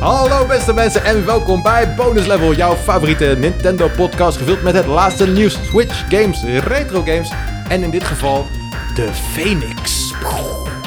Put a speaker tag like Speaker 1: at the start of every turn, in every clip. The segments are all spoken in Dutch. Speaker 1: Hallo beste mensen en welkom bij Bonus Level, jouw favoriete Nintendo podcast gevuld met het laatste nieuws, Switch games, retro games en in dit geval de Phoenix.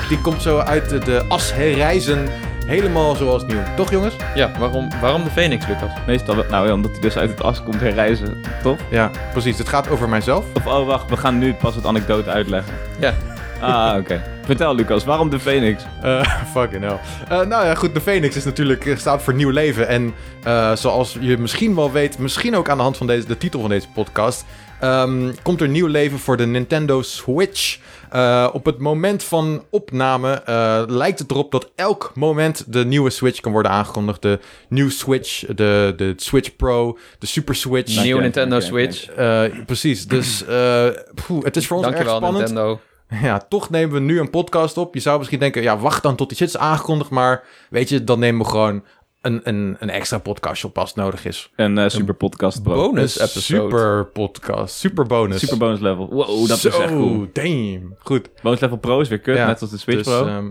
Speaker 1: Die komt zo uit de- de as herrijzen, helemaal zoals nieuw. Toch jongens?
Speaker 2: Ja, waarom, waarom de Phoenix, Lucas?
Speaker 3: Meestal wel, nou ja, omdat hij dus uit het as komt herreizen, toch?
Speaker 1: Ja, precies. Het gaat over mijzelf.
Speaker 3: Of oh wacht, we gaan nu pas het anekdote uitleggen.
Speaker 2: Ja.
Speaker 3: Ah, oké. Vertel Lucas, waarom de Phoenix?
Speaker 1: Eh, fucking hell. Eh, nou ja, goed. De Phoenix is natuurlijk, eh, staat voor nieuw leven. En eh, zoals je misschien wel weet, misschien ook aan de hand van deze, de titel van deze podcast, ehm, komt er nieuw leven voor de Nintendo Switch. Eh, op het moment van opname eh, lijkt het erop dat elk moment de nieuwe Switch kan worden aangekondigd. De nieuwe Switch, de, de Switch Pro, de Super Switch.
Speaker 3: Nee.
Speaker 2: Nieuw
Speaker 3: Oké,
Speaker 2: Nintendo
Speaker 3: oké,
Speaker 2: Switch.
Speaker 1: Eh, precies, dus eh, poeh, het is voor ons erg
Speaker 2: Dankjewel,
Speaker 1: spannend.
Speaker 2: Nintendo.
Speaker 1: Ja, toch nemen we nu een podcast op. Je zou misschien denken, ja, wacht dan tot die shit is aangekondigd. Maar weet je, dan nemen we gewoon een, een, een extra podcastje op als het nodig is.
Speaker 3: Een eh, super podcast bo-
Speaker 2: Bonus
Speaker 1: een
Speaker 2: episode.
Speaker 1: super podcast, super bonus.
Speaker 3: Super bonus level. Wow, dat
Speaker 1: Zo,
Speaker 3: is echt cool.
Speaker 1: damn. Goed.
Speaker 3: Bonus level pro is weer kut,
Speaker 1: Ja,
Speaker 3: net als de Switch
Speaker 1: dus,
Speaker 3: pro.
Speaker 1: ehm,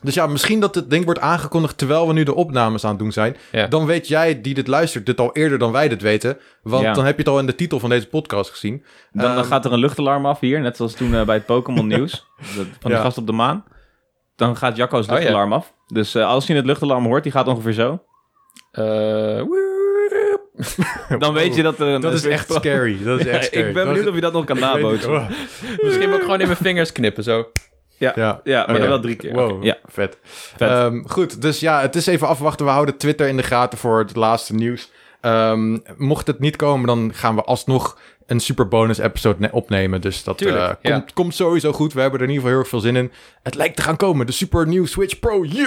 Speaker 1: dus ja, misschien dat het ding wordt aangekondigd terwijl we nu de opnames aan het doen zijn.
Speaker 2: Ja.
Speaker 1: Dan weet jij die dit luistert dit al eerder dan wij dit weten. Want
Speaker 3: Ja.
Speaker 1: dan heb je het al in de titel van deze podcast gezien.
Speaker 3: dan, dan
Speaker 1: ehm,
Speaker 3: gaat er een luchtalarm af hier, net zoals toen eh, bij het Pokémon nieuws. dat- Van de
Speaker 1: Ja.
Speaker 3: gast op de maan. Dan gaat Jacco's
Speaker 2: Oh, ja.
Speaker 3: luchtalarm af. Dus eh, als je het luchtalarm hoort, die gaat ongeveer zo.
Speaker 2: Eh, woep.
Speaker 3: Dan weet je dat er een
Speaker 1: Dat
Speaker 3: een
Speaker 1: is
Speaker 3: Switch
Speaker 1: echt
Speaker 3: Pro-
Speaker 1: scary. Dat is echt scary.
Speaker 3: Ik ben benieuwd of je dat nog kan nabootsen.
Speaker 2: Misschien moet ik gewoon in mijn vingers knippen, zo.
Speaker 1: Ja,
Speaker 3: Ja, maar
Speaker 1: Oh,
Speaker 3: dan
Speaker 1: ja.
Speaker 3: wel drie keer.
Speaker 1: Wow,
Speaker 3: Oké, Ja,
Speaker 1: vet.
Speaker 3: Vet.
Speaker 1: Ehm, goed, dus ja, het is even afwachten. We houden Twitter in de gaten voor het laatste nieuws. Ehm, mocht het niet komen, dan gaan we alsnog een super bonus episode ne- opnemen. Dus dat eh,
Speaker 2: Tuurlijk, ja.
Speaker 1: komt, komt sowieso goed. We hebben er in ieder geval heel erg veel zin in. Het lijkt te gaan komen. De super nieuw Switch Pro. Yeah!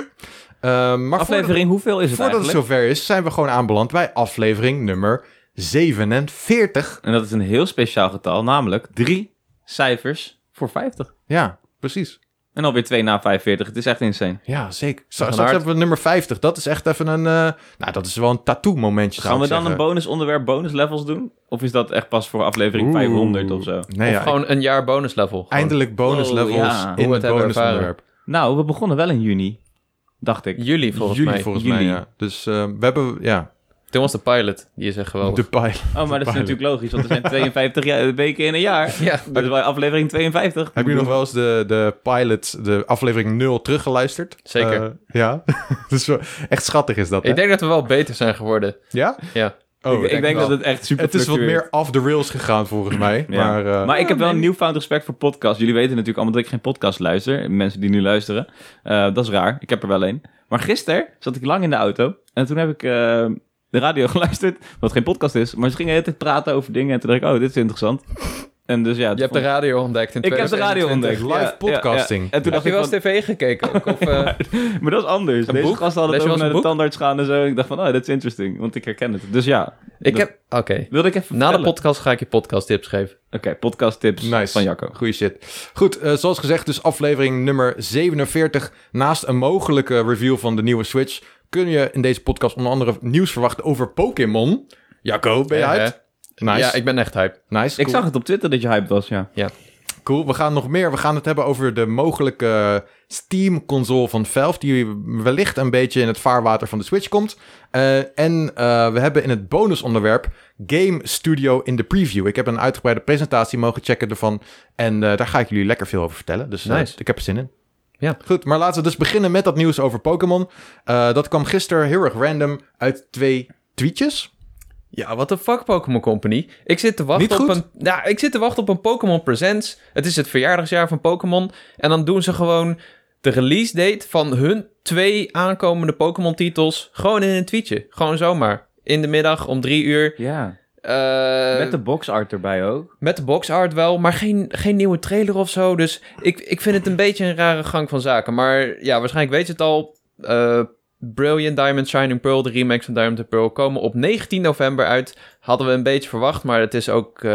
Speaker 1: Ehm, maar voordat,
Speaker 3: aflevering, hoeveel is het
Speaker 1: voordat het
Speaker 3: eigenlijk?
Speaker 1: zover is, zijn we gewoon aanbeland bij aflevering nummer 47.
Speaker 3: En dat is een heel speciaal getal, namelijk drie cijfers voor 50.
Speaker 1: Ja, precies.
Speaker 3: En alweer 2 na 45. Het is echt insane.
Speaker 1: Ja, zeker. Straks
Speaker 2: hard.
Speaker 1: hebben we nummer 50. Dat is echt even een... eh, nou, dat is wel een tattoo momentje, zou
Speaker 3: Gaan we
Speaker 1: ik
Speaker 3: dan
Speaker 1: zeggen.
Speaker 3: een bonus onderwerp, bonus levels doen? Of is dat echt pas voor aflevering
Speaker 1: Oeh.
Speaker 3: 500 of zo?
Speaker 1: Nee,
Speaker 2: of
Speaker 1: ja,
Speaker 2: gewoon een jaar bonus level. Gewoon.
Speaker 1: Eindelijk bonus
Speaker 3: Wow,
Speaker 1: levels
Speaker 3: ja.
Speaker 1: in het
Speaker 2: Hoe het hebben
Speaker 1: bonus
Speaker 2: ervaren.
Speaker 1: onderwerp.
Speaker 3: Nou, we begonnen wel in juni, dacht ik.
Speaker 2: Juli, volgens
Speaker 1: Juli
Speaker 2: mij.
Speaker 1: volgens
Speaker 3: Juli.
Speaker 1: mij, ja. Dus eh, we hebben, ja,
Speaker 2: Toen was de pilot. Die is echt
Speaker 1: de
Speaker 2: geweldig.
Speaker 1: pilot.
Speaker 3: Oh, maar dat is natuurlijk logisch, want er zijn 52 ja- weken in een jaar.
Speaker 2: Ja.
Speaker 3: Dat is bij aflevering 52.
Speaker 1: Heb je nog wel eens de, de pilot, de aflevering 0, teruggeluisterd?
Speaker 2: Zeker.
Speaker 1: Eh, ja, dus wel- echt schattig is dat, hè?
Speaker 2: Ik denk dat we wel beter zijn geworden.
Speaker 1: Ja?
Speaker 2: Ja.
Speaker 1: Oh,
Speaker 3: ik, ik denk
Speaker 2: wel.
Speaker 3: dat het echt super
Speaker 1: het is wat
Speaker 3: fluctueert.
Speaker 1: meer off the rails gegaan, volgens mij.
Speaker 3: Ja.
Speaker 1: Maar, eh,
Speaker 3: Maar ik heb
Speaker 2: Oh,
Speaker 3: wel een newfound respect voor podcasts. Jullie weten natuurlijk allemaal dat ik geen podcast luister. Mensen die nu luisteren. Eh, dat is raar. Ik heb er wel één. Maar gisteren zat ik lang in de auto. En toen heb ik eh, de radio geluisterd. Wat geen podcast is. Maar ze gingen de hele tijd praten over dingen. En toen dacht ik, oh, dit is interessant. En dus ja.
Speaker 2: Je hebt de radio ontdekt in
Speaker 3: ik heb de radio
Speaker 2: 2021.
Speaker 3: ontdekt.
Speaker 1: Live
Speaker 3: Ja, ja,
Speaker 1: podcasting.
Speaker 3: ja. En toen
Speaker 2: Heb
Speaker 3: dacht
Speaker 2: je
Speaker 3: ik,
Speaker 2: wel eens
Speaker 3: van,
Speaker 2: tv gekeken? ook? Of, eh,
Speaker 3: maar dat is anders.
Speaker 2: Een
Speaker 3: Deze
Speaker 2: boek?
Speaker 3: gasten
Speaker 2: Lees je wel
Speaker 3: hadden het over
Speaker 2: eens
Speaker 3: naar
Speaker 2: een
Speaker 3: de
Speaker 2: boek?
Speaker 3: tandarts gaan en zo. En ik dacht van, oh, dat is interesting. Want ik herken het. Dus ja.
Speaker 2: ik
Speaker 3: dat
Speaker 2: heb... Oké.
Speaker 3: Wilde ik even
Speaker 2: Na de
Speaker 3: vertellen.
Speaker 2: podcast ga ik je podcast tips geven.
Speaker 3: Oké, podcast tips
Speaker 1: Nice.
Speaker 3: van Jacco.
Speaker 1: Goeie shit. Goed, eh, zoals gezegd, dus aflevering nummer 47. Naast een mogelijke review van de nieuwe Switch... kun je in deze podcast onder andere nieuws verwachten over Pokémon. Jacco, ben je
Speaker 2: Ja,
Speaker 1: uit? Nice,
Speaker 2: Eh, Ja, ik ben echt hype.
Speaker 1: nice.
Speaker 3: Ik
Speaker 1: cool.
Speaker 3: zag het op Twitter dat je hyped was, ja.
Speaker 1: Cool, we gaan nog meer. We gaan het hebben over de mogelijke Steam-console van Valve... die wellicht een beetje in het vaarwater van de Switch komt. Eh, en eh, we hebben in het bonusonderwerp Game Studio in de preview. Ik heb een uitgebreide presentatie mogen checken ervan... en eh, daar ga ik jullie lekker veel over vertellen. Dus eh,
Speaker 2: Nice.
Speaker 1: ik heb er zin in.
Speaker 2: Ja.
Speaker 1: Goed, maar laten we dus beginnen met dat nieuws over Pokémon. Eh, dat kwam gisteren heel erg random uit twee tweetjes.
Speaker 2: Ja, what the fuck, Pokémon Company. Ik zit te wachten
Speaker 1: Niet
Speaker 2: op
Speaker 1: goed?
Speaker 2: een. Ja, ik zit te wachten op een Pokémon Presents. Het is het verjaardagsjaar van Pokémon. En dan doen ze gewoon de release date van hun twee aankomende Pokémon titels. Gewoon in een tweetje. Gewoon zomaar. In de middag om drie uur.
Speaker 3: Ja.
Speaker 2: Eh,
Speaker 3: Met de box art erbij ook.
Speaker 2: met de box art wel, maar geen, geen nieuwe trailer of zo. Dus ik, ik vind het een beetje een rare gang van zaken. Maar ja, waarschijnlijk weet je het al. Eh, Brilliant Diamond Shining Pearl, de remakes van Diamond and Pearl, komen op 19 november uit. Hadden we een beetje verwacht, maar het is ook eh,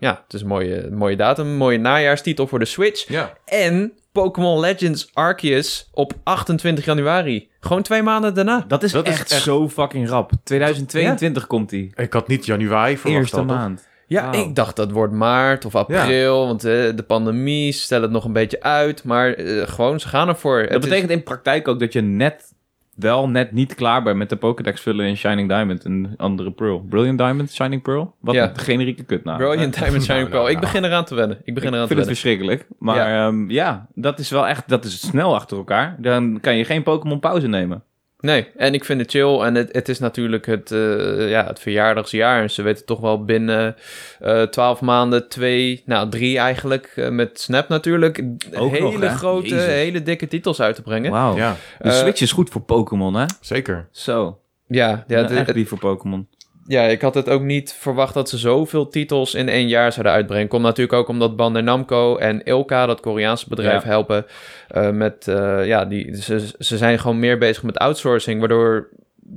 Speaker 2: ja, het is een mooie, mooie datum. Een mooie najaarstitel voor de Switch.
Speaker 1: Ja.
Speaker 2: En Pokémon Legends Arceus op 28 januari. Gewoon twee maanden daarna.
Speaker 3: Dat is,
Speaker 1: Dat is
Speaker 3: echt,
Speaker 1: echt-
Speaker 3: zo fucking rap. 2022 komt die.
Speaker 1: Ik had niet januari verwacht.
Speaker 3: Eerste
Speaker 1: al, toch?
Speaker 3: maand.
Speaker 2: Ja,
Speaker 3: Wauw.
Speaker 2: ik dacht dat wordt maart of april, want eh, de pandemie stelt het nog een beetje uit. Maar eh, gewoon, ze gaan ervoor.
Speaker 3: Dat betekent in praktijk ook dat je net wel net niet klaar ben met de Pokédex vullen in Shining Diamond en andere Pearl. Brilliant Diamond, Shining Pearl? Wat
Speaker 2: Ja.
Speaker 3: een generieke kutnaam.
Speaker 2: Brilliant Diamond Shining
Speaker 1: nou,
Speaker 2: Pearl.
Speaker 1: nou.
Speaker 2: Ik begin eraan te wennen. Ik begin
Speaker 3: Ik
Speaker 2: eraan
Speaker 3: vind
Speaker 2: te
Speaker 3: het
Speaker 2: wennen.
Speaker 3: verschrikkelijk. Maar
Speaker 2: Ja.
Speaker 3: ja. ja, dat is wel echt, dat is snel achter elkaar. Dan kan je geen Pokémon pauze nemen.
Speaker 2: Nee,
Speaker 3: dus-
Speaker 2: en ik vind het chill. En het, het is natuurlijk het, eh, ja, het verjaardagsjaar. En ze weten toch wel binnen eh, twaalf maanden, twee, nou drie eigenlijk, eh, met Snap natuurlijk,
Speaker 3: Ook
Speaker 2: hele
Speaker 3: nog, hè?
Speaker 2: grote,
Speaker 3: Jezus.
Speaker 2: hele dikke titels uit te brengen.
Speaker 3: Wauw.
Speaker 1: Ja,
Speaker 3: De
Speaker 2: Eh,
Speaker 3: Switch is goed voor Pokémon, hè?
Speaker 1: zeker.
Speaker 3: Zo.
Speaker 2: Ja, ja,
Speaker 3: Ja,
Speaker 2: de-
Speaker 3: echt
Speaker 2: het-
Speaker 3: lief voor Pokémon.
Speaker 2: ja, ik had het ook niet verwacht dat ze zoveel titels in één jaar zouden uitbrengen. Komt natuurlijk ook omdat Bandai Namco en Ilka, dat Koreaanse bedrijf,
Speaker 3: Ja.
Speaker 2: helpen eh, met... eh, ja, die, ze, ze zijn gewoon meer bezig met outsourcing, waardoor...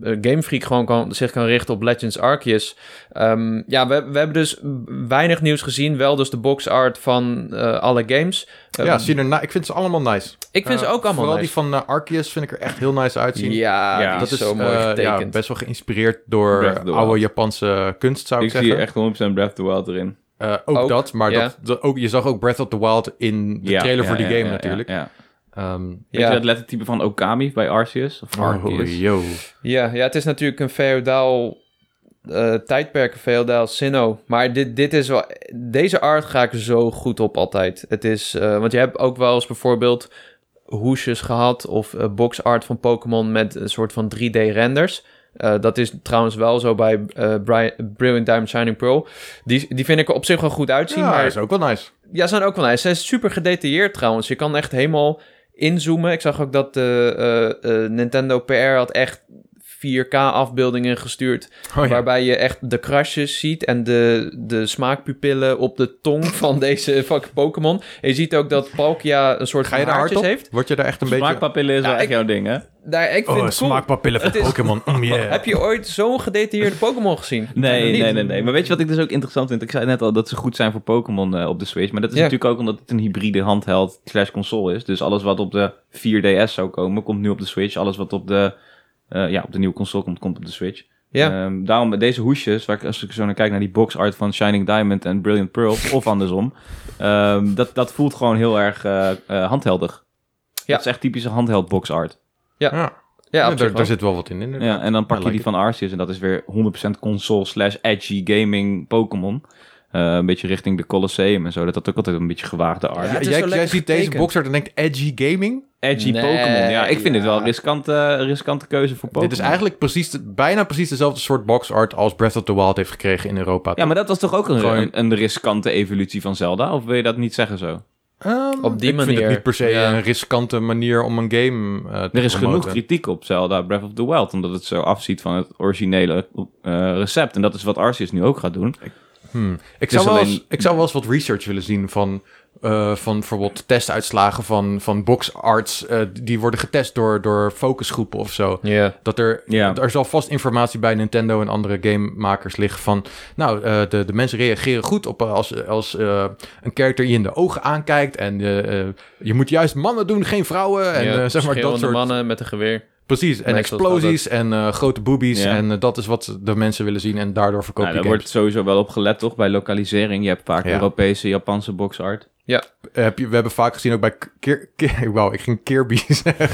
Speaker 2: eh, Game Freak gewoon kan, zich kan richten op Legends Arceus. Ehm, ja, we, we hebben dus weinig nieuws gezien. Wel dus de box art van eh, alle games. Eh,
Speaker 1: ja, zien er na- ik vind ze allemaal nice.
Speaker 2: ik vind ze
Speaker 1: Eh,
Speaker 2: ook allemaal
Speaker 1: Vooral
Speaker 2: nice.
Speaker 1: die van eh, Arceus vind ik er echt heel nice uitzien.
Speaker 2: ja,
Speaker 3: Ja,
Speaker 2: die
Speaker 1: dat
Speaker 2: is, zo mooi
Speaker 1: eh,
Speaker 2: getekend.
Speaker 1: ja, best wel geïnspireerd door
Speaker 3: Breath of the
Speaker 1: oude
Speaker 3: Wild.
Speaker 1: Japanse kunst, zou ik,
Speaker 3: Ik zie
Speaker 1: zeggen.
Speaker 3: echt 100% Breath of the Wild erin.
Speaker 1: Eh, ook,
Speaker 2: Ook,
Speaker 1: dat, maar
Speaker 2: ja.
Speaker 1: dat, dat ook, je zag ook Breath of the Wild in de
Speaker 3: Ja,
Speaker 1: trailer
Speaker 3: ja,
Speaker 1: voor die
Speaker 3: ja,
Speaker 1: game
Speaker 3: ja,
Speaker 1: natuurlijk.
Speaker 3: Ja, ja.
Speaker 1: Ehm,
Speaker 3: Weet
Speaker 2: Ja.
Speaker 3: je dat lettertype van Okami bij Arceus? Of Arceus?
Speaker 1: oh, yo.
Speaker 2: Ja, ja, het is natuurlijk een feodaal eh, tijdperk, een feodaal sinnoh. Maar dit, dit is wel... Deze art ga ik zo goed op altijd. Het is... eh, want je hebt ook wel eens bijvoorbeeld hoesjes gehad... of eh, box art van Pokémon met een soort van 3D-renders. Eh, dat is trouwens wel zo bij eh, Bri- Brilliant Diamond Shining Pearl. Die, die vind ik er op zich wel goed uitzien,
Speaker 1: Ja,
Speaker 2: maar...
Speaker 1: is ook wel nice.
Speaker 2: Ja, zijn ook wel nice. Ze is super gedetailleerd trouwens. Je kan echt helemaal inzoomen. Ik zag ook dat de eh, eh, Nintendo PR had echt 4K afbeeldingen gestuurd.
Speaker 1: Oh, ja.
Speaker 2: Waarbij je echt de krasjes ziet en de, de smaakpupillen op de tong van deze fucking Pokémon. En je ziet ook dat Palkia een soort
Speaker 1: Ga je daar hard
Speaker 2: haartjes
Speaker 1: op?
Speaker 2: heeft.
Speaker 1: Word je daar echt een beetje...
Speaker 3: Smaakpapillen is
Speaker 2: Ja,
Speaker 3: wel echt
Speaker 2: ik-
Speaker 3: jouw ding, hè?
Speaker 2: Daar, ik vind
Speaker 1: Oh,
Speaker 2: het cool.
Speaker 1: smaakpapillen van
Speaker 2: Het is-
Speaker 1: Pokémon. Mm, yeah.
Speaker 2: Heb je ooit zo'n gedetailleerde Pokémon gezien?
Speaker 3: Nee,
Speaker 2: Niet.
Speaker 3: nee, nee, nee. Maar weet je wat ik dus ook interessant vind? Ik zei net al dat ze goed zijn voor Pokémon eh, op de Switch. Maar dat is
Speaker 2: Ja.
Speaker 3: natuurlijk ook omdat het een hybride handheld slash console is. Dus alles wat op de 4DS zou komen, komt nu op de Switch. Alles wat op de, eh, ja, op de nieuwe console komt, komt op de Switch.
Speaker 2: Ja.
Speaker 3: Ehm, daarom met deze hoesjes, waar ik, als ik zo naar kijk naar die box art van Shining Diamond en Brilliant Pearl, of andersom. ehm, dat, dat voelt gewoon heel erg eh eh, handheldig.
Speaker 2: Ja.
Speaker 3: Dat is echt typische handheld box art.
Speaker 1: Ja,
Speaker 2: Ja,
Speaker 1: Ja,
Speaker 2: op zich
Speaker 1: daar,
Speaker 2: wel.
Speaker 1: daar zit wel wat in. inderdaad.
Speaker 3: Ja, en dan pak
Speaker 1: I
Speaker 3: je
Speaker 1: like
Speaker 3: die van Arceus en dat is weer 100% console slash edgy gaming Pokémon. Eh, een beetje richting de Colosseum en zo. Dat had ook altijd een beetje gewaagde art.
Speaker 1: Ja,
Speaker 2: Ja, het is
Speaker 1: jij,
Speaker 2: wel
Speaker 1: jij
Speaker 2: lekker
Speaker 1: ziet deze
Speaker 2: getekend.
Speaker 1: boxer en denkt edgy gaming.
Speaker 3: Edgy
Speaker 2: Nee,
Speaker 3: Pokémon. Ja, ik vind het
Speaker 2: ja.
Speaker 3: wel een riskante, riskante keuze voor Pokémon.
Speaker 1: Dit is eigenlijk precies, de- bijna precies dezelfde soort box art als Breath of the Wild heeft gekregen in Europa.
Speaker 3: Ja, maar dat was toch ook een,
Speaker 1: Gewoon-
Speaker 3: een, een riskante evolutie van Zelda? Of wil je dat niet zeggen zo?
Speaker 1: Ehm,
Speaker 2: Op die
Speaker 1: ik vind
Speaker 2: manier.
Speaker 1: het niet per se
Speaker 2: Ja.
Speaker 1: een riskante manier om een game eh, te
Speaker 3: Er is genoeg
Speaker 1: promoten.
Speaker 3: kritiek op Zelda Breath of the Wild. Omdat het zo afziet van het originele eh, recept. En dat is wat Arceus nu ook gaat doen.
Speaker 1: Hmm. Ik,
Speaker 3: is
Speaker 1: zou wel
Speaker 3: alleen-
Speaker 1: eens, ik zou wel eens wat research willen zien van, eh, van bijvoorbeeld testuitslagen van, van box arts. eh, die worden getest door, door focusgroepen of zo.
Speaker 2: Ja.
Speaker 1: Dat er,
Speaker 3: Ja.
Speaker 1: er zal vast informatie bij Nintendo en andere gamemakers liggen van... Nou, eh, de, de mensen reageren goed op eh, als, als eh, een character je in de ogen aankijkt. En eh, eh, je moet juist mannen doen, geen vrouwen. En
Speaker 2: Ja,
Speaker 1: eh, zeg maar dat
Speaker 2: schreeuwende
Speaker 1: soort...
Speaker 2: mannen met een geweer.
Speaker 1: Precies, en
Speaker 2: Meestal
Speaker 1: explosies en eh, grote boobies.
Speaker 3: Ja.
Speaker 1: En eh, dat is wat de mensen willen zien en daardoor verkoop
Speaker 3: Nou,
Speaker 1: je
Speaker 3: daar
Speaker 1: games.
Speaker 3: wordt sowieso wel op gelet, toch? Bij lokalisering. Je hebt vaak
Speaker 1: Ja.
Speaker 3: Europese, Japanse box art.
Speaker 1: Eh, Heb je, we hebben vaak gezien ook bij... Keer- Keer- Wauw, ik ging Kirby zeggen.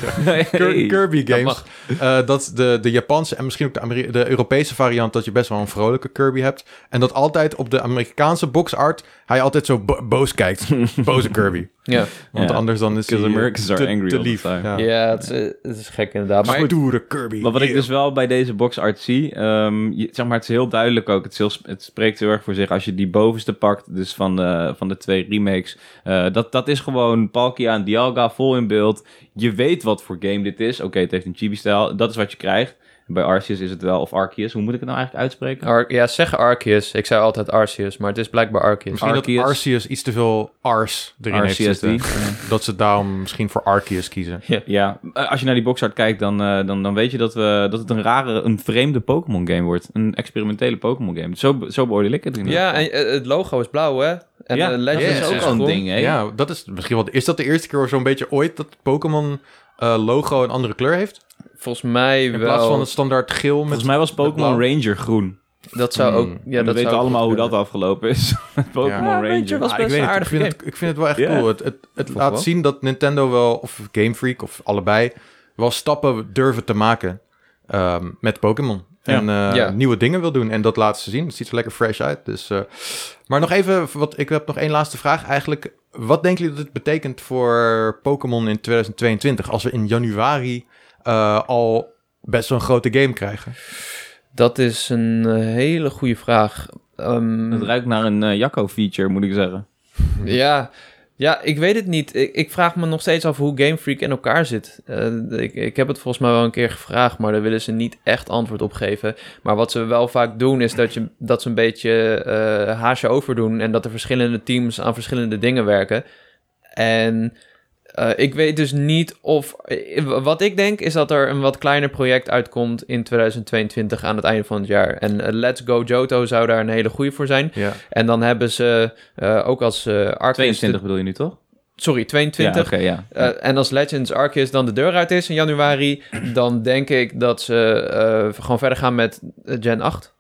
Speaker 1: Ker- Kirby games.
Speaker 2: mag.
Speaker 1: eh, dat de, de Japanse en misschien ook de, Ameri- de Europese variant... dat je best wel een vrolijke Kirby hebt. En dat altijd op de Amerikaanse box art... hij altijd zo bo- boos kijkt. Boze Kirby.
Speaker 2: Ja,
Speaker 1: Want
Speaker 3: Ja.
Speaker 1: anders dan is hij eh,
Speaker 3: 'Cause Americans
Speaker 1: te,
Speaker 3: are angry
Speaker 1: te
Speaker 3: all the
Speaker 1: lief.
Speaker 3: time.
Speaker 1: Ja.
Speaker 2: ja. het, is, eh, het is gek inderdaad. Maar
Speaker 1: Stoere Kirby.
Speaker 3: Maar wat ik
Speaker 1: yeah.
Speaker 3: dus wel bij deze box art zie, ehm, je- zeg maar, het is heel duidelijk ook. Het, is heel sp- het spreekt heel erg voor zich. Als je die bovenste pakt, dus van de, van de twee remakes, eh, dat, dat is gewoon Palkia en Dialga vol in beeld. Je weet wat voor game dit is. Oké, het heeft een chibi-stijl. Dat is wat je krijgt. Bij Arceus is het wel, of Arceus, hoe moet ik het nou eigenlijk uitspreken?
Speaker 2: Ar- ja, zeggen Arceus. Ik zei altijd Arceus, maar het is blijkbaar Arceus.
Speaker 1: Misschien
Speaker 3: Arceus.
Speaker 1: dat Arceus iets te veel Ars erin heeft
Speaker 3: Arceus eh. die.
Speaker 1: zitten. Dat ze daarom misschien voor Arceus kiezen.
Speaker 3: Ja, eh, als je naar die boxart kijkt, dan, eh, dan, dan weet je dat, we, dat het een rare, een vreemde Pokémon game wordt. Een experimentele Pokémon game. Zo, be- zo beoordeel ik het. in ieder
Speaker 2: Ja,
Speaker 3: geval.
Speaker 2: en eh, het logo is blauw, hè? En
Speaker 3: ja,
Speaker 2: eh, Legends
Speaker 3: dat is ook
Speaker 2: is
Speaker 3: al een
Speaker 2: groen.
Speaker 3: ding, hè?
Speaker 1: Ja, dat is misschien wel. Is dat de eerste keer zo'n beetje ooit dat Pokémon eh, logo een andere kleur heeft?
Speaker 2: Volgens mij
Speaker 1: In
Speaker 2: wel.
Speaker 1: plaats van het standaard geel met.
Speaker 3: Volgens mij was Pokémon
Speaker 1: blauw.
Speaker 3: Ranger groen.
Speaker 2: Dat zou ook...
Speaker 1: Hmm.
Speaker 2: Ja,
Speaker 3: we
Speaker 2: dat
Speaker 3: weten
Speaker 2: zou
Speaker 3: allemaal
Speaker 2: goed
Speaker 3: hoe dat
Speaker 2: kunnen.
Speaker 3: afgelopen is. Met Pokémon
Speaker 2: Ja,
Speaker 3: Ranger.
Speaker 2: Ranger was-
Speaker 1: Ah,
Speaker 2: best
Speaker 1: ik weet
Speaker 2: een
Speaker 1: het, ik
Speaker 2: aardige
Speaker 1: vind
Speaker 2: game.
Speaker 1: het, ik vind het wel echt
Speaker 3: Ja.
Speaker 1: cool. Het, het, het
Speaker 3: Toch
Speaker 1: laat
Speaker 3: wel?
Speaker 1: zien dat Nintendo wel, of Game Freak, of allebei, wel stappen durven te maken ehm, met Pokémon.
Speaker 3: Ja.
Speaker 1: En eh,
Speaker 2: Ja.
Speaker 1: nieuwe dingen wil doen. En dat laten ze zien. Het ziet er lekker fresh uit. Dus, eh, maar nog even, wat, ik heb nog één laatste vraag eigenlijk. Wat denken jullie dat dit betekent voor Pokémon in 2022? Als we in januari eh, al best wel een grote game krijgen.
Speaker 2: Dat is een eh, hele goede vraag. Ehm,
Speaker 3: Het ruikt naar een eh, Jacco-feature, moet ik zeggen.
Speaker 2: Ja. ja, ik weet het niet. Ik, ik vraag me nog steeds af hoe Game Freak in elkaar zit. Eh, ik, ik heb het volgens mij wel een keer gevraagd, maar daar willen ze niet echt antwoord op geven. Maar wat ze wel vaak doen, is dat, je, dat ze een beetje eh haasje overdoen en dat er verschillende teams aan verschillende dingen werken. En eh, ik weet dus niet of. eh, Wat ik denk is dat er een wat kleiner project uitkomt in 2022 aan het einde van het jaar. En eh, Let's Go Johto zou daar een hele goede voor zijn.
Speaker 1: Ja.
Speaker 2: En dan hebben ze eh, ook als eh Arceus...
Speaker 3: 22 bedoel je nu, toch?
Speaker 2: Sorry, 22.
Speaker 3: Ja, oké, ja.
Speaker 2: Eh, en als Legends Arceus dan de deur uit is in januari... dan denk ik dat ze eh, gewoon verder gaan met eh, Gen 8.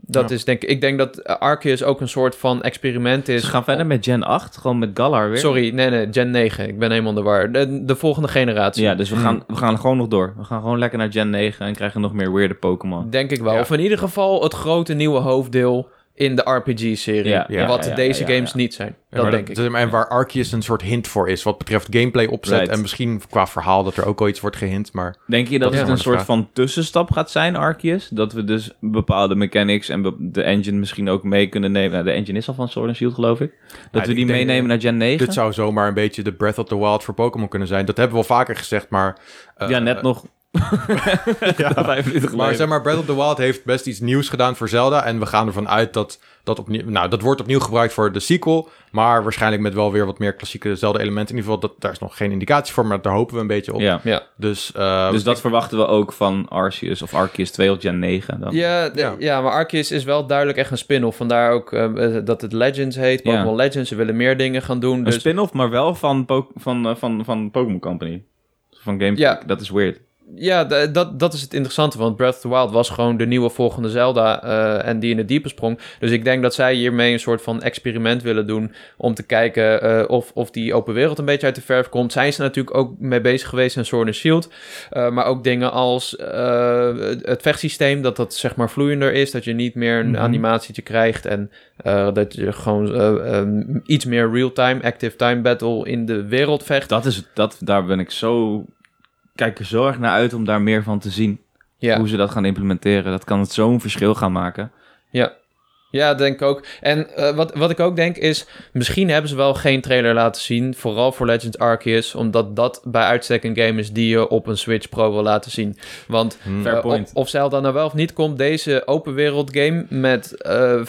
Speaker 2: Dat
Speaker 1: Ja.
Speaker 2: is denk ik... Ik denk dat eh, Arceus ook een soort van experiment is...
Speaker 3: Ze Dus gaan verder met Gen 8, gewoon met Galar weer.
Speaker 2: Sorry, nee, nee, Gen 9. Ik ben helemaal in de war. De, de volgende generatie.
Speaker 3: Ja, dus we,
Speaker 1: Hmm.
Speaker 3: gaan, we gaan gewoon nog door. We gaan gewoon lekker naar Gen 9 en krijgen nog meer weirde Pokémon.
Speaker 2: Denk ik wel.
Speaker 1: Ja.
Speaker 2: Of in ieder geval het grote nieuwe hoofddeel in de RPG-serie.
Speaker 3: Ja, ja,
Speaker 2: wat
Speaker 3: ja, ja,
Speaker 2: deze
Speaker 3: ja, ja.
Speaker 2: games niet zijn.
Speaker 1: Ja,
Speaker 2: dat
Speaker 1: maar dus-
Speaker 2: denk ik.
Speaker 1: En waar Arceus een soort hint voor is, wat betreft gameplay opzet.
Speaker 3: Right.
Speaker 1: En misschien qua verhaal dat er ook al iets wordt gehint. Maar
Speaker 3: Denk je dat
Speaker 1: Dat is
Speaker 3: het
Speaker 1: maar
Speaker 3: een
Speaker 1: de
Speaker 3: soort
Speaker 1: vraag.
Speaker 3: van tussenstap gaat zijn, Arceus? Dat we dus bepaalde mechanics en be- de engine misschien ook mee kunnen nemen. Nou, de engine is al van Sword and Shield, geloof ik. Dat
Speaker 1: Ja,
Speaker 3: we die
Speaker 1: ik denk-
Speaker 3: meenemen naar Gen 9.
Speaker 1: dit zou zomaar een beetje de Breath of the Wild voor Pokémon kunnen zijn. Dat hebben we al vaker gezegd, maar... eh,
Speaker 3: ja, net
Speaker 1: eh,
Speaker 3: nog. ja, vijf minuten
Speaker 1: Maar
Speaker 3: geleden.
Speaker 1: zeg maar, Breath of the Wild heeft best iets nieuws gedaan voor Zelda. En we gaan ervan uit dat dat opnieuw... Nou, dat wordt opnieuw gebruikt voor de sequel. Maar waarschijnlijk met wel weer wat meer klassieke Zelda-elementen. In ieder geval, dat, daar is nog geen indicatie voor, maar daar hopen we een beetje op.
Speaker 3: ja.
Speaker 2: Ja.
Speaker 1: Dus, eh,
Speaker 3: Dus dat verwachten we ook van Arceus of Arceus 2 of Gen 9. Dan.
Speaker 2: Ja, d-
Speaker 1: Ja.
Speaker 2: ja. maar Arceus is wel duidelijk echt een spin-off. Vandaar ook eh, eh, dat het Legends heet,
Speaker 3: Ja.
Speaker 2: Pokémon Legends. Ze willen meer dingen gaan doen.
Speaker 3: Een
Speaker 2: Dus
Speaker 3: spin-off, maar wel van, po- van, eh, van, van Pokémon Company. Van Game
Speaker 2: Ja.
Speaker 3: Freak. Dat is weird.
Speaker 2: ja, d- dat, dat is het interessante. Want Breath of the Wild was gewoon de nieuwe volgende Zelda. eh, en die in het diepe sprong. Dus ik denk dat zij hiermee een soort van experiment willen doen. Om te kijken eh, of, of die open wereld een beetje uit de verf komt. Zijn ze natuurlijk ook mee bezig geweest in Sword and Shield. Eh, maar ook dingen als eh, het vechtsysteem. Dat dat zeg maar vloeiender is. Dat je niet meer een
Speaker 1: Mhm.
Speaker 2: animatietje krijgt. En Eh, dat je gewoon eh, ehm, iets meer real-time, active-time battle in de wereld vecht.
Speaker 3: Dat is, dat, daar ben ik zo... Kijk er zo erg naar uit om daar meer van te zien.
Speaker 2: Ja, Mm.
Speaker 3: Hoe ze dat gaan implementeren. Dat kan het zo'n verschil gaan maken.
Speaker 2: ja denk ik ook. En eh, wat, wat ik ook denk is, misschien hebben ze wel geen trailer laten zien. Vooral voor Legends Arceus, omdat dat bij uitstek een game is die je op een Switch Pro wil laten zien. Want
Speaker 1: hmm.
Speaker 3: Fair
Speaker 2: Eh,
Speaker 3: point.
Speaker 2: Of, of Zelda nou wel of niet komt, deze open wereld game met eh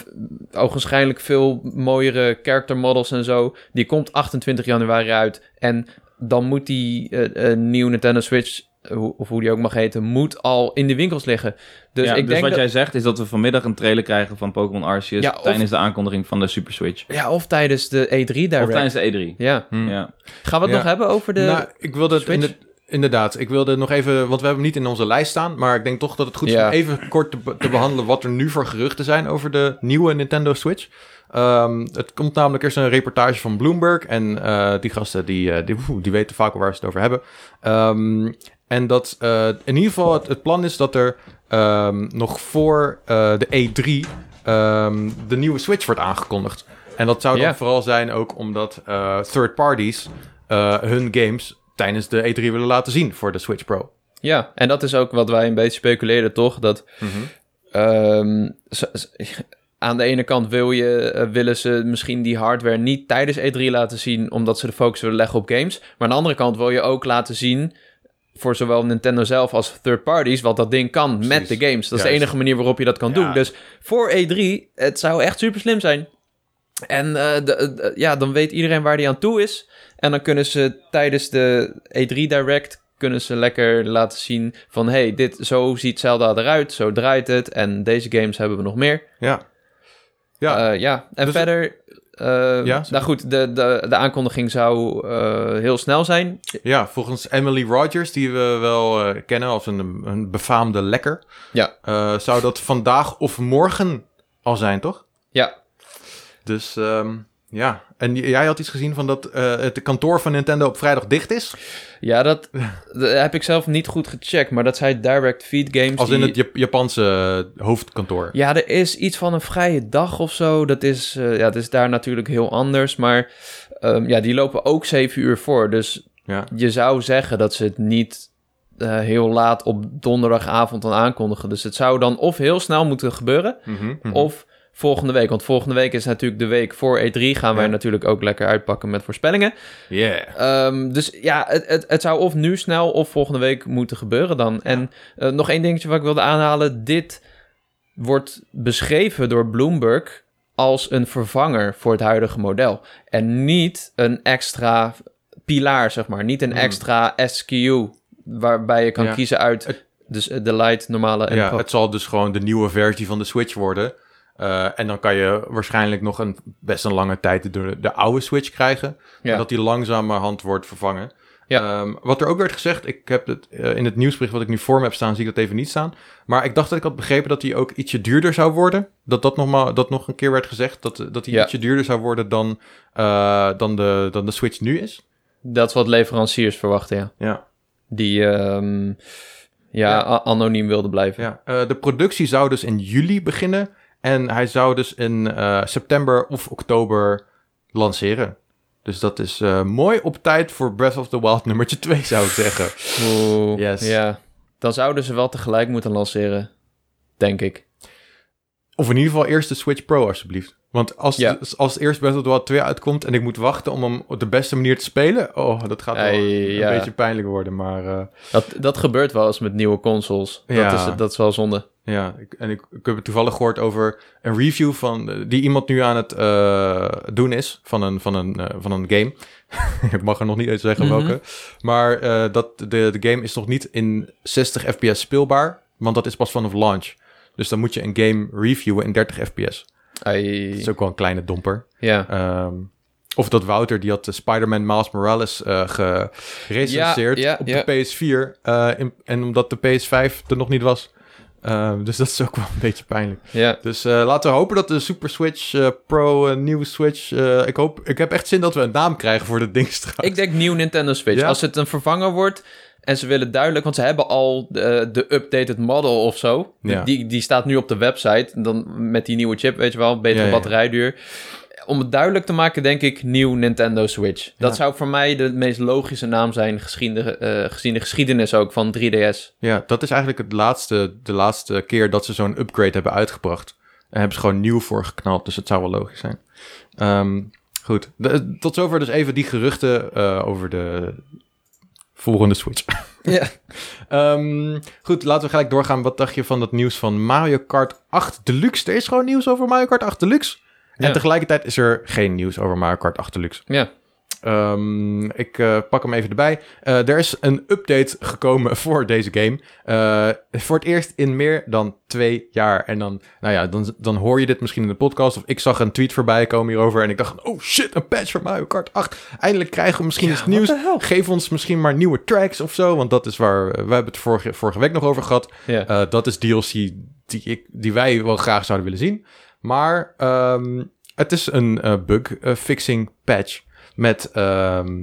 Speaker 2: ogenschijnlijk veel mooiere character models en zo, die komt 28 januari uit. En dan moet die eh, eh, nieuwe Nintendo Switch, eh, hoe- of hoe die ook mag heten, moet al in de winkels liggen. Dus
Speaker 3: Ja,
Speaker 2: ik denk
Speaker 3: wat
Speaker 2: dat,
Speaker 3: jij zegt is dat we vanmiddag een trailer krijgen van Pokémon Arceus
Speaker 2: Ja, of-
Speaker 3: tijdens de aankondiging van de Super Switch.
Speaker 2: ja, of tijdens de E E3 Direct.
Speaker 3: Of tijdens de E3.
Speaker 2: Ja.
Speaker 1: Hmm.
Speaker 3: Ja.
Speaker 2: Gaan we het
Speaker 1: Ja.
Speaker 2: nog hebben over de...
Speaker 1: nou, ik wilde het
Speaker 2: Switch?
Speaker 1: in inderdaad. Ik wilde nog even, want we hebben hem niet in onze lijst staan, maar ik denk toch dat het goed is
Speaker 2: Ja.
Speaker 1: om even kort te, be- te behandelen wat er nu voor geruchten zijn over de nieuwe Nintendo Switch. Ehm, het komt namelijk eerst een reportage van Bloomberg en eh, die gasten die, eh, die, oeh, die weten vaak wel waar ze het over hebben. Ehm, en dat eh, in ieder geval het, het plan is dat er ehm, nog voor eh, de E3 ehm, de nieuwe Switch wordt aangekondigd. En dat zou dan
Speaker 2: Ja.
Speaker 1: vooral zijn ook omdat eh, third parties eh, hun games tijdens de E3 willen laten zien voor de Switch Pro.
Speaker 2: Ja, en dat is ook wat wij een beetje speculeerden, toch? Dat Ehm, z- z- aan de ene kant wil je, eh, willen ze misschien die hardware niet tijdens E3 laten zien, omdat ze de focus willen leggen op games. Maar aan de andere kant wil je ook laten zien voor zowel Nintendo zelf als third parties wat dat ding kan met
Speaker 1: Precies.
Speaker 2: de games. Dat is de
Speaker 1: Juist.
Speaker 2: enige manier waarop je dat kan
Speaker 1: Ja.
Speaker 2: doen. Dus voor E3, het zou echt super slim zijn. En eh, de- de- ja, dan weet iedereen waar die aan toe is. En dan kunnen ze tijdens de E3 Direct kunnen ze lekker laten zien van... hey, dit, zo ziet Zelda eruit, zo draait het... en deze games hebben we nog meer.
Speaker 1: Ja. Ja,
Speaker 2: Eh, ja. En
Speaker 1: Dus-
Speaker 2: verder... eh,
Speaker 1: Ja, zeg.
Speaker 2: nou goed, de, de, de aankondiging zou eh, heel snel zijn.
Speaker 1: ja, volgens Emily Rogers, die we wel eh, kennen als een, een befaamde lekker,
Speaker 2: Ja.
Speaker 1: eh, zou dat vandaag of morgen al zijn, toch?
Speaker 2: Ja.
Speaker 1: Dus ehm, Ja, en j- jij had iets gezien van dat eh, het kantoor van Nintendo op vrijdag dicht is?
Speaker 2: Ja, dat, dat heb ik zelf niet goed gecheckt, maar dat zijn direct feed games.
Speaker 1: Als in
Speaker 2: die-
Speaker 1: het Jap- Japanse eh, hoofdkantoor.
Speaker 2: Ja, er is iets van een vrije dag of zo. Dat is, eh, ja, dat is daar natuurlijk heel anders. Maar ehm, ja, die lopen ook zeven uur voor. Dus
Speaker 1: Ja.
Speaker 2: je zou zeggen dat ze het niet eh, heel laat op donderdagavond dan aankondigen. Dus het zou dan of heel snel moeten gebeuren,
Speaker 1: Mhm, mhm.
Speaker 2: of volgende week. Want volgende week is natuurlijk de week voor E3. Gaan wij
Speaker 1: Ja.
Speaker 2: natuurlijk ook lekker uitpakken met voorspellingen.
Speaker 1: Yeah.
Speaker 2: Ehm, dus ja, het, het, het zou of nu snel of volgende week moeten gebeuren dan. En eh, nog één dingetje wat ik wilde aanhalen. Dit wordt beschreven door Bloomberg als een vervanger voor het huidige model. En niet een extra pilaar, zeg maar. Niet een
Speaker 1: Hmm.
Speaker 2: extra SKU waarbij je kan
Speaker 1: Ja.
Speaker 2: kiezen uit... Dus eh, de light, normale en
Speaker 1: Ja,
Speaker 2: pro.
Speaker 1: het zal dus gewoon de nieuwe versie van de Switch worden. Eh, en dan kan je waarschijnlijk nog een, best een lange tijd de, de oude Switch krijgen.
Speaker 2: Ja.
Speaker 1: Maar Dat die langzamerhand wordt vervangen.
Speaker 2: Ja.
Speaker 1: Ehm, wat er ook werd gezegd, ik heb het eh, in het nieuwsbericht wat ik nu voor me heb staan, zie ik dat even niet staan. Maar ik dacht dat ik had begrepen dat die ook ietsje duurder zou worden. Dat dat nog, maar, dat nog een keer werd gezegd, dat, eh, dat die
Speaker 2: Ja.
Speaker 1: ietsje duurder zou worden dan, eh, dan, de, dan de Switch nu is.
Speaker 2: Dat is wat leveranciers verwachten, ja.
Speaker 1: Ja.
Speaker 2: Die ehm, ja,
Speaker 1: Ja.
Speaker 2: a- anoniem wilden blijven.
Speaker 1: ja. Eh, de productie zou dus in juli beginnen en hij zou dus in eh, september of oktober lanceren. Dus dat is eh, mooi op tijd voor Breath of the Wild nummertje 2, zou ik zeggen.
Speaker 2: Oeh,
Speaker 1: Yes.
Speaker 2: ja. Dan zouden ze wel tegelijk moeten lanceren, denk ik.
Speaker 1: Of in ieder geval eerst de Switch Pro, alsjeblieft. Want als, dus
Speaker 2: Ja.
Speaker 1: als eerst Breath of the Wild 2 uitkomt en ik moet wachten om hem op de beste manier te spelen, oh, dat gaat wel
Speaker 2: Ei,
Speaker 1: een
Speaker 2: ja.
Speaker 1: beetje pijnlijk worden. Maar eh,
Speaker 2: Dat, dat gebeurt wel eens met nieuwe consoles. Dat,
Speaker 1: Ja.
Speaker 2: is, dat is wel zonde.
Speaker 1: ja, ik, en ik, ik heb het toevallig gehoord over een review van, eh, die iemand nu aan het eh, doen is van een, van een, eh, van een game. ik mag er nog niet eens zeggen
Speaker 2: Mhm.
Speaker 1: welke. Maar eh, dat, de, de game is nog niet in 60 fps speelbaar, want dat is pas vanaf launch. Dus dan moet je een game reviewen in 30 fps.
Speaker 2: Ai.
Speaker 1: Dat is ook wel een kleine domper.
Speaker 2: Ja.
Speaker 1: Ehm, of dat Wouter, die had eh, Spider-Man Miles Morales eh gerecenseerd
Speaker 2: Ja, ja,
Speaker 1: op
Speaker 2: ja.
Speaker 1: de PS4. eh, in- en omdat de PS5 er nog niet was. Ehm, dus dat is ook wel een beetje pijnlijk.
Speaker 2: ja.
Speaker 1: Dus eh, laten we hopen dat de Super Switch eh, Pro, eh, nieuwe Switch... eh, ik, hoop, ik heb echt zin dat we een naam krijgen voor dit ding straks.
Speaker 2: Ik denk nieuw Nintendo Switch.
Speaker 1: Ja.
Speaker 2: Als het een vervanger wordt en ze willen duidelijk... Want ze hebben al de, de updated model of zo.
Speaker 1: Ja.
Speaker 2: Die, die staat nu op de website. Dan met die nieuwe chip, weet je wel. Betere
Speaker 1: Ja, ja, ja.
Speaker 2: batterijduur. Om het duidelijk te maken, denk ik nieuw Nintendo Switch. Dat
Speaker 1: Ja.
Speaker 2: zou voor mij de meest logische naam zijn... Gezien de, eh, gezien de geschiedenis ook van 3DS.
Speaker 1: Ja, dat is eigenlijk het laatste, de laatste keer dat ze zo'n upgrade hebben uitgebracht. En hebben ze gewoon nieuw voor geknald, dus het zou wel logisch zijn. Ehm, goed, De- tot zover dus even die geruchten eh, over de volgende Switch.
Speaker 2: Ja.
Speaker 1: Ehm, goed, laten we gelijk doorgaan. Wat dacht je van dat nieuws van Mario Kart 8 Deluxe? Er is gewoon nieuws over Mario Kart 8 Deluxe.
Speaker 2: Ja.
Speaker 1: En tegelijkertijd is er geen nieuws over Mario Kart 8 Deluxe.
Speaker 2: Ja.
Speaker 1: Ehm, ik eh, pak hem even erbij. Eh, er is een update gekomen voor deze game. Eh, voor het eerst in meer dan twee jaar. En dan, nou ja, dan, dan hoor je dit misschien in de podcast. Of ik zag een tweet voorbij komen hierover. En ik dacht, oh shit, een patch voor Mario Kart 8. Eindelijk krijgen we misschien iets nieuws. Geef ons misschien maar nieuwe tracks of zo. Want dat is waar, eh, we hebben het vorige, vorige week nog over gehad.
Speaker 2: Ja.
Speaker 1: Eh, dat is DLC die, ik, die wij wel graag zouden willen zien. Maar ehm, het is een eh, bug eh, fixing patch met... ehm,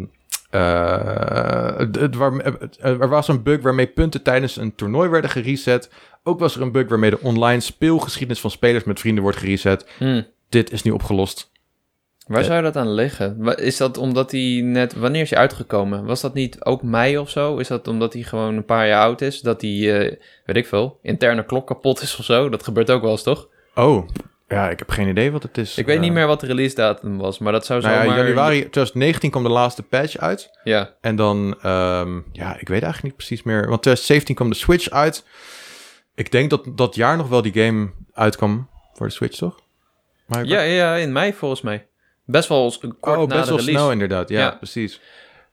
Speaker 1: eh, het- het waar- eh, er was een bug waarmee punten tijdens een toernooi werden gereset. Ook was er een bug waarmee de online speelgeschiedenis van spelers met vrienden wordt gereset.
Speaker 2: Hmm.
Speaker 1: Dit is nu opgelost.
Speaker 2: Waar
Speaker 1: Eh.
Speaker 2: zou dat aan liggen? Wa- Is dat omdat hij net... Wanneer is hij uitgekomen? Was dat niet ook mei of zo? Is dat omdat hij gewoon een paar jaar oud is? Dat hij, eh, weet ik veel, interne klok kapot is of zo? Dat gebeurt ook wel eens, toch?
Speaker 1: Oh, ja, ik heb geen idee wat het is.
Speaker 2: Ik weet
Speaker 1: Eh,
Speaker 2: niet meer wat de release datum was, maar dat zou
Speaker 1: Nou ja,
Speaker 2: zomaar...
Speaker 1: januari 2019 kwam de laatste patch uit.
Speaker 2: Ja,
Speaker 1: En dan, ehm, ja, ik weet eigenlijk niet precies meer. Want 2017 kwam de Switch uit. Ik denk dat dat jaar nog wel die game uitkwam voor de Switch, toch? Maar
Speaker 2: ja, ja in mei volgens mij. Best wel eens een kort
Speaker 1: oh,
Speaker 2: na
Speaker 1: best
Speaker 2: de
Speaker 1: wel
Speaker 2: release.
Speaker 1: snel inderdaad. Ja,
Speaker 2: Ja.
Speaker 1: precies.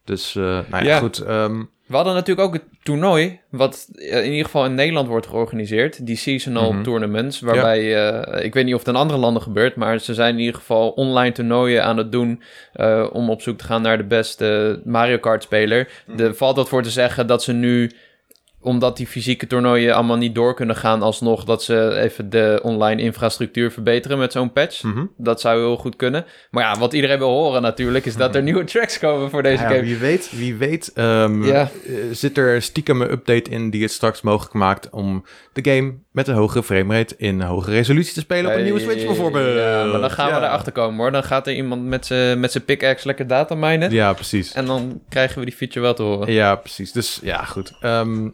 Speaker 1: Dus, eh, nou ja,
Speaker 2: Ja.
Speaker 1: goed. ehm,
Speaker 2: We hadden natuurlijk ook het toernooi, wat eh, in ieder geval in Nederland wordt georganiseerd. Die seasonal
Speaker 1: Mhm.
Speaker 2: tournaments, waarbij, eh, ik weet niet of het in andere landen gebeurt, maar ze zijn in ieder geval online toernooien aan het doen eh, om op
Speaker 1: Mhm.
Speaker 2: zoek te gaan naar de beste Mario Kart speler. Er valt wat voor te zeggen dat ze nu omdat die fysieke toernooien allemaal niet door kunnen gaan alsnog... dat ze even de online infrastructuur verbeteren met zo'n patch.
Speaker 1: Mhm.
Speaker 2: Dat zou heel goed kunnen. Maar ja, wat iedereen wil horen natuurlijk... is dat er nieuwe tracks komen voor deze
Speaker 1: Ja,
Speaker 2: game.
Speaker 1: wie weet, wie weet ehm,
Speaker 2: Ja.
Speaker 1: eh, zit er stiekem een update in die het straks mogelijk maakt om de game met een hogere framerate in een hogere resolutie te spelen op een nieuwe Switch bijvoorbeeld.
Speaker 2: Ja, maar dan gaan we
Speaker 1: Ja.
Speaker 2: erachter komen hoor. Dan gaat er iemand met zijn met zijn pickaxe lekker data minen.
Speaker 1: Ja, precies.
Speaker 2: En dan krijgen we die feature wel te horen.
Speaker 1: Ja, precies. Dus ja, goed. Ehm,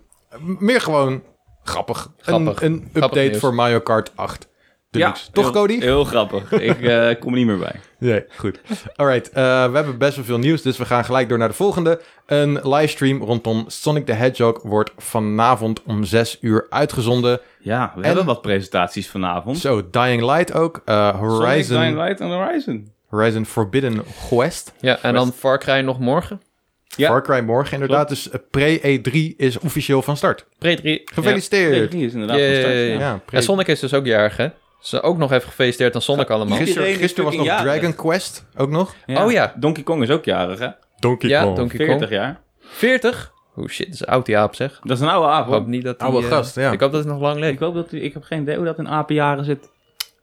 Speaker 1: meer gewoon grappig. Een-
Speaker 2: Grappig.
Speaker 1: Een, update
Speaker 2: nieuws.
Speaker 1: voor Mario Kart 8. Deluxe. Toch,
Speaker 3: heel,
Speaker 1: Cody?
Speaker 3: Heel grappig. Ik eh, kom er niet meer bij.
Speaker 1: Nee, goed. Alright, eh, we hebben best wel veel nieuws, dus we gaan gelijk door naar de volgende. Een livestream rondom Sonic the Hedgehog wordt vanavond om 6 uur uitgezonden.
Speaker 3: Ja, we
Speaker 1: En-
Speaker 3: hebben wat presentaties vanavond.
Speaker 1: Zo, Dying Light ook. eh,
Speaker 3: Sonic,
Speaker 1: Horizon,
Speaker 3: Dying Light en Horizon.
Speaker 1: Horizon Forbidden West.
Speaker 2: Ja, en dan Far Cry nog morgen.
Speaker 3: Ja.
Speaker 1: Far Cry morgen inderdaad. Dus eh, pre-E3 is officieel van start.
Speaker 2: Pre 3.
Speaker 3: Nee,
Speaker 1: Gefeliciteerd.
Speaker 3: die is inderdaad
Speaker 2: Yay.
Speaker 3: van start,
Speaker 1: Ja,
Speaker 3: ja.
Speaker 1: pre- E
Speaker 2: En Sonic is dus ook jarig hè. Ze ook nog even gefeliciteerd aan Sonic allemaal.
Speaker 3: Gister-
Speaker 1: Gisteren,
Speaker 3: Iedereen is
Speaker 1: gisteren was nog
Speaker 3: fucking jarig.
Speaker 1: Dragon Quest, ook nog.
Speaker 2: Oh ja.
Speaker 3: Donkey Kong is ook jarig, hè?
Speaker 1: Donkey
Speaker 2: Ja, Donkey Kong.
Speaker 3: 40 jaar.
Speaker 2: 40? Oh shit, dat is oud die aap zeg.
Speaker 3: Dat is een oude aap.
Speaker 2: Ik
Speaker 3: hoor.
Speaker 2: hoop niet dat die,
Speaker 1: Oude
Speaker 2: eh,
Speaker 1: gast, ja.
Speaker 2: Ik hoop dat het nog lang
Speaker 3: Ik
Speaker 2: leeft.
Speaker 3: hoop dat u, ik heb geen idee hoe dat in apenjaren zit.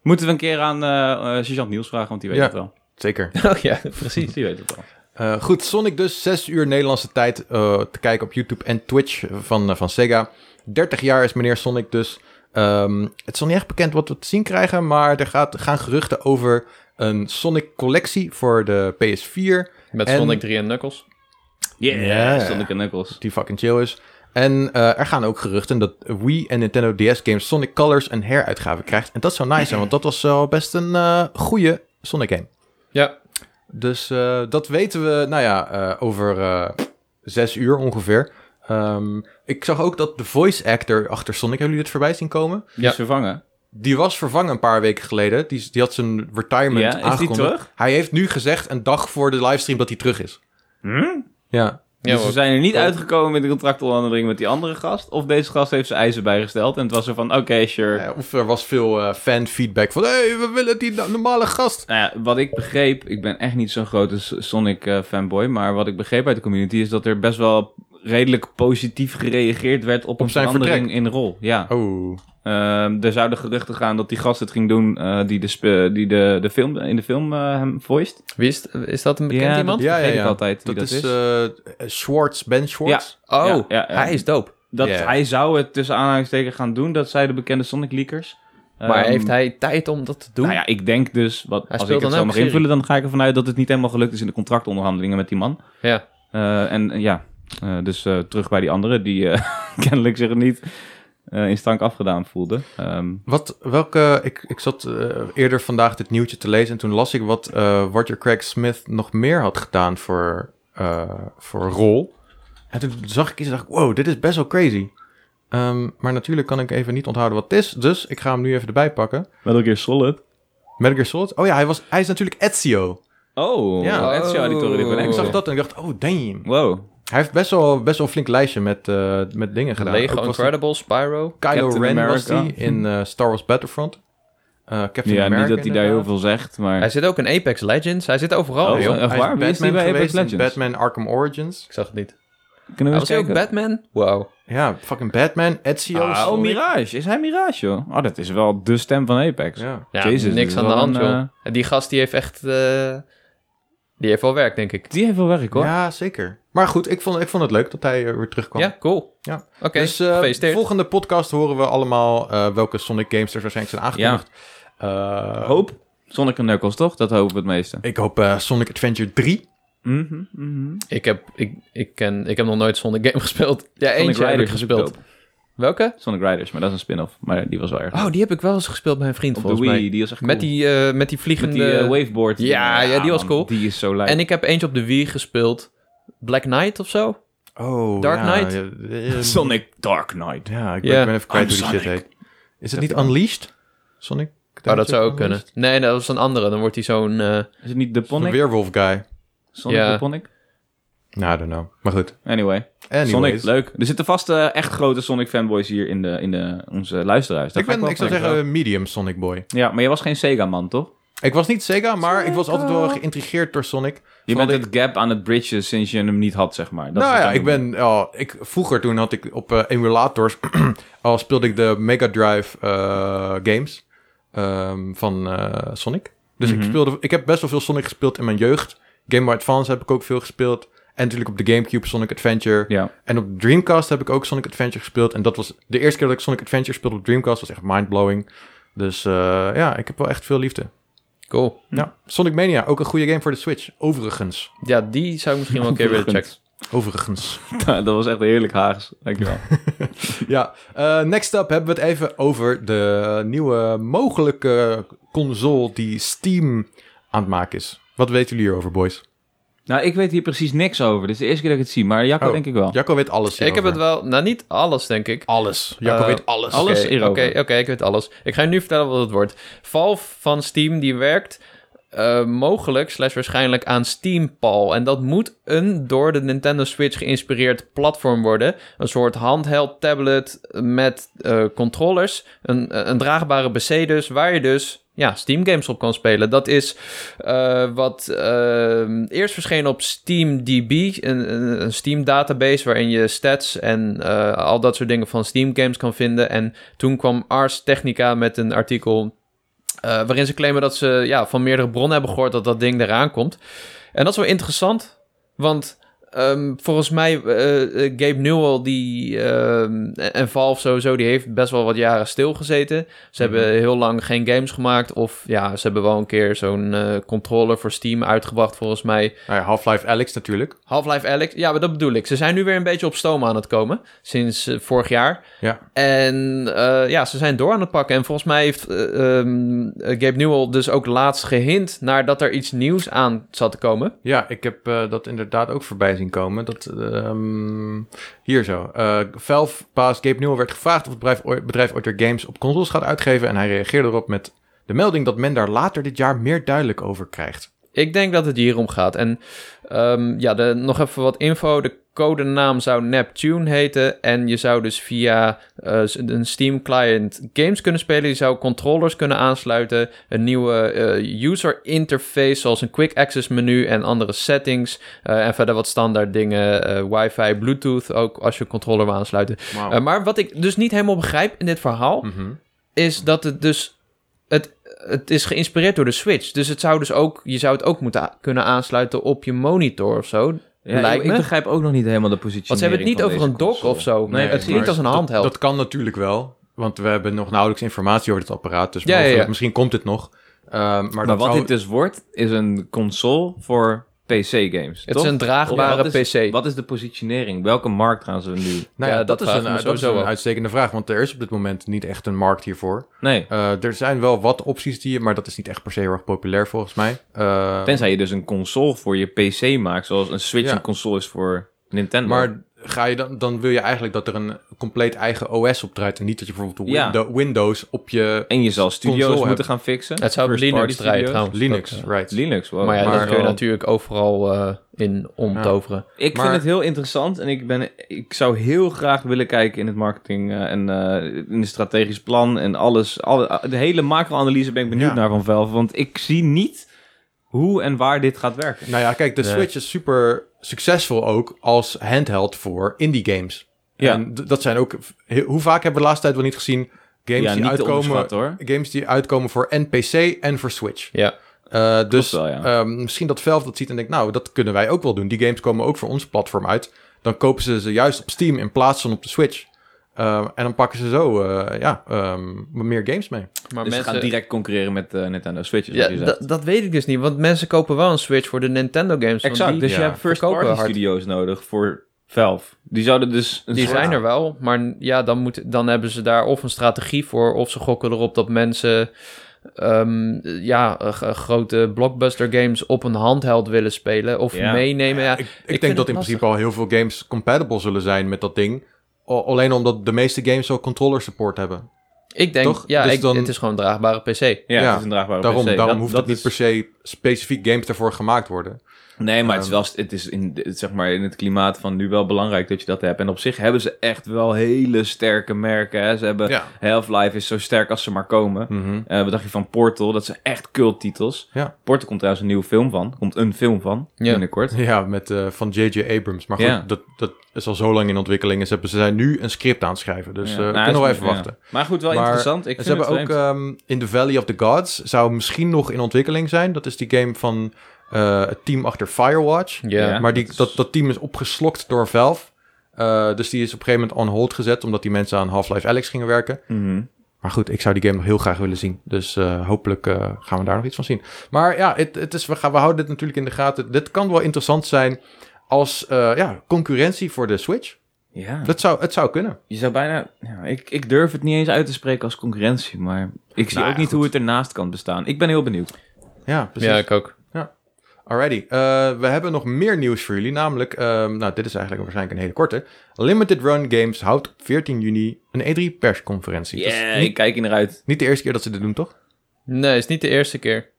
Speaker 3: Moeten we een keer aan eh eh, Sergeant Niels vragen, want die weet
Speaker 1: Ja.
Speaker 3: het wel.
Speaker 1: Zeker.
Speaker 2: Oh ja, precies.
Speaker 3: Die weet het wel.
Speaker 1: Eh, goed, Sonic dus, 6 uur Nederlandse tijd eh, te kijken op YouTube en Twitch van, eh, van Sega. 30 jaar is meneer Sonic dus. Ehm, het is nog niet echt bekend wat we te zien krijgen, maar er gaat, gaan geruchten over een Sonic collectie voor de PS4,
Speaker 2: Met
Speaker 1: En-
Speaker 2: Sonic 3 en Knuckles.
Speaker 3: Yeah,
Speaker 1: Ja.
Speaker 3: Sonic en Knuckles.
Speaker 1: die fucking chill is. En eh, er gaan ook geruchten dat Wii en Nintendo DS games Sonic Colors een heruitgave krijgt. En dat zou nice zijn, want dat was wel best een eh goede Sonic game.
Speaker 2: Ja,
Speaker 1: Dus eh, dat weten we, nou ja, eh, over eh, zes uur ongeveer. Ehm, ik zag ook dat de voice actor achter Sonic, hebben jullie dit voorbij zien komen?
Speaker 3: Die
Speaker 2: Ja.
Speaker 3: is vervangen.
Speaker 1: Die was vervangen een paar weken geleden. Die, die had zijn retirement
Speaker 3: Ja, is die
Speaker 1: aangekondigd.
Speaker 3: terug?
Speaker 1: Hij heeft nu gezegd, een dag voor de livestream, dat hij terug is. Ja,
Speaker 2: Hm? ja
Speaker 3: dus we
Speaker 2: hoor.
Speaker 3: zijn er niet
Speaker 2: Cool.
Speaker 3: uitgekomen met de contractonderhandeling met die andere gast. Of deze gast heeft zijn eisen bijgesteld. En het was er van, oké, sure.
Speaker 1: Eh, of er was veel eh, fanfeedback van, hé, hey, we willen die no- normale gast.
Speaker 3: Nou ja, wat ik begreep, ik ben echt niet zo'n grote S- Sonic eh, fanboy. Maar wat ik begreep uit de community is dat er best wel redelijk positief gereageerd werd op, een
Speaker 1: zijn
Speaker 3: verandering
Speaker 1: vertrek.
Speaker 3: in de rol. Ja.
Speaker 1: Oh,
Speaker 3: Ehm, er zouden geruchten gaan dat die gast het ging doen eh, die, de sp- die de, de film, in de film eh, hem voiced.
Speaker 2: Wie is, het? is dat een bekend
Speaker 3: Ja,
Speaker 2: iemand?
Speaker 3: dat- vergeet ik altijd wie
Speaker 1: dat,
Speaker 3: dat
Speaker 1: is,
Speaker 3: is.
Speaker 1: eh, Schwartz, Ben Schwartz.
Speaker 2: Oh,
Speaker 3: Ja, ja, eh, ja.
Speaker 2: hij is dope.
Speaker 3: Dat
Speaker 1: Ja.
Speaker 3: Hij zou het tussen aanhalingstekens gaan doen, dat zij de bekende Sonic leakers.
Speaker 2: Maar
Speaker 3: Ehm,
Speaker 2: heeft hij tijd om dat te doen?
Speaker 3: Nou ja, ik denk dus, wat,
Speaker 2: Hij
Speaker 3: als ik
Speaker 2: speelt
Speaker 3: het
Speaker 2: dan
Speaker 3: zo
Speaker 2: ook
Speaker 3: mag
Speaker 2: serie.
Speaker 3: invullen, dan ga ik ervan uit dat het niet helemaal gelukt is in de contractonderhandelingen met die man.
Speaker 2: Ja.
Speaker 3: Eh, en eh, ja, eh, dus eh, terug bij die andere die eh, kennelijk zich niet eh, in stank afgedaan voelde. Ehm,
Speaker 1: Wat, welke, ik, ik zat eh, eerder vandaag dit nieuwtje te lezen en toen las ik wat eh Roger Craig Smith nog meer had gedaan voor, eh, voor rol. En toen zag ik iets en dacht ik, wow, dit is best wel crazy. Ehm, maar natuurlijk kan ik even niet onthouden wat het is, dus ik ga hem nu even erbij pakken.
Speaker 3: Metal Gear Solid.
Speaker 1: Metal Gear Solid? Oh ja, hij, was, hij is natuurlijk Ezio.
Speaker 3: Oh,
Speaker 1: Ja.
Speaker 3: ja. Ezio Auditore die
Speaker 2: Oh.
Speaker 1: Ik
Speaker 3: connectie.
Speaker 1: zag dat en ik dacht, oh damn.
Speaker 3: Wow.
Speaker 1: Hij heeft best wel, best wel een flink lijstje met, eh, met dingen gedaan.
Speaker 2: Lego,
Speaker 1: Ook was die
Speaker 2: Incredible, Spyro.
Speaker 1: Kylo
Speaker 3: Captain
Speaker 1: Ren was die
Speaker 3: America.
Speaker 1: in eh, Star Wars Battlefront. Eh, Captain
Speaker 3: Ja,
Speaker 1: America
Speaker 3: niet dat hij daar heel
Speaker 1: inderdaad.
Speaker 3: veel zegt, maar...
Speaker 2: Hij zit ook in Apex Legends. Hij zit overal,
Speaker 3: Oh,
Speaker 2: joh.
Speaker 3: echt
Speaker 1: Hij is
Speaker 3: waar? Wie is die bij Apex
Speaker 1: geweest in
Speaker 3: Legends?
Speaker 1: Batman Arkham Origins.
Speaker 2: Ik zag het niet.
Speaker 3: Kunnen
Speaker 2: Hij
Speaker 3: we
Speaker 2: was hij
Speaker 3: eens
Speaker 2: ook
Speaker 3: kijken?
Speaker 2: Batman? Wow.
Speaker 1: Ja, fucking Batman, Ezio.
Speaker 3: Ah, oh,
Speaker 1: Sonic.
Speaker 3: Mirage. Is hij Mirage, joh? Oh, dat is wel de stem van Apex.
Speaker 1: Ja.
Speaker 2: Ja,
Speaker 3: Jezus, dit
Speaker 2: niks
Speaker 3: is
Speaker 2: aan de
Speaker 3: wel
Speaker 2: hand,
Speaker 3: een,
Speaker 2: joh.
Speaker 3: eh,
Speaker 2: En Die gast die heeft echt... eh, die heeft wel werk, denk ik.
Speaker 3: Die heeft wel werk, hoor.
Speaker 1: ja, zeker. Maar goed, ik vond, ik vond het leuk dat hij eh, weer terugkwam.
Speaker 2: Ja, cool.
Speaker 1: Ja.
Speaker 2: Oké,
Speaker 1: dus eh,
Speaker 2: gefeliciteerd.
Speaker 1: volgende podcast horen we allemaal eh, welke Sonic games er waarschijnlijk zijn aangekondigd. Eh,
Speaker 3: Hoop. Sonic en Knuckles, toch? Dat hopen we het meeste.
Speaker 1: Ik hoop eh, Sonic Adventure 3.
Speaker 3: Mhm, mhm.
Speaker 2: Ik, heb, ik, ik, ken, ik heb nog nooit Sonic game gespeeld. Ja, eentje heb ik
Speaker 3: Riders
Speaker 2: gespeeld.
Speaker 3: is dope.
Speaker 2: Welke?
Speaker 3: Sonic Riders, maar dat is een spin-off. Maar die was wel erg.
Speaker 2: Oh, die heb ik wel eens gespeeld bij een vriend,
Speaker 3: Op de
Speaker 2: volgens
Speaker 3: Wii,
Speaker 2: mij.
Speaker 3: die was echt
Speaker 2: Met,
Speaker 3: cool.
Speaker 2: die, eh, met die
Speaker 3: Met
Speaker 2: vliegende...
Speaker 3: die eh, waveboard.
Speaker 2: Ja, ja, die was
Speaker 3: man,
Speaker 2: cool.
Speaker 3: Die is zo lijp.
Speaker 2: en ik heb eentje op de Wii gespeeld. Black Knight of zo?
Speaker 1: Oh,
Speaker 2: Dark
Speaker 1: ja,
Speaker 2: Knight.
Speaker 1: ja, eh,
Speaker 3: Sonic Dark Knight.
Speaker 1: Ja, ik
Speaker 2: Ja.
Speaker 1: ben, ik ben even kwijt
Speaker 3: I'm
Speaker 1: hoe die shit
Speaker 3: Sonic.
Speaker 1: heet. Is het niet Unleashed? Sonic?
Speaker 2: Oh, dat zou
Speaker 1: Adventure
Speaker 2: ook kunnen.
Speaker 1: Unleashed?
Speaker 2: Nee, dat was een andere. Dan wordt hij zo'n... eh,
Speaker 3: Is het niet de
Speaker 1: Een
Speaker 3: Ponic?
Speaker 1: werewolf guy.
Speaker 3: Sonic
Speaker 2: Ja.
Speaker 3: de Ponic?
Speaker 1: Nou, I don't know. Maar goed.
Speaker 3: Anyway.
Speaker 1: Anyways.
Speaker 3: Sonic, leuk. Er zitten vast eh, echt grote Sonic fanboys hier in, de, in de, onze luisteraars. Daar
Speaker 1: Ik,
Speaker 3: ga
Speaker 1: ben,
Speaker 3: wel
Speaker 1: ik zou
Speaker 3: van
Speaker 1: zeggen medium Sonic boy.
Speaker 3: Ja, maar je was geen Sega-man, toch?
Speaker 1: Ik was niet Sega, maar ik was altijd wel geïntrigeerd door Sonic.
Speaker 3: Je
Speaker 1: Vooral
Speaker 3: bent
Speaker 1: die-
Speaker 3: het gap aan het bridgen sinds je hem niet had, zeg maar. Dat
Speaker 1: nou
Speaker 3: is
Speaker 1: ja,
Speaker 3: wat
Speaker 1: ik
Speaker 3: jij
Speaker 1: ben... ja, ik, vroeger toen had ik op eh, emulators... al speelde ik de Mega Drive eh, games ehm, van eh, Sonic. Dus ik,
Speaker 3: Mhm.
Speaker 1: speelde, ik heb best wel veel Sonic gespeeld in mijn jeugd. Game Boy Advance heb ik ook veel gespeeld. En natuurlijk op de Gamecube Sonic Adventure.
Speaker 3: bedoelt. Ja.
Speaker 1: En op Dreamcast heb ik ook Sonic Adventure gespeeld. En dat was de eerste keer dat ik Sonic Adventure speelde op Dreamcast. was echt mindblowing. Dus eh, ja, ik heb wel echt veel liefde.
Speaker 2: Cool.
Speaker 1: Ja. Sonic Mania, ook een goede game voor de Switch. Overigens.
Speaker 2: Ja, die zou ik misschien wel een keer willen checken.
Speaker 3: Overigens.
Speaker 1: Overigens.
Speaker 3: dat was echt heerlijk Haags. Dankjewel.
Speaker 1: ja, eh, next up hebben we het even over de nieuwe mogelijke console die Steam aan het maken is. Wat weten jullie hierover, boys?
Speaker 3: nou, ik weet hier precies niks over. Dit is de eerste keer dat ik het zie, maar Jacco
Speaker 1: Oh.
Speaker 3: denk ik wel.
Speaker 1: Jacco weet alles
Speaker 2: Ik heb het
Speaker 1: hierover.
Speaker 2: wel, nou niet alles denk ik.
Speaker 1: Alles. Jacco
Speaker 2: Eh,
Speaker 1: weet alles.
Speaker 3: alles
Speaker 2: Oké,
Speaker 3: hierover.
Speaker 2: Oké, oké, ik weet alles. Ik ga je nu vertellen wat het wordt. Valve van Steam, die werkt eh, mogelijk, slash waarschijnlijk, aan Steampal. En dat moet een door de Nintendo Switch geïnspireerd platform worden. Een soort handheld tablet met eh, controllers. Een, een draagbare PC dus, waar je dus... Ja, Steam games op kan spelen. Dat is eh, wat eh, eerst verscheen op SteamDB, een, een- een Steam database waarin je stats en eh, al dat soort dingen van Steam games kan vinden. En toen kwam Ars Technica met een artikel eh, waarin ze claimen dat ze ja, van meerdere bronnen hebben gehoord dat dat ding eraan komt. En dat is wel interessant, want ehm, volgens mij eh, eh, Gabe Newell die, ehm, en Valve sowieso, die heeft best wel wat jaren stilgezeten. Ze hebben heel lang geen games gemaakt of ja, ze hebben wel een keer zo'n eh, controller voor Steam uitgebracht volgens mij.
Speaker 1: Nou ja, Half-Life Alex natuurlijk.
Speaker 2: Half-Life Alex, ja, maar dat bedoel ik. Ze zijn nu weer een beetje op stoom aan het komen sinds eh, vorig jaar.
Speaker 1: Ja.
Speaker 2: En eh, ja, ze zijn door aan het pakken. En volgens mij heeft eh, ehm, Gabe Newell dus ook laatst gehint naar dat er iets nieuws aan zat te komen.
Speaker 1: Ja, ik heb eh, dat inderdaad ook voorbij zien komen. Dat, ehm, hier zo. Eh Valve-baas Gabe Newell werd gevraagd of het bedrijf, ooit- bedrijf ooit weer games op consoles gaat uitgeven. En hij reageerde erop met de melding dat men daar later dit jaar meer duidelijk over krijgt.
Speaker 2: Ik denk dat het hierom gaat. En ehm, ja, de, nog even wat info. De codenaam zou Neptune heten. En je zou dus via eh, een Steam client games kunnen spelen. Je zou controllers kunnen aansluiten. Een nieuwe eh, user interface, zoals een quick access menu en andere settings. Eh, en verder wat standaard dingen. eh, wifi, Bluetooth ook als je een controller wil aansluiten.
Speaker 1: Wauw.
Speaker 2: Eh, maar wat ik dus niet helemaal begrijp in dit verhaal
Speaker 1: Mhm.
Speaker 2: is dat het dus. Het, het is geïnspireerd door de Switch. Dus het zou dus ook, je zou het ook moeten a- kunnen aansluiten op je monitor of zo.
Speaker 3: Ja,
Speaker 2: Lijkt
Speaker 3: ik, ik
Speaker 2: me.
Speaker 3: begrijp ook nog niet helemaal de positie.
Speaker 2: Want ze hebben het niet over een dock of zo.
Speaker 3: Nee,
Speaker 2: Nee, het
Speaker 3: precies.
Speaker 2: klinkt als een
Speaker 1: Dat-
Speaker 2: handheld.
Speaker 1: Dat, kan natuurlijk wel, want we hebben nog nauwelijks informatie over dit apparaat. Dus
Speaker 2: Ja, ja,
Speaker 1: mogelijk-
Speaker 2: ja.
Speaker 1: misschien komt dit nog. Ehm, maar
Speaker 3: Maar,
Speaker 1: dat
Speaker 3: wat
Speaker 1: zou-
Speaker 3: dit dus wordt, is een console voor PC-games.
Speaker 2: het is een draagbare PC.
Speaker 3: Wat is de positionering? Welke markt gaan ze nu?
Speaker 1: nou ja,
Speaker 2: Ja,
Speaker 1: dat,
Speaker 2: dat
Speaker 1: is
Speaker 2: vraag ik
Speaker 1: een,
Speaker 2: me
Speaker 1: dat is
Speaker 2: sowieso
Speaker 1: een
Speaker 2: af.
Speaker 1: uitstekende vraag, want er is op dit moment niet echt een markt hiervoor.
Speaker 3: Nee.
Speaker 1: Eh, er zijn wel wat opties die je, maar dat is niet echt per se heel erg populair volgens mij. Eh,
Speaker 3: Tenzij je dus een console voor je PC maakt, zoals een Switch
Speaker 1: Ja.
Speaker 3: een console is voor Nintendo.
Speaker 1: maar ga je dan, dan wil je eigenlijk dat er een compleet eigen OS op draait en niet dat je bijvoorbeeld
Speaker 3: Ja.
Speaker 1: Windows- Windows op je
Speaker 3: en je zal studio's
Speaker 1: console
Speaker 3: moeten
Speaker 1: hebben.
Speaker 3: gaan fixen.
Speaker 2: het zou op
Speaker 3: First party
Speaker 2: Linux draaien
Speaker 3: studio's.
Speaker 2: trouwens.
Speaker 1: Linux,
Speaker 2: Dat, eh,
Speaker 1: right?
Speaker 3: Linux, eh, wow.
Speaker 2: maar ja,
Speaker 1: Maar
Speaker 2: dat kun je
Speaker 1: wel-
Speaker 2: natuurlijk overal eh, in omtoveren.
Speaker 3: Ik
Speaker 1: Maar-
Speaker 3: vind het heel interessant en ik, ben, ik zou heel graag willen kijken in het marketing eh, en eh, in het strategisch plan en alles. Alle, eh, de hele macro-analyse ben ik benieuwd
Speaker 1: Ja.
Speaker 3: naar van Valve, want ik zie niet hoe en waar dit gaat werken.
Speaker 1: Nou ja, kijk, de
Speaker 2: Nee.
Speaker 1: Switch is super succesvol ook als handheld voor indie games.
Speaker 3: Ja.
Speaker 1: En d- dat zijn ook, he- hoe vaak hebben we de laatste tijd wel niet gezien games
Speaker 3: ja,
Speaker 1: die
Speaker 3: niet te
Speaker 1: uitkomen...
Speaker 3: onderschatten, hoor.
Speaker 1: Games die uitkomen voor en PC en voor Switch.
Speaker 2: Ja.
Speaker 1: Eh, dus
Speaker 3: wel, ja.
Speaker 1: ehm, misschien dat Valve dat ziet en denkt, nou, dat kunnen wij ook wel doen. Die games komen ook voor ons platform uit. Dan kopen ze ze juist op Steam in plaats van op de Switch. Ehm, en dan pakken ze zo eh, ja, ehm, meer games mee.
Speaker 2: Maar
Speaker 3: Dus ze gaan direct concurreren met eh, Nintendo Switch.
Speaker 2: ja, dat- dat weet ik dus niet. Want mensen kopen wel een Switch voor de Nintendo games. want
Speaker 3: Exact,
Speaker 2: die-
Speaker 3: dus
Speaker 1: ja,
Speaker 3: je hebt first
Speaker 2: verkopen
Speaker 3: party
Speaker 2: hard.
Speaker 3: studio's nodig voor Valve. Die zouden dus... Een
Speaker 2: Die
Speaker 3: soort-
Speaker 2: zijn er wel, maar ja, dan, moet, dan hebben ze daar of een strategie voor, of ze gokken erop dat mensen ehm, ja, eh, g- grote blockbuster games op een handheld willen spelen of
Speaker 3: Ja.
Speaker 2: meenemen. Ja,
Speaker 1: ik, ik
Speaker 2: vind
Speaker 1: denk
Speaker 2: het
Speaker 1: dat in
Speaker 2: lastig.
Speaker 1: principe al heel veel games compatible zullen zijn met dat ding. Al- alleen omdat de meeste games al controller support hebben.
Speaker 2: ik denk,
Speaker 1: Toch?
Speaker 2: ja,
Speaker 1: Dus
Speaker 2: ik-
Speaker 1: dan-
Speaker 2: het is gewoon een draagbare PC.
Speaker 3: Ja,
Speaker 1: Ja,
Speaker 3: het is een draagbare
Speaker 1: Daarom,
Speaker 3: PC.
Speaker 1: daarom hoeft
Speaker 3: dat
Speaker 1: het niet
Speaker 3: is-
Speaker 1: per se specifiek games daarvoor gemaakt worden.
Speaker 3: Nee, maar het is
Speaker 1: Ehm.
Speaker 3: wel, het is in, de- zeg maar in het klimaat van nu wel belangrijk dat je dat hebt. En op zich hebben ze echt wel hele sterke merken. Hè. Ze hebben
Speaker 1: Ja.
Speaker 3: Half-Life is zo sterk als ze maar komen.
Speaker 1: Mhm.
Speaker 3: Eh wat dacht je van Portal? Dat zijn echt culttitels.
Speaker 1: Ja.
Speaker 3: Portal komt trouwens een nieuwe film van. Komt een film van,
Speaker 2: Ja.
Speaker 3: binnenkort.
Speaker 1: Ja, met, eh, van J.J. Abrams. Maar goed,
Speaker 3: Ja.
Speaker 1: dat, dat is al zo lang in ontwikkeling. En Ze, hebben, ze zijn nu een script aan het schrijven. Dus eh
Speaker 3: Ja. Nou,
Speaker 1: kunnen we
Speaker 3: is-
Speaker 1: wel even
Speaker 3: ja.
Speaker 1: wachten.
Speaker 3: Maar goed, wel
Speaker 1: Maar
Speaker 3: interessant. Ik
Speaker 1: En
Speaker 3: vind
Speaker 1: ze hebben
Speaker 3: het
Speaker 1: ook
Speaker 3: vreemd.
Speaker 1: ehm, in The Valley of the Gods. Zou misschien nog in ontwikkeling zijn. Dat is die game van eh, het team achter Firewatch.
Speaker 2: Ja.
Speaker 3: Ja.
Speaker 1: maar die,
Speaker 3: dat is-
Speaker 1: dat, dat team is opgeslokt door Valve. Eh, dus die is op een gegeven moment on hold gezet. Omdat die mensen aan Half-Life Alex gingen werken.
Speaker 3: Mhm.
Speaker 1: Maar goed, ik zou die game nog heel graag willen zien. Dus eh, hopelijk eh, gaan we daar nog iets van zien. Maar ja, het, het is, we, gaan, we houden dit natuurlijk in de gaten. Dit kan wel interessant zijn als eh, ja, concurrentie voor de Switch.
Speaker 3: Ja,
Speaker 1: Dat zou, het zou kunnen.
Speaker 3: je zou bijna... Ja, ik, ik durf het niet eens uit te spreken als concurrentie, maar ik zie
Speaker 1: Nou ja,
Speaker 3: ook niet
Speaker 1: goed.
Speaker 3: hoe het ernaast kan bestaan. Ik ben heel benieuwd.
Speaker 1: Ja, precies.
Speaker 2: Ja, ik ook.
Speaker 1: Alrighty, eh, we hebben nog meer nieuws voor jullie. Namelijk, ehm, nou, dit is eigenlijk waarschijnlijk een hele korte. Limited Run Games houdt op 14 juni een E E3-persconferentie.
Speaker 3: Yeah, ik kijk hier naar uit.
Speaker 1: Dus Niet de eerste keer dat ze dit doen, toch?
Speaker 2: Nee, is niet de eerste keer.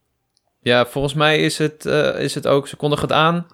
Speaker 2: Ja, volgens mij is het, eh, is het ook, ze kondigen het aan.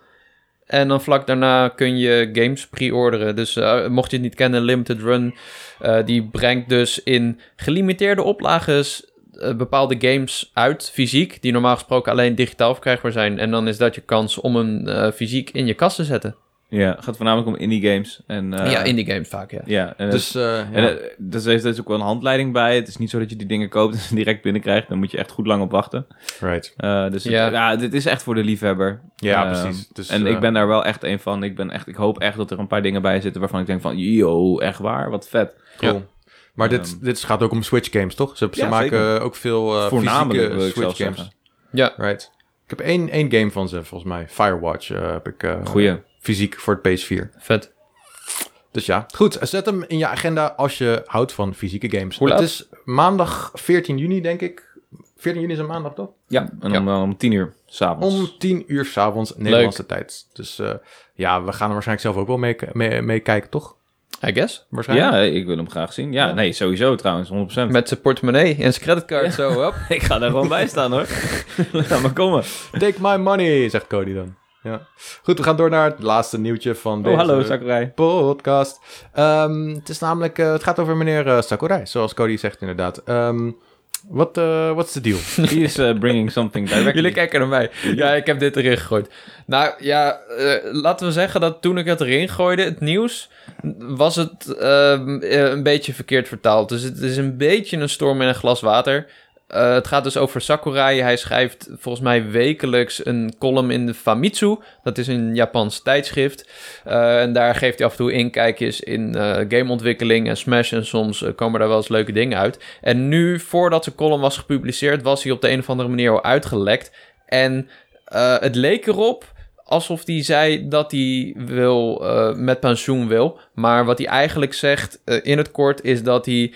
Speaker 2: En dan vlak daarna kun je games pre-orderen. Dus eh, mocht je het niet kennen, Limited Run, eh, die brengt dus in gelimiteerde oplages eh, bepaalde games uit, fysiek, die normaal gesproken alleen digitaal verkrijgbaar zijn. En dan is dat je kans om hem eh, fysiek in je kast te zetten.
Speaker 3: Ja, het gaat voornamelijk om indie games. En, eh,
Speaker 2: ja, indie games vaak, ja.
Speaker 3: Ja, en dus,
Speaker 1: Dus, eh, ja.
Speaker 3: en, eh, dus er is- er is ook wel een handleiding bij. Het is niet zo dat je die dingen koopt en direct binnenkrijgt. Dan moet je echt goed lang op wachten.
Speaker 1: right.
Speaker 3: Eh, dus het- ja.
Speaker 2: Ja.
Speaker 3: dit is echt voor de liefhebber.
Speaker 1: Ja,
Speaker 3: Ehm,
Speaker 1: precies. Dus,
Speaker 3: en
Speaker 1: eh,
Speaker 3: ik ben daar wel echt een van. Ik, ben echt, ik hoop echt dat er een paar dingen bij zitten waarvan ik denk van... Yo, echt waar? Wat vet.
Speaker 1: Cool. Maar
Speaker 3: Ehm.
Speaker 1: dit, dit gaat ook om Switch games, toch? Ze, ze
Speaker 3: Ja,
Speaker 1: maken
Speaker 3: zeker.
Speaker 1: ook veel eh
Speaker 3: Voornamelijk wil
Speaker 1: fysieke
Speaker 3: ik zelfs
Speaker 1: Switch games.
Speaker 3: zeggen.
Speaker 2: Ja,
Speaker 1: Right. Ik heb één, één game van ze, volgens mij. Firewatch eh, heb ik eh,
Speaker 3: Goeie.
Speaker 1: fysiek voor het PS4.
Speaker 2: vet.
Speaker 1: Dus ja, goed. Zet hem in je agenda als je houdt van fysieke games.
Speaker 2: Hoe
Speaker 1: het
Speaker 2: laat?
Speaker 1: is maandag 14 juni, denk ik. 14 juni is een maandag, toch?
Speaker 3: Ja, en
Speaker 2: Ja.
Speaker 3: Om, eh, om tien uur s'avonds.
Speaker 1: Om 10 uur s'avonds, Nederlandse tijd. Dus eh, ja, we gaan er waarschijnlijk zelf ook wel mee, mee, mee kijken, toch?
Speaker 2: I guess.
Speaker 1: Waarschijnlijk.
Speaker 3: Ja, ik wil hem graag zien. Ja, nee, sowieso trouwens, 100%.
Speaker 2: Met zijn portemonnee en zijn creditcard, zo, hop.
Speaker 3: Ik ga daar gewoon bij staan hoor. Laat maar komen.
Speaker 1: Take my money, zegt Cody dan. Ja. Goed, we gaan door naar het laatste nieuwtje van
Speaker 3: Oh,
Speaker 1: deze
Speaker 3: hallo Sakurai.
Speaker 1: podcast. Ehm, het is namelijk, eh, het gaat over meneer eh, Sakurai, zoals Cody zegt inderdaad. Ehm, wat eh, wat is de deal?
Speaker 3: He is eh, bringing something directly.
Speaker 2: Jullie kijken naar mij. Ja, ik heb dit erin gegooid. Nou ja, eh, laten we zeggen dat toen ik het erin gooide, het nieuws, was het ehm, eh, een beetje verkeerd vertaald. Dus het is een beetje een storm in een glas water. Eh, het gaat dus over Sakurai. Hij schrijft volgens mij wekelijks een column in de Famitsu. Dat is een Japans tijdschrift. Eh, en daar geeft hij af en toe inkijkjes in eh, gameontwikkeling en Smash. En soms eh, komen daar wel eens leuke dingen uit. En nu, voordat zijn column was gepubliceerd, was hij op de een of andere manier al uitgelekt. En eh, het leek erop alsof hij zei dat hij wil, eh, met pensioen wil. Maar wat hij eigenlijk zegt eh, in het kort is dat hij.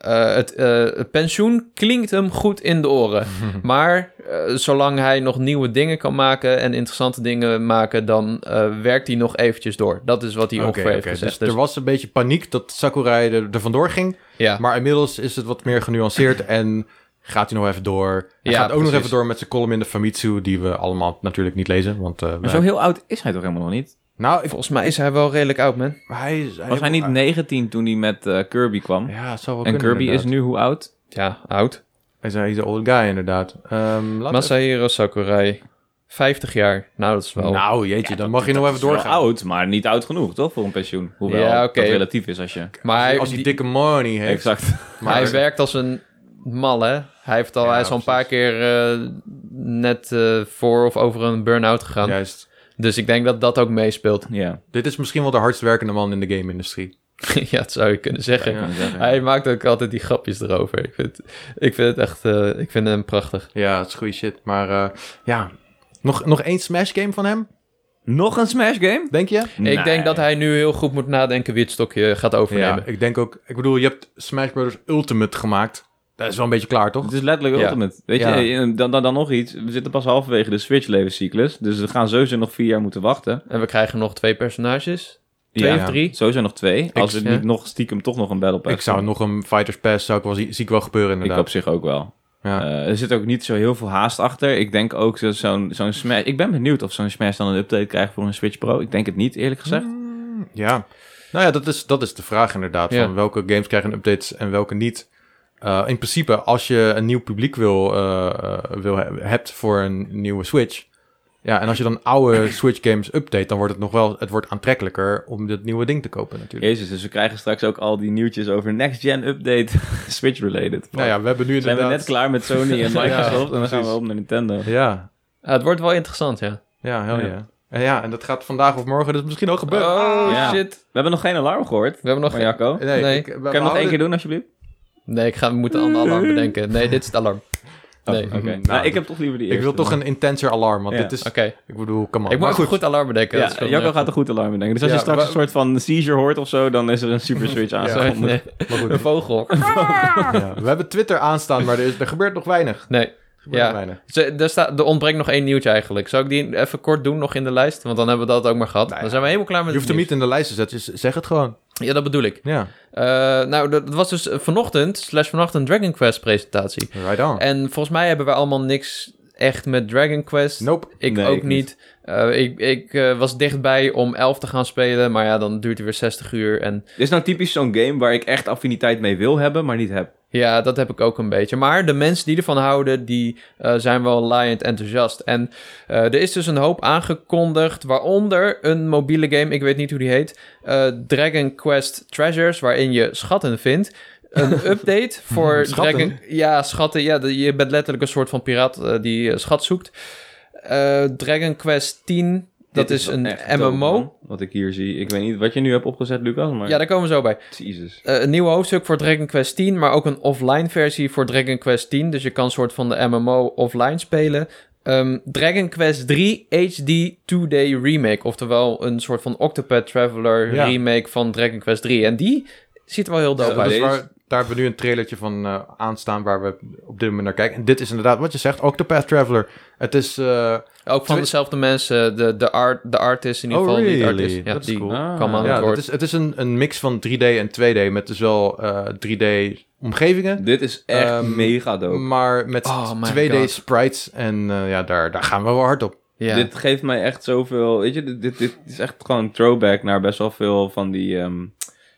Speaker 2: eh, het, eh, het pensioen klinkt hem goed in de oren. Maar eh, zolang hij nog nieuwe dingen kan maken en interessante dingen maken, dan eh, werkt hij nog eventjes door. Dat is wat hij
Speaker 1: Oké,
Speaker 2: ongeveer heeft
Speaker 1: oké,
Speaker 2: gezegd.
Speaker 1: Dus er
Speaker 2: Dus-
Speaker 1: was een beetje paniek dat Sakurai er, er vandoor ging.
Speaker 2: ja.
Speaker 1: Maar inmiddels is het wat meer genuanceerd en gaat hij nog even door. Hij
Speaker 2: Ja,
Speaker 1: gaat ook nog
Speaker 2: precies.
Speaker 1: even door met zijn column in de Famitsu, die we allemaal natuurlijk niet lezen. Want, eh,
Speaker 3: Maar
Speaker 1: wij-
Speaker 3: zo heel oud is hij toch helemaal nog niet?
Speaker 1: Nou, ik,
Speaker 2: Volgens mij is hij wel redelijk oud, man.
Speaker 1: hij, is-
Speaker 3: Was hij niet 19 toen hij met eh, Kirby kwam?
Speaker 1: Ja, het zou wel
Speaker 3: en
Speaker 1: kunnen,
Speaker 3: Kirby is
Speaker 1: inderdaad.
Speaker 3: nu hoe oud?
Speaker 2: Ja, oud.
Speaker 1: Hij is hij is een old guy, inderdaad. Ehm, laten we-
Speaker 2: Masahiro Sakurai, 50 jaar. Nou, dat is
Speaker 3: Oh.
Speaker 2: wel...
Speaker 1: Nou, jeetje, dan mag je nog even doorgaan.
Speaker 3: Wel oud, maar niet oud genoeg, toch? Voor een pensioen. Hoewel
Speaker 2: Ja, oké.
Speaker 3: dat relatief is als je...
Speaker 2: maar hij,
Speaker 1: Als hij
Speaker 2: die-
Speaker 1: dikke money heeft.
Speaker 3: Exact.
Speaker 1: Maar
Speaker 2: hij werkt als een mal, hè? Hij, heeft al,
Speaker 1: Ja,
Speaker 2: hij is al een paar keer eh, net eh, voor of over een burn-out gegaan.
Speaker 1: Juist.
Speaker 2: Dus ik denk dat dat ook meespeelt.
Speaker 3: Ja,
Speaker 1: Dit is misschien wel de hardst werkende man in de game-industrie.
Speaker 2: ja, dat zou je kunnen zeggen.
Speaker 3: kan je zeggen.
Speaker 2: Hij maakt ook altijd die grapjes erover. Ik vind, ik vind het echt... eh, ik vind hem prachtig.
Speaker 1: Ja, dat is goede shit. Maar eh, ja, nog, nog één Smash-game van hem,
Speaker 3: Nog een Smash game?
Speaker 1: denk je?
Speaker 3: Nee.
Speaker 2: Ik denk dat hij nu heel goed moet nadenken wie het stokje gaat overnemen.
Speaker 1: Ja, ik denk ook... Ik bedoel, je hebt Smash Brothers Ultimate gemaakt. Dat is wel een beetje klaar, toch?
Speaker 3: Het is letterlijk
Speaker 2: Ja.
Speaker 3: Ultimate. Weet
Speaker 1: Ja.
Speaker 3: je, eh, dan, dan, dan nog iets. We zitten pas halverwege de Switch-levenscyclus. Dus we gaan sowieso nog vier jaar moeten wachten.
Speaker 2: En we krijgen nog twee personages. Twee
Speaker 3: Ja.
Speaker 2: of drie.
Speaker 3: Sowieso nog twee. Als er
Speaker 2: ja.
Speaker 3: niet nog stiekem toch nog een Battle Pass
Speaker 1: Ik zou
Speaker 3: komt.
Speaker 1: nog een Fighters Pass, zou ik wel, zie, zie ik wel gebeuren
Speaker 3: Ik
Speaker 1: inderdaad.
Speaker 3: op zich ook wel.
Speaker 1: Ja.
Speaker 3: Eh, er zit ook niet zo heel veel haast achter. Ik denk ook dat zo'n zo'n Smash... Ik ben benieuwd of zo'n Smash dan een update krijgt voor een Switch Pro. Ik denk het niet, eerlijk gezegd.
Speaker 1: Mm, ja. Nou ja, dat is, dat is de vraag inderdaad.
Speaker 2: Ja.
Speaker 1: Van welke games krijgen updates en welke niet. Eh, in principe, als je een nieuw publiek wil, eh, eh, wil he- hebt voor een nieuwe Switch. Ja, en als je dan oude Switch games update, dan wordt het nog wel... Het wordt aantrekkelijker om dit nieuwe ding te kopen natuurlijk.
Speaker 3: Jezus, dus we krijgen straks ook al die nieuwtjes over next-gen update Switch-related.
Speaker 1: Nou ja, we hebben nu
Speaker 3: zijn
Speaker 1: inderdaad...
Speaker 3: we net klaar met Sony en
Speaker 1: Ja,
Speaker 3: Microsoft en dan gaan we
Speaker 1: precies.
Speaker 3: op naar Nintendo.
Speaker 1: Ja,
Speaker 2: Ja, Ah, het wordt wel interessant, ja.
Speaker 1: ja, heel ja.
Speaker 3: Ja.
Speaker 1: En ja, en dat gaat vandaag of morgen dus misschien ook gebeuren.
Speaker 2: Oh,
Speaker 3: Ja.
Speaker 2: shit.
Speaker 3: We hebben nog geen alarm gehoord.
Speaker 2: We hebben nog
Speaker 3: Maar
Speaker 2: geen...
Speaker 3: Jacco, kan
Speaker 2: nee.
Speaker 1: ik- Eh, we- we
Speaker 3: je hem nog één
Speaker 1: houden-
Speaker 3: keer doen alsjeblieft?
Speaker 2: Nee, ik ga, we moeten een alarm bedenken. Nee, dit is het alarm.
Speaker 3: Oh,
Speaker 2: Nee.
Speaker 3: Oké,
Speaker 1: Mm,
Speaker 3: nou,
Speaker 1: nou,
Speaker 3: ik heb toch liever die
Speaker 1: Ik
Speaker 3: eerste.
Speaker 1: wil toch een intenser alarm, want
Speaker 3: Ja,
Speaker 1: dit is...
Speaker 2: Oké.
Speaker 1: Ik bedoel, come on.
Speaker 2: Ik moet
Speaker 1: Maar
Speaker 2: ook een goed alarm bedenken. dat
Speaker 3: Ja,
Speaker 2: is wel
Speaker 3: Jacco
Speaker 2: nergens.
Speaker 3: gaat een goed alarm bedenken. Dus als
Speaker 1: Ja,
Speaker 3: je straks
Speaker 1: wa-
Speaker 3: een soort van seizure hoort of zo, dan is er een super switch
Speaker 2: Sorry,
Speaker 3: aangekondigd.
Speaker 2: nee,
Speaker 1: Maar goed,
Speaker 2: een vogel.
Speaker 1: Ja, we hebben Twitter aanstaan, maar er, is, er gebeurt nog weinig.
Speaker 2: Nee.
Speaker 1: Er gebeurt
Speaker 2: Ja.
Speaker 1: nog weinig.
Speaker 2: Ze- Er, staat, er ontbreekt nog één nieuwtje eigenlijk. Zou ik die even kort doen nog in de lijst? Want dan hebben we dat ook maar gehad.
Speaker 1: Nou ja.
Speaker 2: Dan zijn we helemaal klaar
Speaker 1: Je
Speaker 2: met
Speaker 1: hoeft
Speaker 2: het
Speaker 1: hem niet in de lijst te zetten, dus zeg het gewoon.
Speaker 2: nieuws. Ja, dat bedoel ik.
Speaker 1: Ja,
Speaker 2: Eh, nou, dat dat was dus vanochtend, slash vannacht, een Dragon Quest presentatie.
Speaker 1: right on.
Speaker 2: En volgens mij hebben we allemaal niks echt met Dragon Quest.
Speaker 1: Nope.
Speaker 2: Ik
Speaker 3: Nee,
Speaker 2: ook
Speaker 3: ik
Speaker 2: niet. Eh, ik ik eh, was dichtbij om 11 te gaan spelen, maar ja, dan duurt hij weer 60 uur. En
Speaker 3: Dit is nou typisch zo'n game waar ik echt affiniteit mee wil hebben, maar niet heb.
Speaker 2: ja, dat heb ik ook een beetje. Maar de mensen die ervan houden, die eh, zijn wel laaiend enthousiast. En eh, er is dus een hoop aangekondigd, waaronder een mobiele game, ik weet niet hoe die heet. eh, Dragon Quest Treasures, waarin je schatten vindt. Een update voor
Speaker 1: Schatten?
Speaker 2: Dragon... Ja, schatten. Ja, de- je bent letterlijk een soort van piraat eh, die eh, schat zoekt. Eh, Dragon Quest 10, dat
Speaker 3: Dit
Speaker 2: is
Speaker 3: wel
Speaker 2: een
Speaker 3: echt dope,
Speaker 2: MMO.
Speaker 3: man, wat ik hier zie. Ik weet niet wat je nu hebt opgezet, Lucas, maar...
Speaker 2: ja, daar komen we zo bij.
Speaker 3: Jezus.
Speaker 2: Eh, een nieuw hoofdstuk voor Dragon Quest 10, maar ook een offline versie voor Dragon Quest 10. Dus je kan een soort van de MMO offline spelen. Ehm, Dragon Quest 3 HD 2-day remake, oftewel een soort van Octopath Traveler
Speaker 1: Ja.
Speaker 2: remake van Dragon Quest 3. En die ziet er wel heel dope
Speaker 1: Dus
Speaker 3: Ja, bij
Speaker 2: uit.
Speaker 3: deze-
Speaker 1: waar- daar hebben we nu een trailertje van eh, aanstaan waar we op dit moment naar kijken. En dit is inderdaad wat je zegt, Octopath Traveler. Het is... eh,
Speaker 2: Ook van
Speaker 1: Twee-
Speaker 2: dezelfde mensen, de, de, art, de artist in ieder
Speaker 1: Oh,
Speaker 2: geval. die
Speaker 1: really?
Speaker 2: artist, ja,
Speaker 1: Dat is
Speaker 2: die
Speaker 1: cool.
Speaker 3: Ah.
Speaker 2: kwam aan
Speaker 1: ja,
Speaker 2: het
Speaker 1: het
Speaker 2: woord.
Speaker 1: is, het is een, een mix van 3D en 2D met dus wel eh, 3D omgevingen.
Speaker 3: Dit is echt
Speaker 1: Ehm,
Speaker 3: mega dope.
Speaker 1: Maar met
Speaker 2: Oh my
Speaker 1: 2D
Speaker 2: God.
Speaker 1: sprites. En eh, ja, daar, daar gaan we wel hard op.
Speaker 2: Ja.
Speaker 3: Dit geeft mij echt zoveel. Weet je, dit, dit, dit is echt gewoon een throwback naar best wel veel van die. ehm,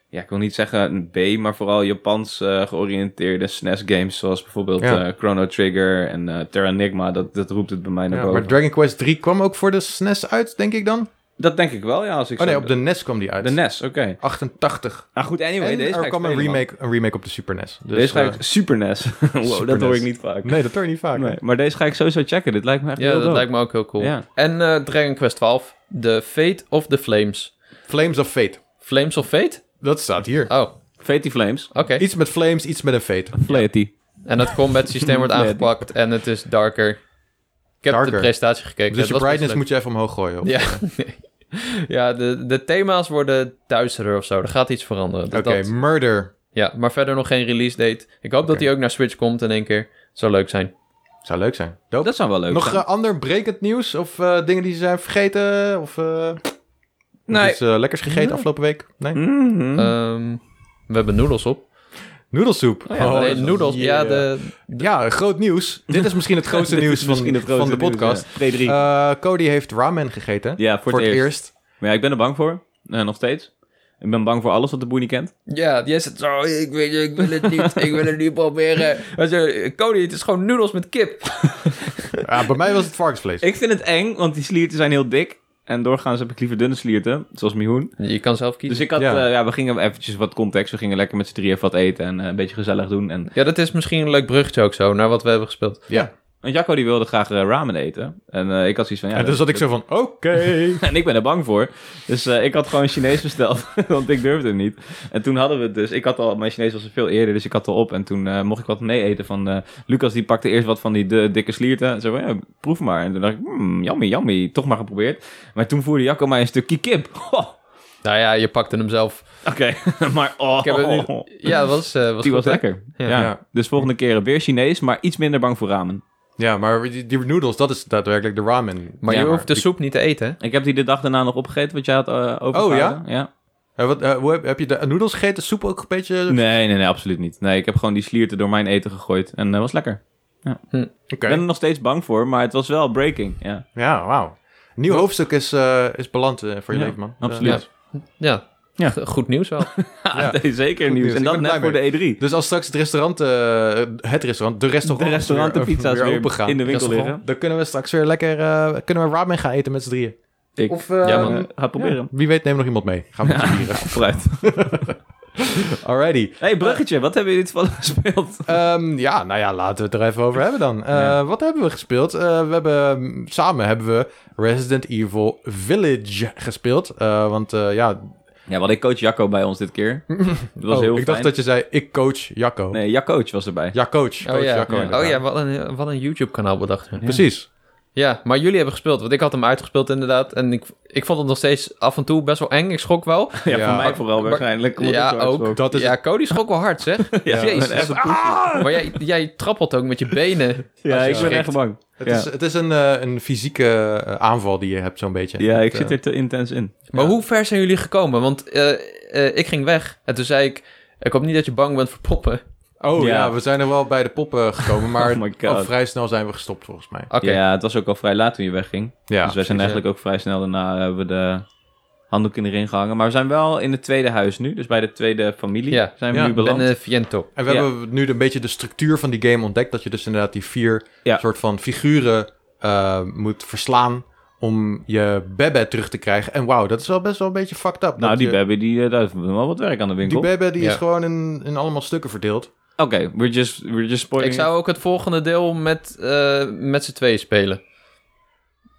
Speaker 3: ja, ik wil niet zeggen een B, maar vooral Japans eh, georiënteerde SNES-games. Zoals bijvoorbeeld
Speaker 1: Ja.
Speaker 3: eh, Chrono Trigger en eh Terranigma. Dat, dat roept het bij mij naar
Speaker 1: Ja,
Speaker 3: boven.
Speaker 1: maar Dragon Quest 3 kwam ook voor de SNES uit, denk ik dan?
Speaker 3: Dat denk ik wel, ja. Als ik
Speaker 1: Oh nee,
Speaker 3: zo-
Speaker 1: op de NES kwam die uit.
Speaker 3: de E NES, oké.
Speaker 1: 88.
Speaker 3: Nou goed, anyway,
Speaker 1: en
Speaker 3: deze ga
Speaker 1: er
Speaker 3: ik
Speaker 1: kwam een
Speaker 3: spelen, man.
Speaker 1: remake, een remake op de Super NES. Dus,
Speaker 3: deze ga
Speaker 1: eh,
Speaker 3: ik Super NES. wow,
Speaker 1: Super
Speaker 3: dat hoor
Speaker 1: NES.
Speaker 3: ik niet vaak.
Speaker 1: Nee, dat hoor je niet vaak.
Speaker 3: Nee, maar deze ga ik sowieso checken. Dit lijkt me echt
Speaker 2: ja,
Speaker 3: heel
Speaker 2: dat
Speaker 3: dope.
Speaker 2: lijkt me ook heel cool.
Speaker 3: Ja.
Speaker 2: En eh, Dragon Quest 12, The Fate of the Flames.
Speaker 1: Flames of Fate.
Speaker 2: Flames of Fate?
Speaker 1: Dat staat hier.
Speaker 2: Oh, oké.
Speaker 3: Fatty Flames.
Speaker 1: Iets met flames, iets met een fate. Dus
Speaker 3: Flaty.
Speaker 2: En het combat systeem wordt
Speaker 3: Nee,
Speaker 2: aangepakt en het is darker. Ik heb
Speaker 1: Darker.
Speaker 2: de presentatie gekeken.
Speaker 1: Dus je
Speaker 2: dat was
Speaker 1: brightness moet
Speaker 2: best
Speaker 1: je even omhoog gooien. Oké,
Speaker 2: leuk. Ja, ja de, de thema's worden duisterder of zo. Er gaat iets veranderen. Dus dat,
Speaker 1: murder.
Speaker 2: ja, maar verder nog geen release date. Ik hoop dat
Speaker 1: Oké.
Speaker 2: die ook naar Switch komt in één keer. Zou leuk zijn.
Speaker 1: Zou leuk zijn. Dope.
Speaker 3: Dat zou wel leuk
Speaker 1: Nog
Speaker 3: zijn.
Speaker 1: eh, ander brekend nieuws of eh, dingen die ze zijn vergeten? Of eh
Speaker 3: Nee.
Speaker 1: iets eh, lekkers gegeten afgelopen week? Nee.
Speaker 3: Mhm.
Speaker 2: Ehm, we hebben noedels op.
Speaker 1: Noedelsoep.
Speaker 3: Oh ja,
Speaker 2: nee, noedels. Ja,
Speaker 1: yeah.
Speaker 2: de,
Speaker 1: Ja, groot nieuws. Dit is misschien het grootste
Speaker 3: Dit is
Speaker 1: nieuws van,
Speaker 3: misschien het grootste
Speaker 1: van de
Speaker 3: nieuws, ja.
Speaker 1: podcast.
Speaker 3: Frederik.
Speaker 1: Eh, Cody heeft ramen gegeten.
Speaker 3: Ja, voor, het, eerst. Maar ja, ik ben er bang voor. Eh, nog steeds. Ik ben bang voor alles wat de boer niet kent.
Speaker 2: ja, die zegt zo, ik, weet, ik wil het niet, ik wil het niet proberen. Hij zegt, Cody, het is gewoon noedels met kip.
Speaker 1: Ja, bij mij was het varkensvlees.
Speaker 3: Ik vind het eng, want die slierten zijn heel dik. En doorgaans heb ik liever dunne slierten, zoals Mihoen.
Speaker 2: Je kan zelf kiezen.
Speaker 3: Dus ik had,
Speaker 1: Ja.
Speaker 3: ja. ja, we gingen eventjes wat context. We gingen lekker met z'n drieën even wat eten en eh, een beetje gezellig doen. En,
Speaker 1: Dus-
Speaker 2: Ja, dat is misschien een leuk bruggetje ook zo, naar wat we hebben gespeeld.
Speaker 1: ja.
Speaker 3: want Jacco die wilde graag eh, ramen eten. En eh, ik had zoiets van, ja...
Speaker 1: en
Speaker 3: dat-
Speaker 1: dus zat ik zo van, oké.
Speaker 3: En ik ben er bang voor. Dus eh, ik had gewoon Chinees besteld, want ik durfde het niet. En toen hadden we het dus. Ik had al, mijn Chinees was er veel eerder, dus ik had al op. En toen eh, mocht ik wat mee eten van eh, Lucas. Die pakte eerst wat van die de, dikke slierten. En zei van, ja, proef maar. En toen dacht ik, hmm, yummy, yummy. Toch maar geprobeerd. Maar toen voerde Jacco mij een stukje kip. Oh, Ho,
Speaker 2: Nou ja, je pakte hem zelf.
Speaker 3: Oké, maar oh.
Speaker 2: Ik heb het nu... Ja, dat was, eh, was
Speaker 3: Die
Speaker 2: goed,
Speaker 3: was
Speaker 2: hè?
Speaker 3: lekker.
Speaker 2: Ja.
Speaker 3: Ja.
Speaker 1: Ja.
Speaker 3: Dus volgende keer weer Chinees, maar iets minder bang voor ramen.
Speaker 1: Ja, maar die, die noedels, dat is daadwerkelijk de ramen.
Speaker 2: Maar je
Speaker 3: Ja, maar dus-
Speaker 2: hoeft de soep niet te eten, hè?
Speaker 3: Ik heb die de dag daarna nog opgegeten, wat jij had eh overgehouden. ja?
Speaker 1: Eh, wat, eh, hoe heb, heb je de noedels gegeten? Soep ook een beetje?
Speaker 3: Nee, nee, nee, absoluut niet. Nee, ik heb gewoon die slierten door mijn eten gegooid en dat was lekker.
Speaker 1: Oké.
Speaker 3: Ik ben er nog steeds bang voor, maar het was wel breaking. Ja,
Speaker 1: Ja, wauw. Nieuw hoofdstuk is, eh, is beland eh, voor je
Speaker 3: Ja,
Speaker 1: leven, man.
Speaker 3: absoluut.
Speaker 1: Ja.
Speaker 2: Ja.
Speaker 3: Ja.
Speaker 2: Go- Goed nieuws wel.
Speaker 1: Ja.
Speaker 3: Ah, zeker
Speaker 1: Goed nieuws.
Speaker 3: nieuws. En
Speaker 1: Ik
Speaker 3: dat
Speaker 1: ben
Speaker 3: net
Speaker 1: blij
Speaker 3: voor de E E3.
Speaker 1: Dus als straks het restaurant, eh, het restaurant, de
Speaker 3: De
Speaker 1: restaurant,
Speaker 3: restaurant en
Speaker 1: weer-
Speaker 3: pizza's weer,
Speaker 1: open gaan.
Speaker 3: in de winkel
Speaker 2: Restaurant.
Speaker 3: liggen.
Speaker 1: Dan kunnen we straks weer lekker eh, kunnen we ramen gaan eten met z'n drieën.
Speaker 3: Ik
Speaker 1: Of, eh,
Speaker 2: Ja,
Speaker 3: eh,
Speaker 2: man.
Speaker 3: ga het proberen.
Speaker 1: Wie weet nemen we nog iemand mee. Gaan we met z'n drieën.
Speaker 3: Vooruit.
Speaker 1: Alrighty.
Speaker 3: hey, bruggetje. Wat hebben jullie toevallig gespeeld?
Speaker 1: Ehm, ja, nou ja, laten we het er even over hebben dan. Eh, Wat hebben we gespeeld? Eh, we hebben, samen hebben we Resident Evil Village gespeeld. Eh, want eh, ja,
Speaker 3: Ja, we hadden coach Jacco bij ons dit keer. Dat was
Speaker 1: oh,
Speaker 3: heel
Speaker 1: ik dacht dat je zei, ik coach Jacco.
Speaker 3: Nee, ja, coach was erbij.
Speaker 1: Ja, coach. coach
Speaker 2: Oh ja,
Speaker 1: Jacco,
Speaker 3: ja.
Speaker 1: inderdaad.
Speaker 2: oh, ja wat, een, wat een YouTube-kanaal bedacht. Ja.
Speaker 1: Precies.
Speaker 2: ja, maar jullie hebben gespeeld, want ik had hem uitgespeeld inderdaad. En ik, ik vond het nog steeds af en toe best wel eng. Ik schrok wel.
Speaker 3: Ja,
Speaker 1: Ja.
Speaker 3: voor mij vooral
Speaker 2: Maar-
Speaker 3: waarschijnlijk. omdat
Speaker 2: ja,
Speaker 3: ik zo hard
Speaker 2: ook.
Speaker 3: schrok.
Speaker 1: Dat is
Speaker 2: ja, Cody schrok wel hard, zeg.
Speaker 3: Ja, ik ben
Speaker 2: Jezus.
Speaker 3: echt-
Speaker 2: Maar jij, jij trappelt ook met je benen.
Speaker 3: Ja,
Speaker 1: Als je
Speaker 3: ik ben
Speaker 2: schrikt.
Speaker 3: echt bang.
Speaker 1: Het,
Speaker 3: Ja.
Speaker 1: is, het is een, eh, een fysieke eh, aanval die je hebt, zo'n beetje.
Speaker 3: Ja, ik
Speaker 1: Het,
Speaker 3: zit er te intens in.
Speaker 2: Maar
Speaker 1: Ja.
Speaker 2: hoe ver zijn jullie gekomen? Want eh, eh, ik ging weg en toen zei ik... Ik hoop niet dat je bang bent voor poppen.
Speaker 1: eh, Oh ja.
Speaker 3: Ja.
Speaker 1: we zijn er wel bij de poppen gekomen, maar
Speaker 3: Oh my God.
Speaker 1: al vrij snel zijn we gestopt volgens mij.
Speaker 2: Oké,
Speaker 3: Ja, het was ook al vrij laat toen je wegging.
Speaker 1: Ja,
Speaker 3: dus wij zijn
Speaker 2: precies,
Speaker 3: eigenlijk ook vrij snel daarna hebben we de handdoek in de ring gehangen. Maar we zijn wel in het tweede huis nu. Dus bij de tweede familie
Speaker 2: Ja.
Speaker 3: zijn we
Speaker 1: Ja,
Speaker 3: nu
Speaker 2: ik ben
Speaker 3: beland.
Speaker 2: eh, Viento.
Speaker 1: En we
Speaker 3: Ja.
Speaker 1: hebben nu een beetje de structuur van die game ontdekt. Dat je dus inderdaad die vier
Speaker 3: Ja.
Speaker 1: soort van figuren eh, moet verslaan om je bebe terug te krijgen. En wauw, dat is wel best wel een beetje fucked up.
Speaker 3: nou,
Speaker 1: Dat
Speaker 3: die
Speaker 1: je-
Speaker 3: baby, die, eh, daar heeft wel wat werk aan de
Speaker 1: Die
Speaker 3: winkel. Oké,
Speaker 1: bebe die is
Speaker 2: Ja.
Speaker 1: gewoon in, in allemaal stukken verdeeld.
Speaker 3: we're, just, we're just spoiling
Speaker 2: Ik zou ook het volgende deel met, eh, met z'n tweeën spelen.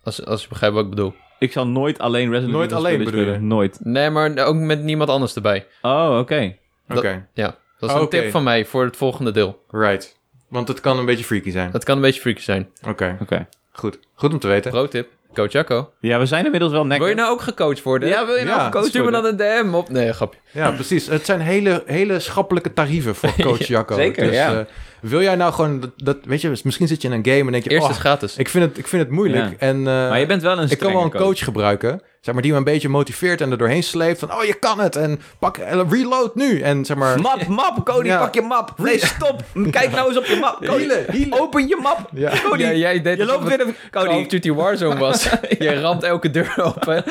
Speaker 2: Als, als je begrijpt wat ik bedoel.
Speaker 3: it. ik zal nooit alleen Resident
Speaker 1: Nooit
Speaker 3: Evil
Speaker 1: alleen
Speaker 3: spelen
Speaker 1: bedoel je?
Speaker 3: spelen. Nooit.
Speaker 2: Nee, maar ook met niemand anders erbij.
Speaker 3: Oh, oké.
Speaker 1: Oké,
Speaker 2: Dat- Ja, dat is een
Speaker 1: Oké.
Speaker 2: tip van mij voor het volgende deel.
Speaker 1: right. Want het kan een beetje freaky zijn.
Speaker 2: Dat kan een beetje freaky zijn.
Speaker 1: Oké,
Speaker 3: Oké.
Speaker 1: goed. Goed om te weten.
Speaker 2: Pro tip. Coach Jacco.
Speaker 3: Ja, we zijn inmiddels wel
Speaker 2: Wil je
Speaker 3: nek.
Speaker 2: nou ook gecoacht worden?
Speaker 3: Ja, wil je nou
Speaker 1: Ja.
Speaker 3: gecoacht
Speaker 2: Stuur me
Speaker 3: worden?
Speaker 2: dan een DM op. Nee, grapje.
Speaker 1: Ja, precies. Het zijn hele, hele schappelijke tarieven voor coach Jacco.
Speaker 3: zeker,
Speaker 1: dus,
Speaker 3: ja.
Speaker 1: eh, wil jij nou gewoon... Dat, dat- weet je, misschien zit je in een game en denk je...
Speaker 2: Eerst
Speaker 1: oh,
Speaker 2: is gratis.
Speaker 1: ik, vind het, ik vind het moeilijk.
Speaker 3: Ja.
Speaker 1: En, eh,
Speaker 3: Maar je bent wel een
Speaker 1: ik kan wel een
Speaker 3: strenge
Speaker 1: coach, gebruiken. Zeg maar, die me een beetje motiveert en er doorheen sleept. Van, oh, je kan het. En pak, en reload nu. En zeg maar...
Speaker 3: Map, map, Cody,
Speaker 1: Ja.
Speaker 3: pak je map. Nee, stop. Kijk nou eens op je map. Cody,
Speaker 1: Hielen, hielen.
Speaker 3: open je map.
Speaker 1: Ja.
Speaker 3: Cody,
Speaker 2: Ja, jij deed
Speaker 3: je
Speaker 2: alsof
Speaker 3: loopt
Speaker 2: het
Speaker 3: weer een...
Speaker 2: Call of
Speaker 3: Cody,
Speaker 2: Duty Warzone was. Je ramt elke deur open.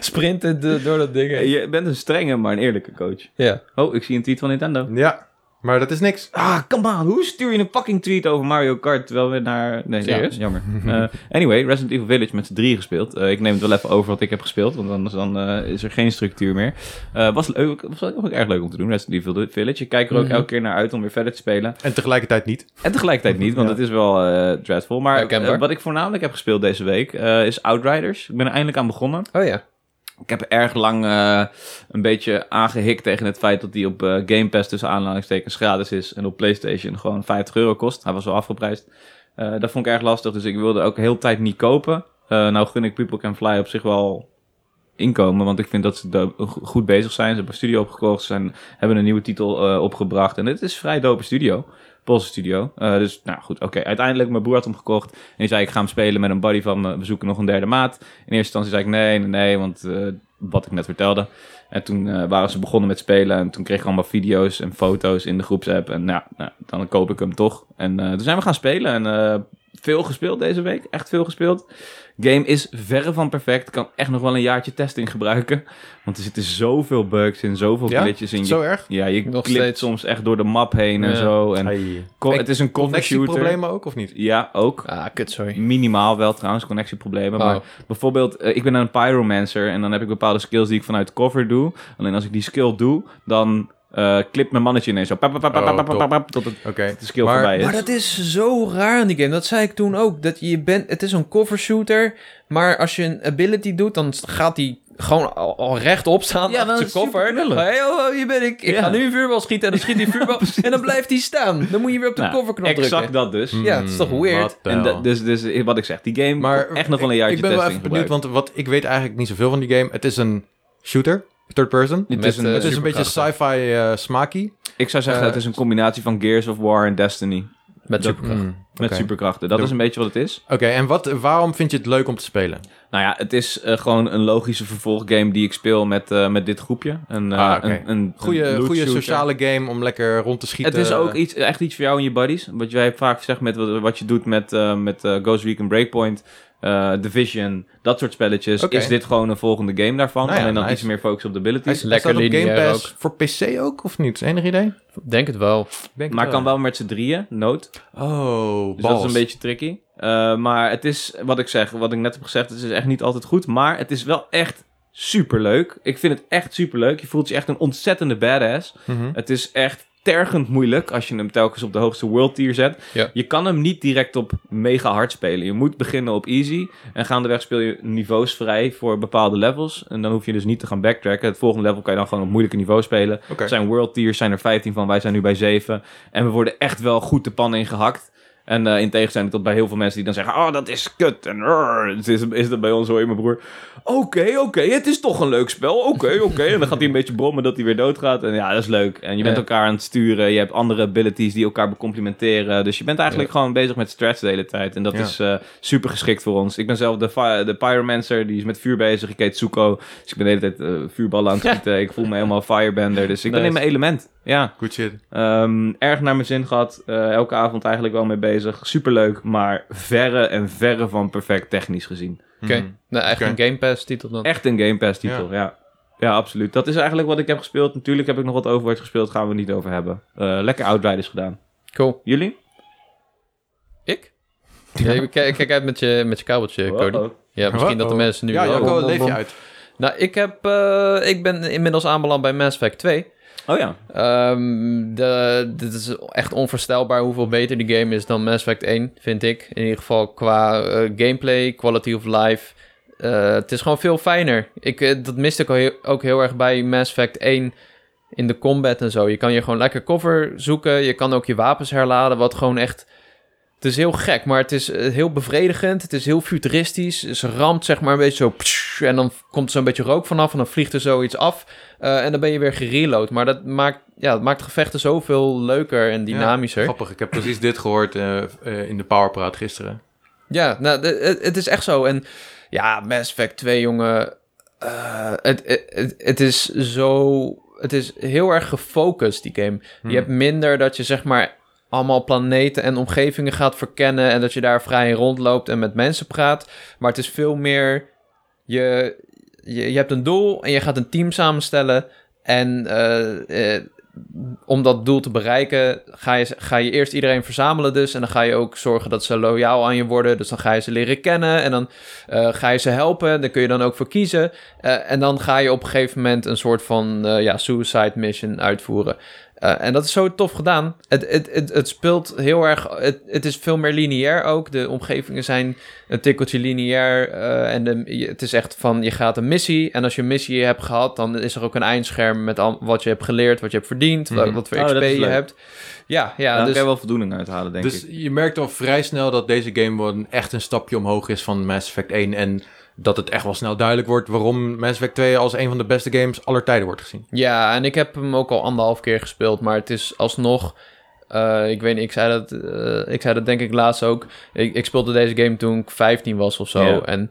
Speaker 2: Sprintend do- door dat ding heen.
Speaker 3: je bent een strenge, maar een eerlijke coach.
Speaker 2: Ja.
Speaker 3: Oh, ik zie een tweet van Nintendo.
Speaker 1: Ja, maar dat is niks.
Speaker 3: Ah, come on. Hoe stuur je een fucking tweet over Mario Kart terwijl we naar... Nee, ja,
Speaker 2: Serieus?
Speaker 3: jammer. Eh, anyway, Resident Evil Village met z'n drie gespeeld. Eh, ik neem het wel even over wat ik heb gespeeld, want anders dan, eh, is er geen structuur meer. Eh, was leuk, was ook erg leuk om te doen, Resident Evil Village. Ik kijk er ook
Speaker 2: Mhm.
Speaker 3: elke keer naar uit om weer verder te spelen.
Speaker 1: En tegelijkertijd niet.
Speaker 3: En tegelijkertijd niet, want
Speaker 1: Ja.
Speaker 3: het is wel eh, dreadful. Maar
Speaker 2: Herkenbaar.
Speaker 3: eh, wat ik voornamelijk heb gespeeld deze week eh, is Outriders. Ik ben er eindelijk aan begonnen.
Speaker 2: Oh ja.
Speaker 3: Ik heb erg lang eh, een beetje aangehikt tegen het feit dat die op eh, Game Pass tussen aanhalingstekens gratis is. En op PlayStation gewoon 50 euro kost. Hij was wel afgeprijsd. Eh, dat vond ik erg lastig, dus ik wilde ook heel de tijd niet kopen. Eh, nou gun ik People Can Fly op zich wel inkomen, want ik vind dat ze do- go- goed bezig zijn. Ze hebben een studio opgekocht, ze zijn- hebben een nieuwe titel eh, opgebracht. En het is een vrij dope studio, Poolse studio. Eh, dus nou goed, oké. Uiteindelijk, mijn broer had hem gekocht. En die zei, ik ga hem spelen met een buddy van me. We zoeken nog een derde maat. In eerste instantie zei ik nee, nee, nee, want eh, wat ik net vertelde. En toen eh, waren ze begonnen met spelen en toen kreeg ik allemaal video's en foto's in de groepsapp. En nou, nou dan koop ik hem toch. En eh, toen zijn we gaan spelen en eh, veel gespeeld deze week, echt veel gespeeld. Game is verre van perfect, kan echt nog wel een jaartje testing gebruiken. Want er zitten zoveel bugs in, zoveel
Speaker 1: Ja?
Speaker 3: glitches in. Je,
Speaker 1: Zo erg.
Speaker 3: ja, je
Speaker 2: Nog
Speaker 3: klikt
Speaker 2: steeds.
Speaker 3: soms echt door de map heen en
Speaker 2: Ja.
Speaker 3: zo. En
Speaker 1: Hey.
Speaker 3: co- het is een computer.
Speaker 1: Connectieproblemen ook, of niet?
Speaker 3: Ja, ook.
Speaker 2: Ah, kut, sorry.
Speaker 3: Minimaal wel trouwens, connectieproblemen.
Speaker 2: Oh.
Speaker 3: Maar bijvoorbeeld, eh, ik ben een pyromancer en dan heb ik bepaalde skills die ik vanuit cover doe. Alleen als ik die skill doe, dan eh klipt mijn mannetje ineens zo. Pap, pap, pap,
Speaker 1: Oh,
Speaker 3: pap, pap,
Speaker 1: top.
Speaker 3: pap, pap, tot het
Speaker 1: Oké.
Speaker 3: de skill
Speaker 1: Maar-
Speaker 3: voorbij is.
Speaker 2: Maar dat is zo raar in die game. Dat zei ik toen ook. Dat je bent, het is een cover shooter. Maar als je een ability doet, dan gaat die gewoon al, al rechtop staan.
Speaker 3: Ja,
Speaker 2: Ja,
Speaker 3: dat
Speaker 2: achter
Speaker 3: is
Speaker 2: zijn koffer.
Speaker 3: superknullig.
Speaker 2: Hey, oh, oh, hier ben ik. Ik
Speaker 3: Ja.
Speaker 2: ga nu een vuurbal schieten. En dan schiet die vuurbal. en dan blijft die staan. Dan moet je weer op de
Speaker 3: Nou,
Speaker 2: kofferknop
Speaker 3: exact
Speaker 2: drukken.
Speaker 3: dat dus.
Speaker 1: Hmm.
Speaker 2: Ja, het is toch weird?
Speaker 1: Wat de
Speaker 3: En
Speaker 1: hel.
Speaker 3: dat- dus, dus wat ik zeg, die game
Speaker 1: maar
Speaker 3: maar, echt nog wel een
Speaker 1: ik-
Speaker 3: jaartje
Speaker 1: Ik ben wel even
Speaker 3: testing
Speaker 1: benieuwd,
Speaker 3: gebruiken.
Speaker 1: want wat, ik weet eigenlijk niet zoveel van die game. Het is een shooter, third person.
Speaker 3: Het
Speaker 2: Met,
Speaker 3: is een-
Speaker 2: eh,
Speaker 3: het
Speaker 1: Het is een beetje
Speaker 2: superkrachtig.
Speaker 1: sci-fi eh, smaakie.
Speaker 3: Ik zou zeggen,
Speaker 1: eh,
Speaker 3: het is een combinatie van Gears of War en Destiny.
Speaker 2: Met
Speaker 3: Dat-
Speaker 2: superkracht.
Speaker 1: Mm.
Speaker 3: Met
Speaker 1: Oké.
Speaker 3: superkrachten. Dat
Speaker 1: Doe.
Speaker 3: is een beetje wat het is.
Speaker 1: Oké, en wat, waarom vind je het leuk om te spelen?
Speaker 3: Nou ja, het is eh, gewoon een logische vervolggame die ik speel met, eh, met dit groepje. Een, eh,
Speaker 1: Ah, oké.
Speaker 3: een, een, een
Speaker 1: Goede,
Speaker 3: loot
Speaker 1: goede
Speaker 3: shooter.
Speaker 1: sociale eh, game om lekker rond te schieten.
Speaker 3: Het is ook iets, echt iets voor jou en je buddies. Wat jij vaak zegt met wat, wat je doet met, eh, met eh, Ghost Recon Breakpoint, eh, Division, dat soort spelletjes.
Speaker 1: Oké.
Speaker 3: Is dit gewoon een volgende game daarvan?
Speaker 1: Nou ja,
Speaker 3: Alleen dan
Speaker 1: nice.
Speaker 3: iets meer focus op de
Speaker 1: Hij
Speaker 3: abilities.
Speaker 1: is
Speaker 2: lekker
Speaker 1: lekker op Game
Speaker 2: lineair
Speaker 1: Pass voor PC ook, of niet? Enig idee? Ik
Speaker 2: mm. Denk het wel.
Speaker 1: denk
Speaker 3: Maar
Speaker 1: het
Speaker 3: kan wel met z'n drieën, nood.
Speaker 1: Oh,
Speaker 3: Dus
Speaker 1: balls.
Speaker 3: dat is een beetje tricky. Eh, maar het is, wat ik zeg, wat ik net heb gezegd, het is echt niet altijd goed. Maar het is wel echt superleuk. Ik vind het echt superleuk. Je voelt je echt een ontzettende badass.
Speaker 1: Mhm.
Speaker 3: Het is echt tergend moeilijk als je hem telkens op de hoogste world tier zet.
Speaker 2: Ja.
Speaker 3: Je kan hem niet direct op mega hard spelen. Je moet beginnen op easy en gaandeweg speel je niveaus vrij voor bepaalde levels. En dan hoef je dus niet te gaan backtracken. Het volgende level kan je dan gewoon op moeilijke niveaus spelen.
Speaker 1: Oké.
Speaker 3: Er zijn world tiers, zijn er 15 van, wij zijn nu bij 7. En we worden echt wel goed de pan ingehakt. En eh, in tegenstelling tot bij heel veel mensen die dan zeggen... Oh, dat is kut. En rrr, is, is dat bij ons hoor je mijn broer. Oké, oké, het is toch een leuk spel. Oké, oké. En dan gaat hij een beetje brommen dat hij weer doodgaat. En ja, dat is leuk. En je bent
Speaker 2: Ja.
Speaker 3: elkaar aan het sturen. Je hebt andere abilities die elkaar becomplimenteren. Dus je bent eigenlijk gewoon bezig met stress de hele tijd. En dat
Speaker 1: Ja.
Speaker 3: is eh, super geschikt voor ons. Ik ben zelf de, fi- de pyromancer. Die is met vuur bezig. Ik heet Zuko. Dus ik ben de hele tijd eh, vuurballen aan het schieten. Ik voel me helemaal firebender. Dus ik ben
Speaker 2: Nice.
Speaker 3: in mijn element. Ja.
Speaker 1: Goed shit.
Speaker 3: Ehm, erg naar mijn zin gehad. Eh, elke avond eigenlijk wel mee bezig. Superleuk, maar verre en verre van perfect technisch gezien.
Speaker 2: Oké. Nou, echt
Speaker 1: Oké.
Speaker 2: een Game Pass titel dan.
Speaker 3: Echt een Game Pass titel, ja. ja. absoluut. Dat is eigenlijk wat ik heb gespeeld. Natuurlijk heb ik nog wat Overwatch gespeeld. Gaan we het niet over hebben. Eh, lekker Outriders gedaan.
Speaker 2: Cool.
Speaker 3: Jullie?
Speaker 2: Ik? Ja, kijk, kijk uit met je, met je kabeltje, Cody.
Speaker 3: Oh, oh.
Speaker 2: Ja, misschien dat de
Speaker 1: Oh.
Speaker 2: mensen nu...
Speaker 1: ja,
Speaker 2: Oh,
Speaker 1: Jacco,
Speaker 2: bom, bom,
Speaker 1: leef
Speaker 2: bom.
Speaker 1: je uit.
Speaker 2: Nou, ik, heb, eh, ik ben inmiddels aanbeland bij Mass Effect 2.
Speaker 3: Oh ja.
Speaker 2: Ehm, de, dit is echt onvoorstelbaar hoeveel beter die game is dan Mass Effect 1, vind ik. In ieder geval qua eh, gameplay, quality of life. Eh, het is gewoon veel fijner. Ik, eh, dat miste ik al heel- ook heel erg bij Mass Effect 1 in de combat en zo. Je kan je gewoon lekker cover zoeken. Je kan ook je wapens herladen, wat gewoon echt... Het is heel gek, maar het is eh, heel bevredigend. Het is heel futuristisch. Dus Ze ramt zeg maar een beetje zo... pssst, en dan komt er zo'n beetje rook vanaf en dan vliegt er zoiets af. Eh, en dan ben je weer gereload. Maar dat maakt, ja, dat maakt gevechten zoveel leuker en dynamischer. Ja,
Speaker 1: Grappig, ik heb precies dit gehoord eh, eh, in de Powerpraat gisteren.
Speaker 2: nou, de- het, het is echt zo. En ja, Mass Effect 2, jongen. eh, het, het, het, het is zo... Het is heel erg gefocust, die game. Je hebt minder dat je zeg maar allemaal planeten en omgevingen gaat verkennen... en dat je daar vrij in rondloopt en met mensen praat. Maar het is veel meer... Je, je, je hebt een doel en je gaat een team samenstellen... en eh, eh, om dat doel te bereiken ga je, ga je eerst iedereen verzamelen dus... en dan ga je ook zorgen dat ze loyaal aan je worden. Dus dan ga je ze leren kennen en dan eh, ga je ze helpen. Daar kun je dan ook voor kiezen. Eh, en dan ga je op een gegeven moment een soort van eh, ja, suicide mission uitvoeren. Eh, en dat is zo tof gedaan. Het, het, het, het speelt heel erg. Het, het is veel meer lineair ook. De omgevingen zijn een tikkeltje lineair. eh, en de- je- het is echt van je gaat een missie. En als je een missie hebt gehad, dan is er ook een eindscherm met al, wat je hebt geleerd, wat je hebt verdiend, wa-
Speaker 1: Mhm.
Speaker 2: wat voor
Speaker 3: Oh, dat
Speaker 2: XP
Speaker 3: is
Speaker 2: je
Speaker 3: leuk.
Speaker 2: hebt. Ja, ja.
Speaker 3: Daar
Speaker 2: dus,
Speaker 3: kan je wel voldoening uit halen, denk
Speaker 1: dus
Speaker 3: ik.
Speaker 1: je merkt al vrij snel dat deze game wel een- echt een stapje omhoog is van Mass Effect 1. En dat het echt wel snel duidelijk wordt waarom Mass Effect 2 als een van de beste games aller tijden wordt gezien.
Speaker 2: Ja, en ik heb hem ook al anderhalf keer gespeeld, maar het is alsnog. eh, ik weet niet, ik zei dat, eh, ik zei dat denk ik laatst ook. Ik, ik speelde deze game toen ik 15 was of zo.
Speaker 3: Ja.
Speaker 2: En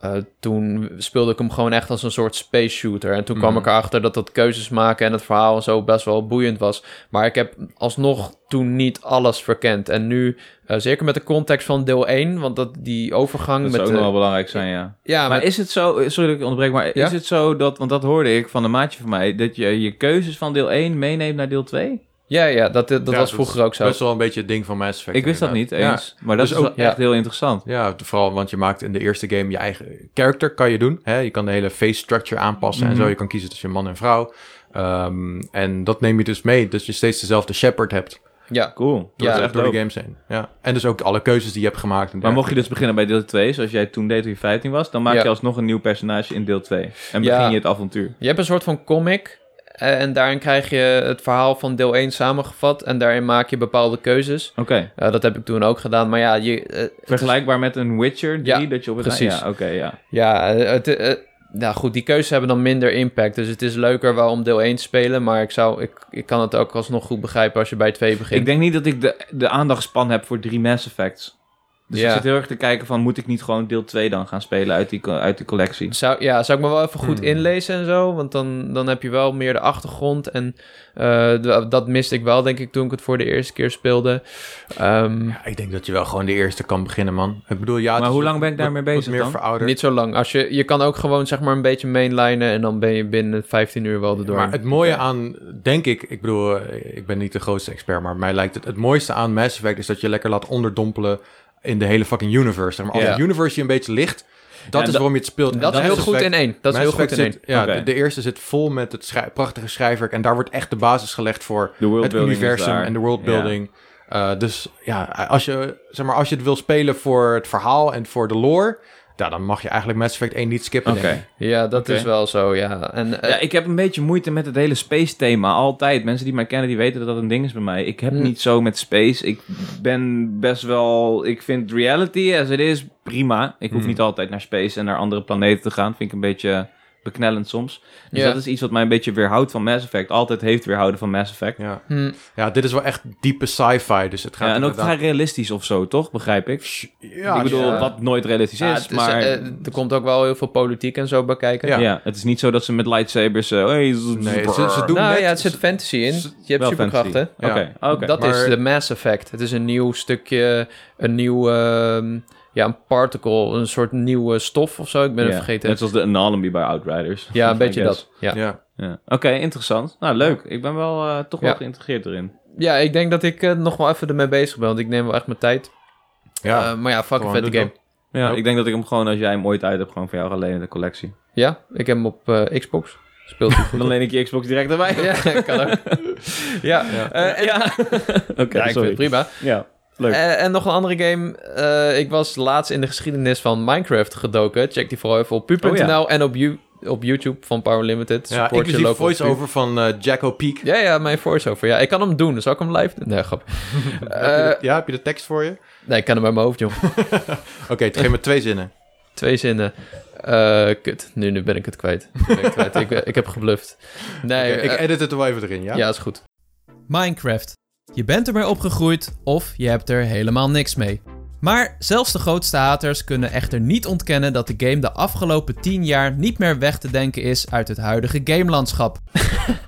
Speaker 2: eh, toen speelde ik hem gewoon echt als een soort space shooter. En toen kwam
Speaker 1: Mhm.
Speaker 2: ik erachter dat dat keuzes maken en het verhaal en zo best wel boeiend was. Maar ik heb alsnog toen niet alles verkend. En nu, eh, zeker met de context van deel 1, want dat, die overgang
Speaker 3: Dat
Speaker 2: met.
Speaker 3: zou ook
Speaker 2: de-
Speaker 3: nog wel belangrijk zijn, ja.
Speaker 2: ja,
Speaker 3: Ah, maar
Speaker 2: met-
Speaker 3: is het zo, eh, sorry dat ik je onderbreek, maar
Speaker 2: Ja?
Speaker 3: is het zo dat, want dat hoorde ik van een maatje van mij, dat je je keuzes van deel 1 meeneemt naar deel 2?
Speaker 2: ja, ja, dat, dat
Speaker 1: Ja,
Speaker 2: was vroeger ook zo.
Speaker 1: Best wel een beetje het ding van Mass Effect.
Speaker 3: Ik wist dat niet
Speaker 1: inderdaad. Ja.
Speaker 3: eens, maar dat
Speaker 1: Dus
Speaker 3: is
Speaker 1: ook-
Speaker 3: wel echt heel interessant.
Speaker 1: Ja, vooral want je maakt in de eerste game je eigen character, kan je doen. Hè? Je kan de hele face structure aanpassen
Speaker 3: Mhm.
Speaker 1: en zo. Je kan kiezen tussen man en vrouw. Ehm, en dat neem je dus mee, dat je steeds dezelfde Shepard hebt.
Speaker 2: Ja.
Speaker 3: Cool.
Speaker 1: Door,
Speaker 2: Ja,
Speaker 1: ja,
Speaker 3: echt
Speaker 1: door
Speaker 3: dope.
Speaker 1: de games heen. Ja. En dus ook alle keuzes die je hebt gemaakt. en
Speaker 3: Maar mocht
Speaker 1: dergelijke.
Speaker 3: je dus beginnen bij deel 2, zoals jij toen deed toen je 15 was, dan maak
Speaker 2: Ja.
Speaker 3: je alsnog een nieuw personage in deel 2. En
Speaker 2: Ja.
Speaker 3: begin je het avontuur.
Speaker 2: Je hebt een soort van comic. eh, En daarin krijg je het verhaal van deel 1 samengevat. En daarin maak je bepaalde keuzes.
Speaker 3: Oké.
Speaker 2: Eh, dat heb ik toen ook gedaan. Maar ja, je, eh,
Speaker 3: Vergelijkbaar met een Witcher 3,
Speaker 2: Ja,
Speaker 3: dat je op het
Speaker 2: precies.
Speaker 3: Ja, oké, ja.
Speaker 2: ja, eh, het, eh, nou goed, die keuzes hebben dan minder impact. Dus het is leuker wel om deel 1 te spelen. Maar ik, zou, ik, ik kan het ook alsnog goed begrijpen als je bij 2 begint.
Speaker 3: Ik denk niet dat ik de, de aandachtspan heb voor drie Mass Effects. Dus
Speaker 2: Ja.
Speaker 3: ik zit heel erg te kijken van, moet ik niet gewoon deel 2 dan gaan spelen uit die, co- uit die collectie?
Speaker 2: Zou, ja, zou ik me wel even goed
Speaker 1: Hmm.
Speaker 2: inlezen en zo. Want dan, dan heb je wel meer de achtergrond. En eh, d- dat miste ik wel, denk ik, toen ik het voor de eerste keer speelde. Ehm,
Speaker 1: Ja, ik denk dat je wel gewoon de eerste kan beginnen, man. Ik bedoel, ja, het
Speaker 3: Maar
Speaker 1: is
Speaker 3: hoe
Speaker 1: wat-
Speaker 3: lang ben ik
Speaker 1: wat-
Speaker 3: daarmee
Speaker 1: wat
Speaker 3: bezig
Speaker 1: meer
Speaker 3: dan?
Speaker 1: verouderd.
Speaker 2: niet zo lang. Als je, je kan ook gewoon zeg maar een beetje mainlinen. En dan ben je binnen 15 uur wel erdoor.
Speaker 1: Maar het mooie aan, denk ik, ik bedoel, eh, ik ben niet de grootste expert, maar mij lijkt het het mooiste aan Mass Effect is dat je lekker laat onderdompelen in de hele fucking universe. Zeg maar, als
Speaker 2: Ja.
Speaker 1: het universe je een beetje ligt, dat
Speaker 3: Ja,
Speaker 1: is
Speaker 3: dat-
Speaker 1: waarom je het speelt. En
Speaker 2: dat is
Speaker 1: Mass
Speaker 2: heel goed
Speaker 1: Effect-
Speaker 2: in één. Dat
Speaker 1: Mass
Speaker 2: is heel goed in
Speaker 1: Effect
Speaker 2: één.
Speaker 1: zit- Ja,
Speaker 3: Oké.
Speaker 1: de, de eerste zit vol met het schrij- prachtige schrijfwerk en daar wordt echt de basis gelegd voor
Speaker 3: De
Speaker 1: het
Speaker 3: worldbuilding is
Speaker 1: universum
Speaker 3: daar.
Speaker 1: en de worldbuilding. Eh, dus ja, als je, zeg maar, als je het wil spelen voor het verhaal en voor de lore, ja, dan mag je eigenlijk Mass Effect 1 niet
Speaker 3: Ja.
Speaker 1: skippen.
Speaker 3: Oké.
Speaker 1: denk ik.
Speaker 2: Ja, dat
Speaker 3: Oké.
Speaker 2: is wel zo, ja. En, eh,
Speaker 3: Ja, ik heb een beetje moeite met het hele space thema. Altijd. Mensen die mij kennen, die weten dat dat een ding is bij mij. Ik heb
Speaker 1: Mm.
Speaker 2: Hmm.
Speaker 3: niet zo met space. Ik ben best wel... Ik vind reality as it is prima. Ik hoef
Speaker 1: Hmm.
Speaker 3: niet altijd naar space en naar andere planeten te gaan. Vind ik een beetje beknellend soms. Dus
Speaker 2: Ja.
Speaker 3: dat is iets wat mij een beetje weerhoudt van Mass Effect. Altijd heeft weerhouden van Mass Effect.
Speaker 1: Ja.
Speaker 2: hm,
Speaker 1: ja, dit is wel echt diepe sci-fi, dus het gaat
Speaker 3: Ja, en ook
Speaker 1: inderdaad-
Speaker 3: vrij realistisch of zo, toch? Begrijp ik.
Speaker 1: Ja,
Speaker 3: ik bedoel,
Speaker 2: ja.
Speaker 3: wat nooit realistisch
Speaker 2: ja,
Speaker 3: is,
Speaker 2: het is,
Speaker 3: maar...
Speaker 2: eh, er komt ook wel heel veel politiek en zo bij kijken.
Speaker 1: Ja.
Speaker 3: ja. het is niet zo dat ze met lightsabers... eh, hey, z-
Speaker 1: Nee, ze- ze doen-
Speaker 2: Nou
Speaker 1: net-
Speaker 2: ja, het zit fantasy in. Je hebt
Speaker 3: Wel
Speaker 2: superkrachten.
Speaker 3: fantasy. Oké,
Speaker 1: Ja.
Speaker 3: oké.
Speaker 2: Dat
Speaker 1: Maar-
Speaker 2: is de Mass Effect. Het is een nieuw stukje, een nieuw, ehm, ja, een particle, een soort nieuwe stof of zo. Ik ben
Speaker 3: Ja,
Speaker 2: het vergeten.
Speaker 3: Net zoals de Anomaly bij Outriders.
Speaker 2: ja, een
Speaker 3: I
Speaker 2: beetje
Speaker 3: guess.
Speaker 2: dat. Ja.
Speaker 1: ja.
Speaker 3: Ja. Oké, interessant. Nou, leuk. Ik ben wel eh, toch wel
Speaker 2: Ja.
Speaker 3: geïnteresseerd erin.
Speaker 2: ja, ik denk dat ik eh, nog wel even ermee bezig ben, want ik neem wel echt mijn tijd.
Speaker 1: Ja.
Speaker 2: Eh, maar ja, fuck
Speaker 1: Gewoon
Speaker 2: een vette
Speaker 1: doen,
Speaker 2: game.
Speaker 3: Ja,
Speaker 1: Nope.
Speaker 3: ik denk dat ik hem gewoon, als jij hem ooit uit hebt, gewoon voor jou ga lenen in de collectie.
Speaker 2: Ja, ik heb hem op eh, Xbox. Speelt hij goed.
Speaker 3: Dan leen ik je Xbox direct erbij.
Speaker 2: ja, kan ook. ja,
Speaker 1: Ja.
Speaker 2: Eh, en-
Speaker 3: ja. Oké,
Speaker 2: ja, ik vind het
Speaker 3: sorry.
Speaker 2: prima.
Speaker 3: Ja, leuk.
Speaker 2: Eh, en nog een andere game. Eh, ik was laatst in de geschiedenis van Minecraft gedoken. Check die vooral even op pu.nl
Speaker 3: Oh ja.
Speaker 2: en op, you- op YouTube van Power Limited.
Speaker 1: Ja,
Speaker 2: Support your
Speaker 1: inclusief
Speaker 2: local pu-
Speaker 1: voice-over van eh, Jacko Peak.
Speaker 2: Ja, ja, mijn voiceover. Ja, ik kan hem doen. Zal ik hem live doen? Nee, grap.
Speaker 1: heb je
Speaker 2: Eh,
Speaker 1: de, ja, heb je de tekst voor je? Oké,
Speaker 2: nee, ik kan hem uit mijn hoofd, joh.
Speaker 1: het geeft me twee zinnen.
Speaker 2: Twee zinnen. Eh, kut, nu, nu ben ik het kwijt. Nu ben ik, het kwijt. ik, ben- ik heb gebluft. Nee,
Speaker 1: Oké, ik
Speaker 2: eh,
Speaker 1: edit het er wel even erin, ja?
Speaker 2: Ja, is goed. Minecraft. Je bent ermee opgegroeid of je hebt er helemaal niks mee. Maar zelfs de grootste haters kunnen echter niet ontkennen dat de game de afgelopen 10 jaar niet meer weg te denken is uit het huidige gamelandschap.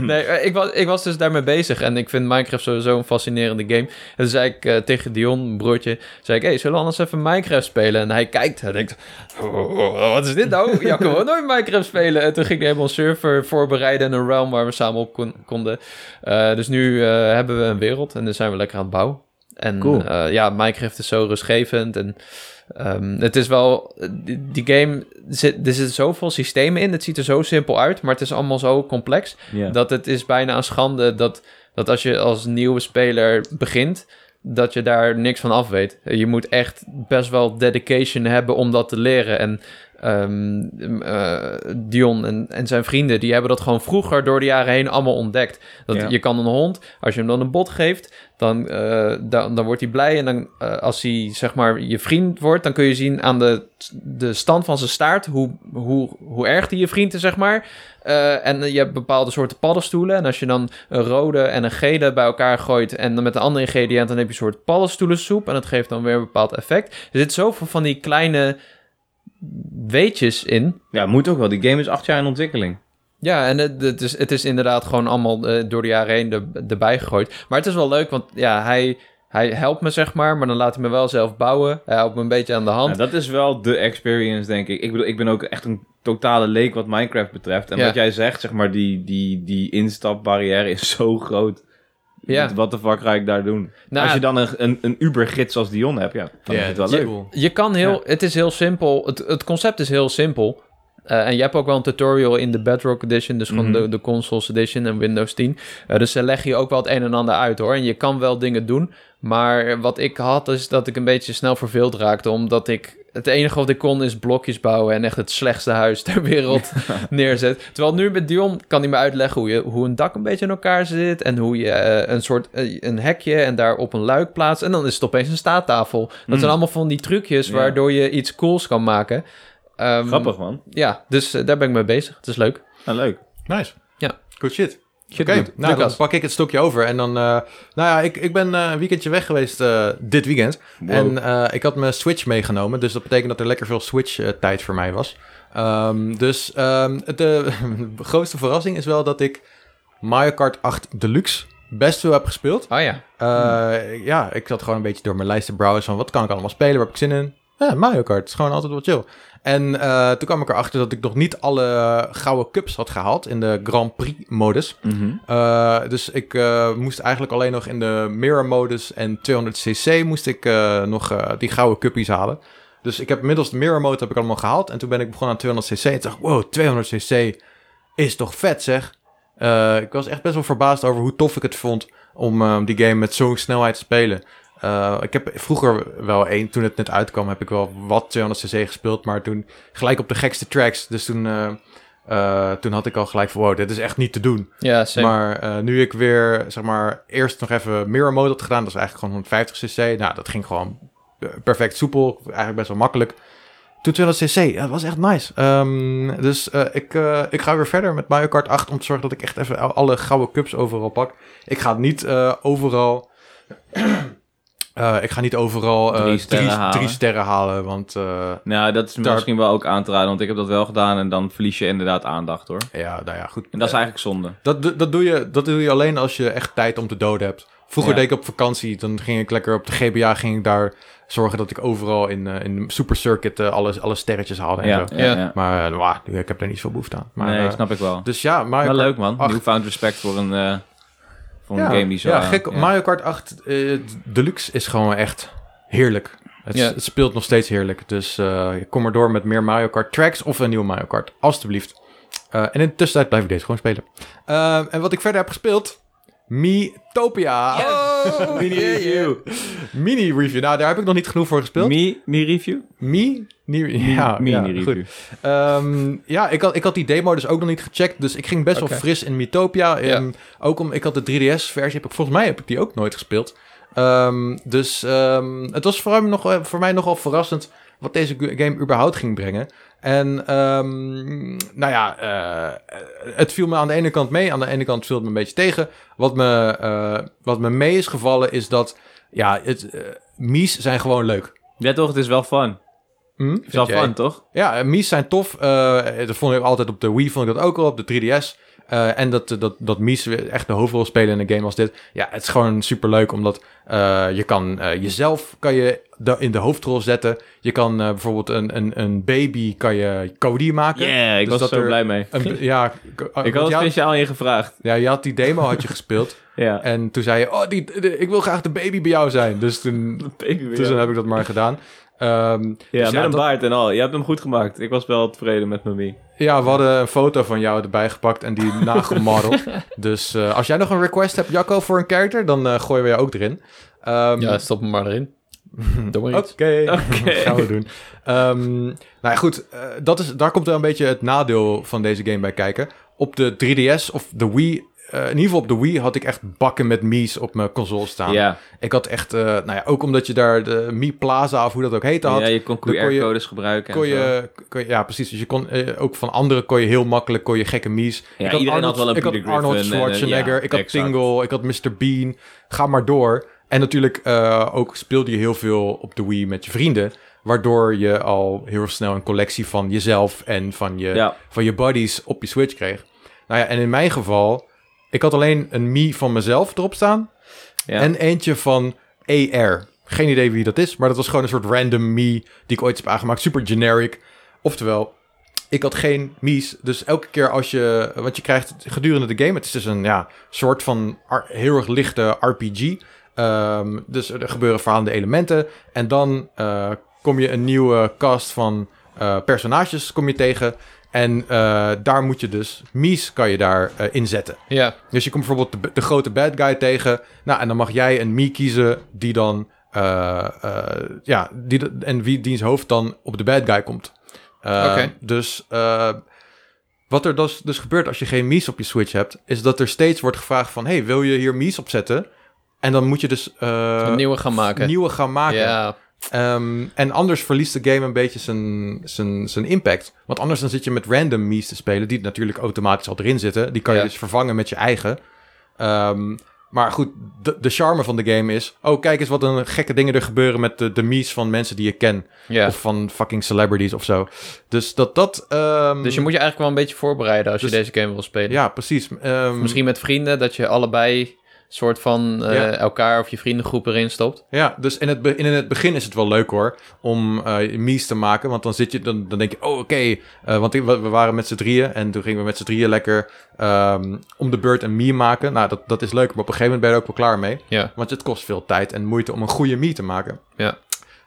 Speaker 2: nee, eh, ik was, ik was dus daarmee bezig en ik vind Minecraft sowieso een fascinerende game. En toen zei ik eh, tegen Dion, mijn broertje, zei ik, hey, zullen we anders even Minecraft spelen? En hij kijkt en denkt, "Oh, wat is dit nou? Ja, kunnen we nooit Minecraft spelen? En toen ging ik helemaal een server voorbereiden en een realm waar we samen op kon- konden. Eh, dus nu eh, hebben we een wereld en dan zijn we lekker aan het bouwen. En
Speaker 3: Cool.
Speaker 2: eh, ja, Minecraft is zo rustgevend en ehm, het is wel, die, die game, zit, er zitten zoveel systemen in, het ziet er zo simpel uit, maar het is allemaal zo complex.
Speaker 3: Ja.
Speaker 2: Dat het is bijna een schande dat, dat als je als nieuwe speler begint, dat je daar niks van af weet. Je moet echt best wel dedication hebben om dat te leren. En ehm, eh, Dion en, en zijn vrienden, die hebben dat gewoon vroeger door de jaren heen allemaal ontdekt. Dat
Speaker 3: Ja.
Speaker 2: Je kan een hond, als je hem dan een bot geeft, dan, eh, dan, dan wordt hij blij. En dan, eh, als hij zeg maar je vriend wordt, dan kun je zien aan de, de stand van zijn staart hoe, hoe, hoe erg die je vriend is, zeg maar. Eh, en je hebt bepaalde soorten paddenstoelen. En als je dan een rode en een gele bij elkaar gooit. en dan met een andere ingrediënt. dan heb je een soort paddenstoelensoep. En dat geeft dan weer een bepaald effect. Er zit zoveel van die kleine weetjes in.
Speaker 3: ja, moet ook wel. Die game is acht jaar in ontwikkeling.
Speaker 2: Ja, en het, het is, het is inderdaad gewoon allemaal eh, door de jaren heen er- erbij gegooid. Maar het is wel leuk, want ja, hij, hij helpt me zeg maar. maar dan laat hij me wel zelf bouwen. Hij helpt me een beetje aan de hand.
Speaker 3: Nou, dat is wel de experience, denk ik. Ik bedoel, ik ben ook echt een totale leek wat Minecraft betreft. En
Speaker 2: Ja.
Speaker 3: wat jij zegt, zeg maar, die, die, die instapbarrière is zo groot.
Speaker 2: Ja.
Speaker 3: Wat de fuck ga ik daar doen?
Speaker 2: Nou,
Speaker 3: Als je dan een, een, een Uber-gids als Dion hebt, ja, dan is het wel
Speaker 1: dat
Speaker 3: leuk.
Speaker 1: cool.
Speaker 2: Je kan heel,
Speaker 3: Ja.
Speaker 2: het is heel simpel. Het, het concept is heel simpel. Eh, en je hebt ook wel een tutorial in de Bedrock Edition, dus gewoon
Speaker 1: Mhm.
Speaker 2: de, de Consoles Edition en Windows 10. Eh, dus ze leggen je ook wel het een en ander uit hoor. En je kan wel dingen doen. Maar wat ik had is dat ik een beetje snel verveeld raakte, omdat ik. Het enige wat ik kon is blokjes bouwen en echt het slechtste huis ter wereld neerzet. Terwijl nu met Dion kan hij me uitleggen hoe, je, hoe een dak een beetje in elkaar zit. En hoe je eh, een soort eh, een hekje en daarop een luik plaatst. En dan is het opeens een staattafel. Dat
Speaker 3: Mm.
Speaker 2: zijn allemaal van die trucjes
Speaker 3: Ja.
Speaker 2: waardoor je iets cools kan maken. Ehm,
Speaker 3: Grappig, man.
Speaker 2: Ja, dus eh, daar ben ik mee bezig. Het is leuk.
Speaker 3: Nou, leuk.
Speaker 1: Nice.
Speaker 2: Ja.
Speaker 1: Good shit. Oké,
Speaker 2: Shit, dude.
Speaker 1: nou
Speaker 2: Lucas.
Speaker 1: dan pak ik het stokje over. En dan, eh, nou ja, ik, ik ben eh, een weekendje weg geweest eh, dit weekend.
Speaker 3: Wow.
Speaker 1: En eh, ik had mijn Switch meegenomen, dus dat betekent dat er lekker veel Switch-tijd voor mij was. Ehm, dus ehm, de grootste verrassing is wel dat ik Mario Kart 8 Deluxe best veel heb gespeeld.
Speaker 2: Oh ja.
Speaker 1: Eh, Ja, ik zat gewoon een beetje door mijn lijst te browsen van wat kan ik allemaal spelen, waar heb ik zin in? Ja, Mario Kart, het is gewoon altijd wel chill. En eh, toen kwam ik erachter dat ik nog niet alle eh, gouden cups had gehaald in de Grand Prix-modus.
Speaker 3: Mhm.
Speaker 1: Eh, dus ik eh, moest eigenlijk alleen nog in de mirror-modus en 200cc moest ik eh, nog eh, die gouden cuppies halen. Dus ik heb inmiddels de mirror-mode heb ik allemaal gehaald. En toen ben ik begonnen aan 200cc en toen dacht ik, wow, 200cc is toch vet zeg. Eh, ik was echt best wel verbaasd over hoe tof ik het vond om eh, die game met zo'n snelheid te spelen. Eh, ik heb vroeger wel één, toen het net uitkwam, heb ik wel wat 200cc gespeeld. Maar toen gelijk op de gekste tracks. Dus toen, eh, eh, toen had ik al gelijk van, wow, dit is echt niet te doen.
Speaker 2: Ja, same.
Speaker 1: Maar eh, nu ik weer, zeg maar, eerst nog even mirror mode had gedaan, dat is eigenlijk gewoon 150cc. Nou, dat ging gewoon eh, perfect soepel, eigenlijk best wel makkelijk. Toen 200cc, ja, dat was echt nice. Ehm, dus eh, ik, eh, ik ga weer verder met Mario Kart 8 om te zorgen dat ik echt even al- alle gouden cups overal pak. Ik ga niet eh, overal... eh, ik ga niet overal eh,
Speaker 3: Drie
Speaker 1: drie,
Speaker 3: sterren
Speaker 1: drie,
Speaker 3: halen.
Speaker 1: sterren halen, want eh,
Speaker 3: Nou, dat is
Speaker 1: Daar-
Speaker 3: misschien wel ook aan te raden, want ik heb dat wel gedaan en dan verlies je inderdaad aandacht, hoor.
Speaker 1: ja, nou ja, goed.
Speaker 3: En dat is eigenlijk zonde.
Speaker 1: Dat, do- dat, doe je, dat doe je alleen als je echt tijd om te doden hebt. Vroeger
Speaker 3: Ja.
Speaker 1: deed ik op vakantie, dan ging ik lekker op de GBA, ging ik daar zorgen dat ik overal in, eh, in Super Circuit eh, alle, alle sterretjes haalde en
Speaker 3: Ja,
Speaker 1: zo.
Speaker 3: ja,
Speaker 2: Ja.
Speaker 3: ja.
Speaker 1: Maar eh, wauw, ik heb daar niet veel behoefte aan. Maar,
Speaker 3: nee,
Speaker 1: eh,
Speaker 3: snap ik wel.
Speaker 1: Dus ja, Mario
Speaker 3: Maar
Speaker 1: Kart
Speaker 3: leuk, man.
Speaker 1: acht.
Speaker 3: Newfound respect voor een, eh, voor een
Speaker 1: ja,
Speaker 3: game die zo...
Speaker 1: ja,
Speaker 3: eh,
Speaker 1: gek. Mario Kart 8 eh, Deluxe is gewoon echt heerlijk. Het,
Speaker 2: Ja.
Speaker 1: het speelt nog steeds heerlijk. Dus eh, kom maar door met meer Mario Kart tracks of een nieuwe Mario Kart, alstublieft. Eh, en in de tussentijd blijf ik deze gewoon spelen. Eh, en wat ik verder heb gespeeld... Miitopia.
Speaker 2: Oh,
Speaker 1: Mini
Speaker 2: yeah, yeah.
Speaker 1: review. Mini review. Nou, daar heb ik nog niet genoeg voor gespeeld. Mi,
Speaker 3: Mi, mi review?
Speaker 1: Ni- ja,
Speaker 3: Mini
Speaker 1: ja,
Speaker 3: review.
Speaker 1: goed. Ehm, ja, ik had, ik had die demo dus ook nog niet gecheckt. Dus ik ging best
Speaker 2: Oké.
Speaker 1: wel fris in Mythopia.
Speaker 2: Ja.
Speaker 1: Ehm, Ook om, ik had de 3DS-versie, heb ik, volgens mij heb ik die ook nooit gespeeld. Ehm, dus ehm, het was voor, hem nog, eh, voor mij nogal verrassend wat deze gu- game überhaupt ging brengen. En ehm, nou ja, eh, het viel me aan de ene kant mee, aan de ene kant viel het me een beetje tegen. Wat me, eh, wat me mee is gevallen is dat, ja, het, eh, Mies zijn gewoon leuk.
Speaker 3: Ja, toch? Het is wel fun.
Speaker 1: Hm?
Speaker 3: Het is wel
Speaker 1: Vind jij?
Speaker 3: fun, toch?
Speaker 1: Ja, eh, Mies zijn tof. Eh, dat vond ik altijd op de Wii, vond ik dat ook al, op de 3DS. Eh, en dat, dat, dat Mies weer echt de hoofdrol spelen in een game als dit. Ja, het is gewoon superleuk, omdat eh, je kan eh, jezelf kan je da- in de hoofdrol zetten. Je kan eh, bijvoorbeeld een, een, een baby, kan je Cody maken.
Speaker 3: Yeah,
Speaker 1: Dus
Speaker 3: ik was
Speaker 1: dat
Speaker 3: zo
Speaker 1: er-
Speaker 3: blij mee.
Speaker 1: Een- ja,
Speaker 3: ik had
Speaker 1: want
Speaker 3: het
Speaker 1: je had,
Speaker 3: speciaal aan je gevraagd.
Speaker 1: ja, je had die demo had je gespeeld.
Speaker 3: Ja.
Speaker 1: En toen zei je, oh, die, de- ik wil graag de baby bij jou zijn. Dus toen, dus toen heb ik dat maar gedaan. Ehm,
Speaker 3: Ja,
Speaker 1: dus
Speaker 3: met een
Speaker 1: dat-
Speaker 3: baard en al. Je hebt hem goed gemaakt. Ik was wel tevreden met mijn Mii.
Speaker 1: Ja, we hadden een foto van jou erbij gepakt en die nagemodeld. dus eh, als jij nog een request hebt, Jacco, voor een character, dan eh, gooien we jou ook erin. Ehm,
Speaker 2: Ja, stop me maar erin. Doe maar
Speaker 1: Oké,
Speaker 2: iets.
Speaker 1: gaan we doen. Ehm, nou ja, goed, eh, dat is, daar komt wel een beetje het nadeel van deze game bij kijken. Op de 3DS of de Wii, eh, in ieder geval op de Wii, had ik echt bakken met Mii's op mijn console staan.
Speaker 3: Ja.
Speaker 1: Ik had echt, eh, nou ja, ook omdat je daar de Mii Plaza of hoe dat ook heette had.
Speaker 3: ja, je kon
Speaker 1: dan kon je-
Speaker 3: QR-codes gebruiken. en
Speaker 1: kon
Speaker 3: zo.
Speaker 1: je, kon je- ja, precies. Dus je kon eh, ook van anderen kon je heel makkelijk kon je gekke mies. ik had
Speaker 3: iedereen
Speaker 1: Arnold,
Speaker 3: had wel een
Speaker 1: ik had
Speaker 3: Peter
Speaker 1: Arnold
Speaker 3: Griffin en, eh,
Speaker 1: Schwarzenegger,
Speaker 3: ja,
Speaker 1: ik had
Speaker 3: exact.
Speaker 1: Tingle, ik had Mr. Bean. Ga maar door. En natuurlijk eh, ook speelde je heel veel op de Wii met je vrienden, waardoor je al heel snel een collectie van jezelf en van je
Speaker 3: Ja.
Speaker 1: van je buddies op je Switch kreeg. Nou ja, en in mijn geval, ik had alleen een Mii van mezelf erop staan
Speaker 3: Ja.
Speaker 1: en eentje van AR. Geen idee wie dat is, maar dat was gewoon een soort random me die ik ooit heb aangemaakt. Super generic. Oftewel, ik had geen mies. Dus elke keer als je... Wat je krijgt gedurende de game... Het is dus een ja, soort van ar- heel erg lichte RPG. Ehm, dus er gebeuren verhalende elementen. En dan eh, kom je een nieuwe cast van eh, personages kom je tegen. En eh, daar moet je dus... Mies kan je daar eh, inzetten.
Speaker 2: Ja,
Speaker 1: Dus je komt bijvoorbeeld de, de grote bad guy tegen. Nou, en dan mag jij een Mii kiezen die dan... eh, eh, ja, die, de- en wie diens hoofd dan op de bad guy komt. Eh,
Speaker 2: Oké.
Speaker 1: Dus eh, wat er dus, dus gebeurt als je geen Mii's op je Switch hebt... is dat er steeds wordt gevraagd van... hey, wil je hier Mii's op zetten? En dan moet je dus... eh,
Speaker 2: een nieuwe gaan maken.
Speaker 1: nieuwe gaan maken.
Speaker 2: Ja,
Speaker 1: Ehm, en anders verliest de game een beetje zijn, zijn, zijn impact. Want anders dan zit je met random Mii's te spelen, die natuurlijk automatisch al erin zitten. Die kan je
Speaker 2: Ja.
Speaker 1: dus vervangen met je eigen. Ehm, maar goed, de, de charme van de game is... Oh, kijk eens wat een gekke dingen er gebeuren met de, de Mii's van mensen die je ken.
Speaker 2: Ja.
Speaker 1: Of van fucking celebrities of zo. Dus dat dat... ehm,
Speaker 2: Dus je moet je eigenlijk wel een beetje voorbereiden als je
Speaker 1: Dus-
Speaker 2: deze game wil spelen.
Speaker 1: Ja, precies. Ehm,
Speaker 2: Misschien met vrienden, dat je allebei soort van eh,
Speaker 1: Ja.
Speaker 2: elkaar of je vriendengroep erin stopt.
Speaker 1: Ja, dus in het, be- in het begin is het wel leuk hoor, om eh mies te maken. Want dan, zit je, dan, dan denk je, oh oké, eh, want ik- we we waren met z'n drieën en toen gingen we met z'n drieën lekker ehm, om de beurt een mie maken. Nou, dat, dat is leuk, maar op een gegeven moment ben je er ook wel klaar mee.
Speaker 2: Ja.
Speaker 1: Want het kost veel tijd en moeite om een goede mie te maken.
Speaker 2: Ja.